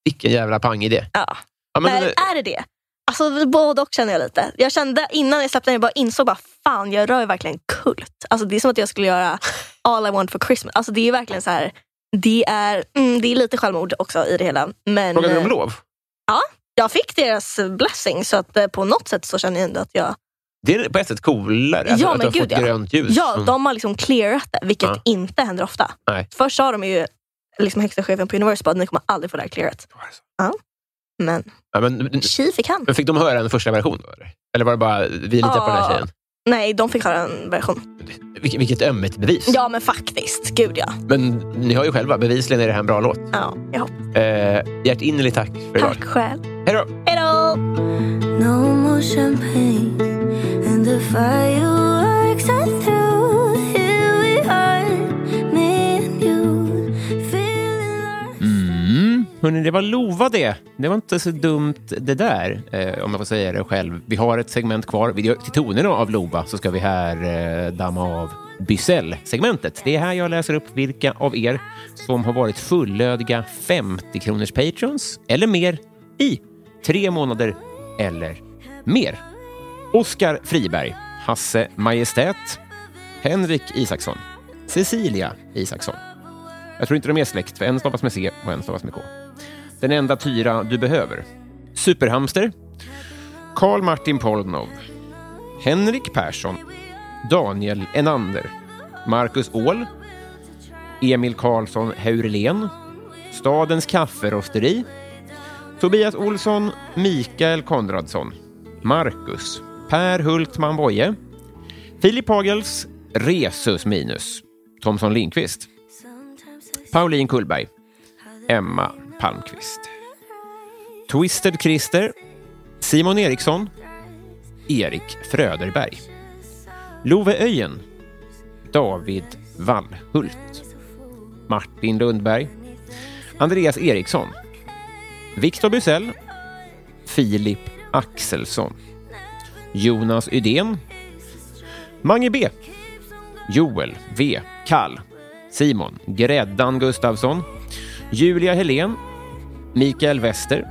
Speaker 1: Vilken jävla pangidé.
Speaker 2: Ja.
Speaker 1: Ja, men, eh,
Speaker 2: Nej, är det det? Alltså både och känner jag lite. Jag kände innan jag släppte den, jag bara insåg bara fan jag rör ju verkligen kult. Alltså det är som att jag skulle göra All I want for Christmas. Alltså det är verkligen så här, det är, mm, det är lite självmord också i det hela. Men
Speaker 1: Frågade du om
Speaker 2: eh,
Speaker 1: lov?
Speaker 2: jag fick deras blessing så att eh, på något sätt så känner jag ändå att jag,
Speaker 1: Det är på ett sätt coolare Alltså,
Speaker 2: Ja,
Speaker 1: att
Speaker 2: men
Speaker 1: du har
Speaker 2: gud,
Speaker 1: fått
Speaker 2: ja.
Speaker 1: grönt ljus.
Speaker 2: ja
Speaker 1: Mm.
Speaker 2: de har liksom clearat det, vilket
Speaker 1: Ja.
Speaker 2: inte händer ofta.
Speaker 1: Nej.
Speaker 2: Först sa de ju, liksom högsta chefen på Universum bara, ni kommer aldrig få det här clearat. Ja. Men
Speaker 1: Ja, men,
Speaker 2: tji fick han.
Speaker 1: men fick de höra en första version? Då, eller? eller var det bara, vi litar på den här
Speaker 2: Ja.
Speaker 1: tjejen?
Speaker 2: Nej, de fick höra en version.
Speaker 1: Vilket, vilket ömmet bevis.
Speaker 2: Ja men faktiskt, gud ja.
Speaker 1: Men ni hör ju själva, bevisligen är det här en bra låt.
Speaker 2: ja, jag hoppas.
Speaker 1: Eh, hjärtinnerligt tack för idag.
Speaker 2: Tack själv.
Speaker 1: Hej då!
Speaker 2: Hej då!
Speaker 3: No more champagne and the fireworks are through. Here we are, me and you, feeling like.
Speaker 5: Mm. Hörrni, det var Lova det. Det var inte så dumt det där, eh, om jag får säga det själv. Vi har ett segment kvar. Vi gör- Till tonerna av Lova så ska vi här eh, damma av Bysell-segmentet. Det är här jag läser upp vilka av er som har varit fullödiga 50-kronors patrons eller mer i tre månader eller mer. Oskar Friberg, Hasse Majestät, Henrik Isaksson, Cecilia Isaksson, jag tror inte de är släkt, för en stavas med C och en stavas med K. Den enda Tyra du behöver. Superhamster. Karl Martin Polnov. Henrik Persson. Daniel Enander. Marcus Åhl. Emil Karlsson Heurlen. Stadens kafferosteri. Tobias Olsson. Mikael Konradsson. Marcus. Per Hultman Boye. Filip Hagels. Resus Minus. Thomson Lindqvist. Pauline Kullberg. Emma Palmqvist. Twisted Christer. Simon Eriksson. Erik Fröderberg. Love Öjen. David Wallhult. Martin Lundberg. Andreas Eriksson. Viktor Bysell. Filip Axelsson. Jonas Ydén. Mange B. Joel V. Kall. Simon ”Gräddan” Gustafsson, Julia Helén, Mikael Wester,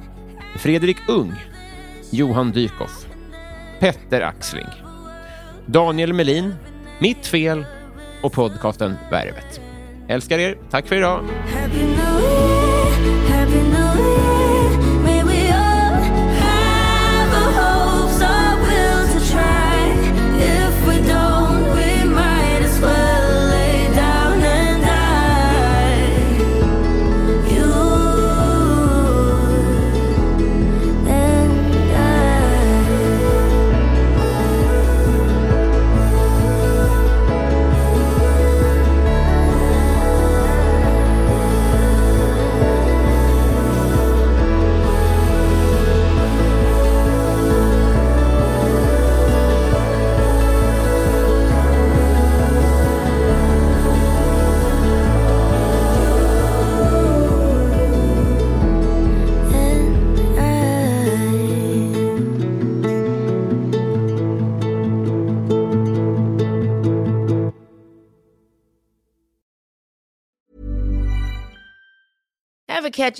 Speaker 5: Fredrik Ung, Johan Dykhoff, Petter Axling, Daniel Melin, Mitt fel, och podcasten Värvet. Älskar er. Tack för idag.
Speaker 3: Happy New Year, Happy New Year. May we all have our hopes, our will to try. If we don't, we might as well lay down and die. You
Speaker 1: Mm.
Speaker 3: and I. and I.
Speaker 6: Ever catch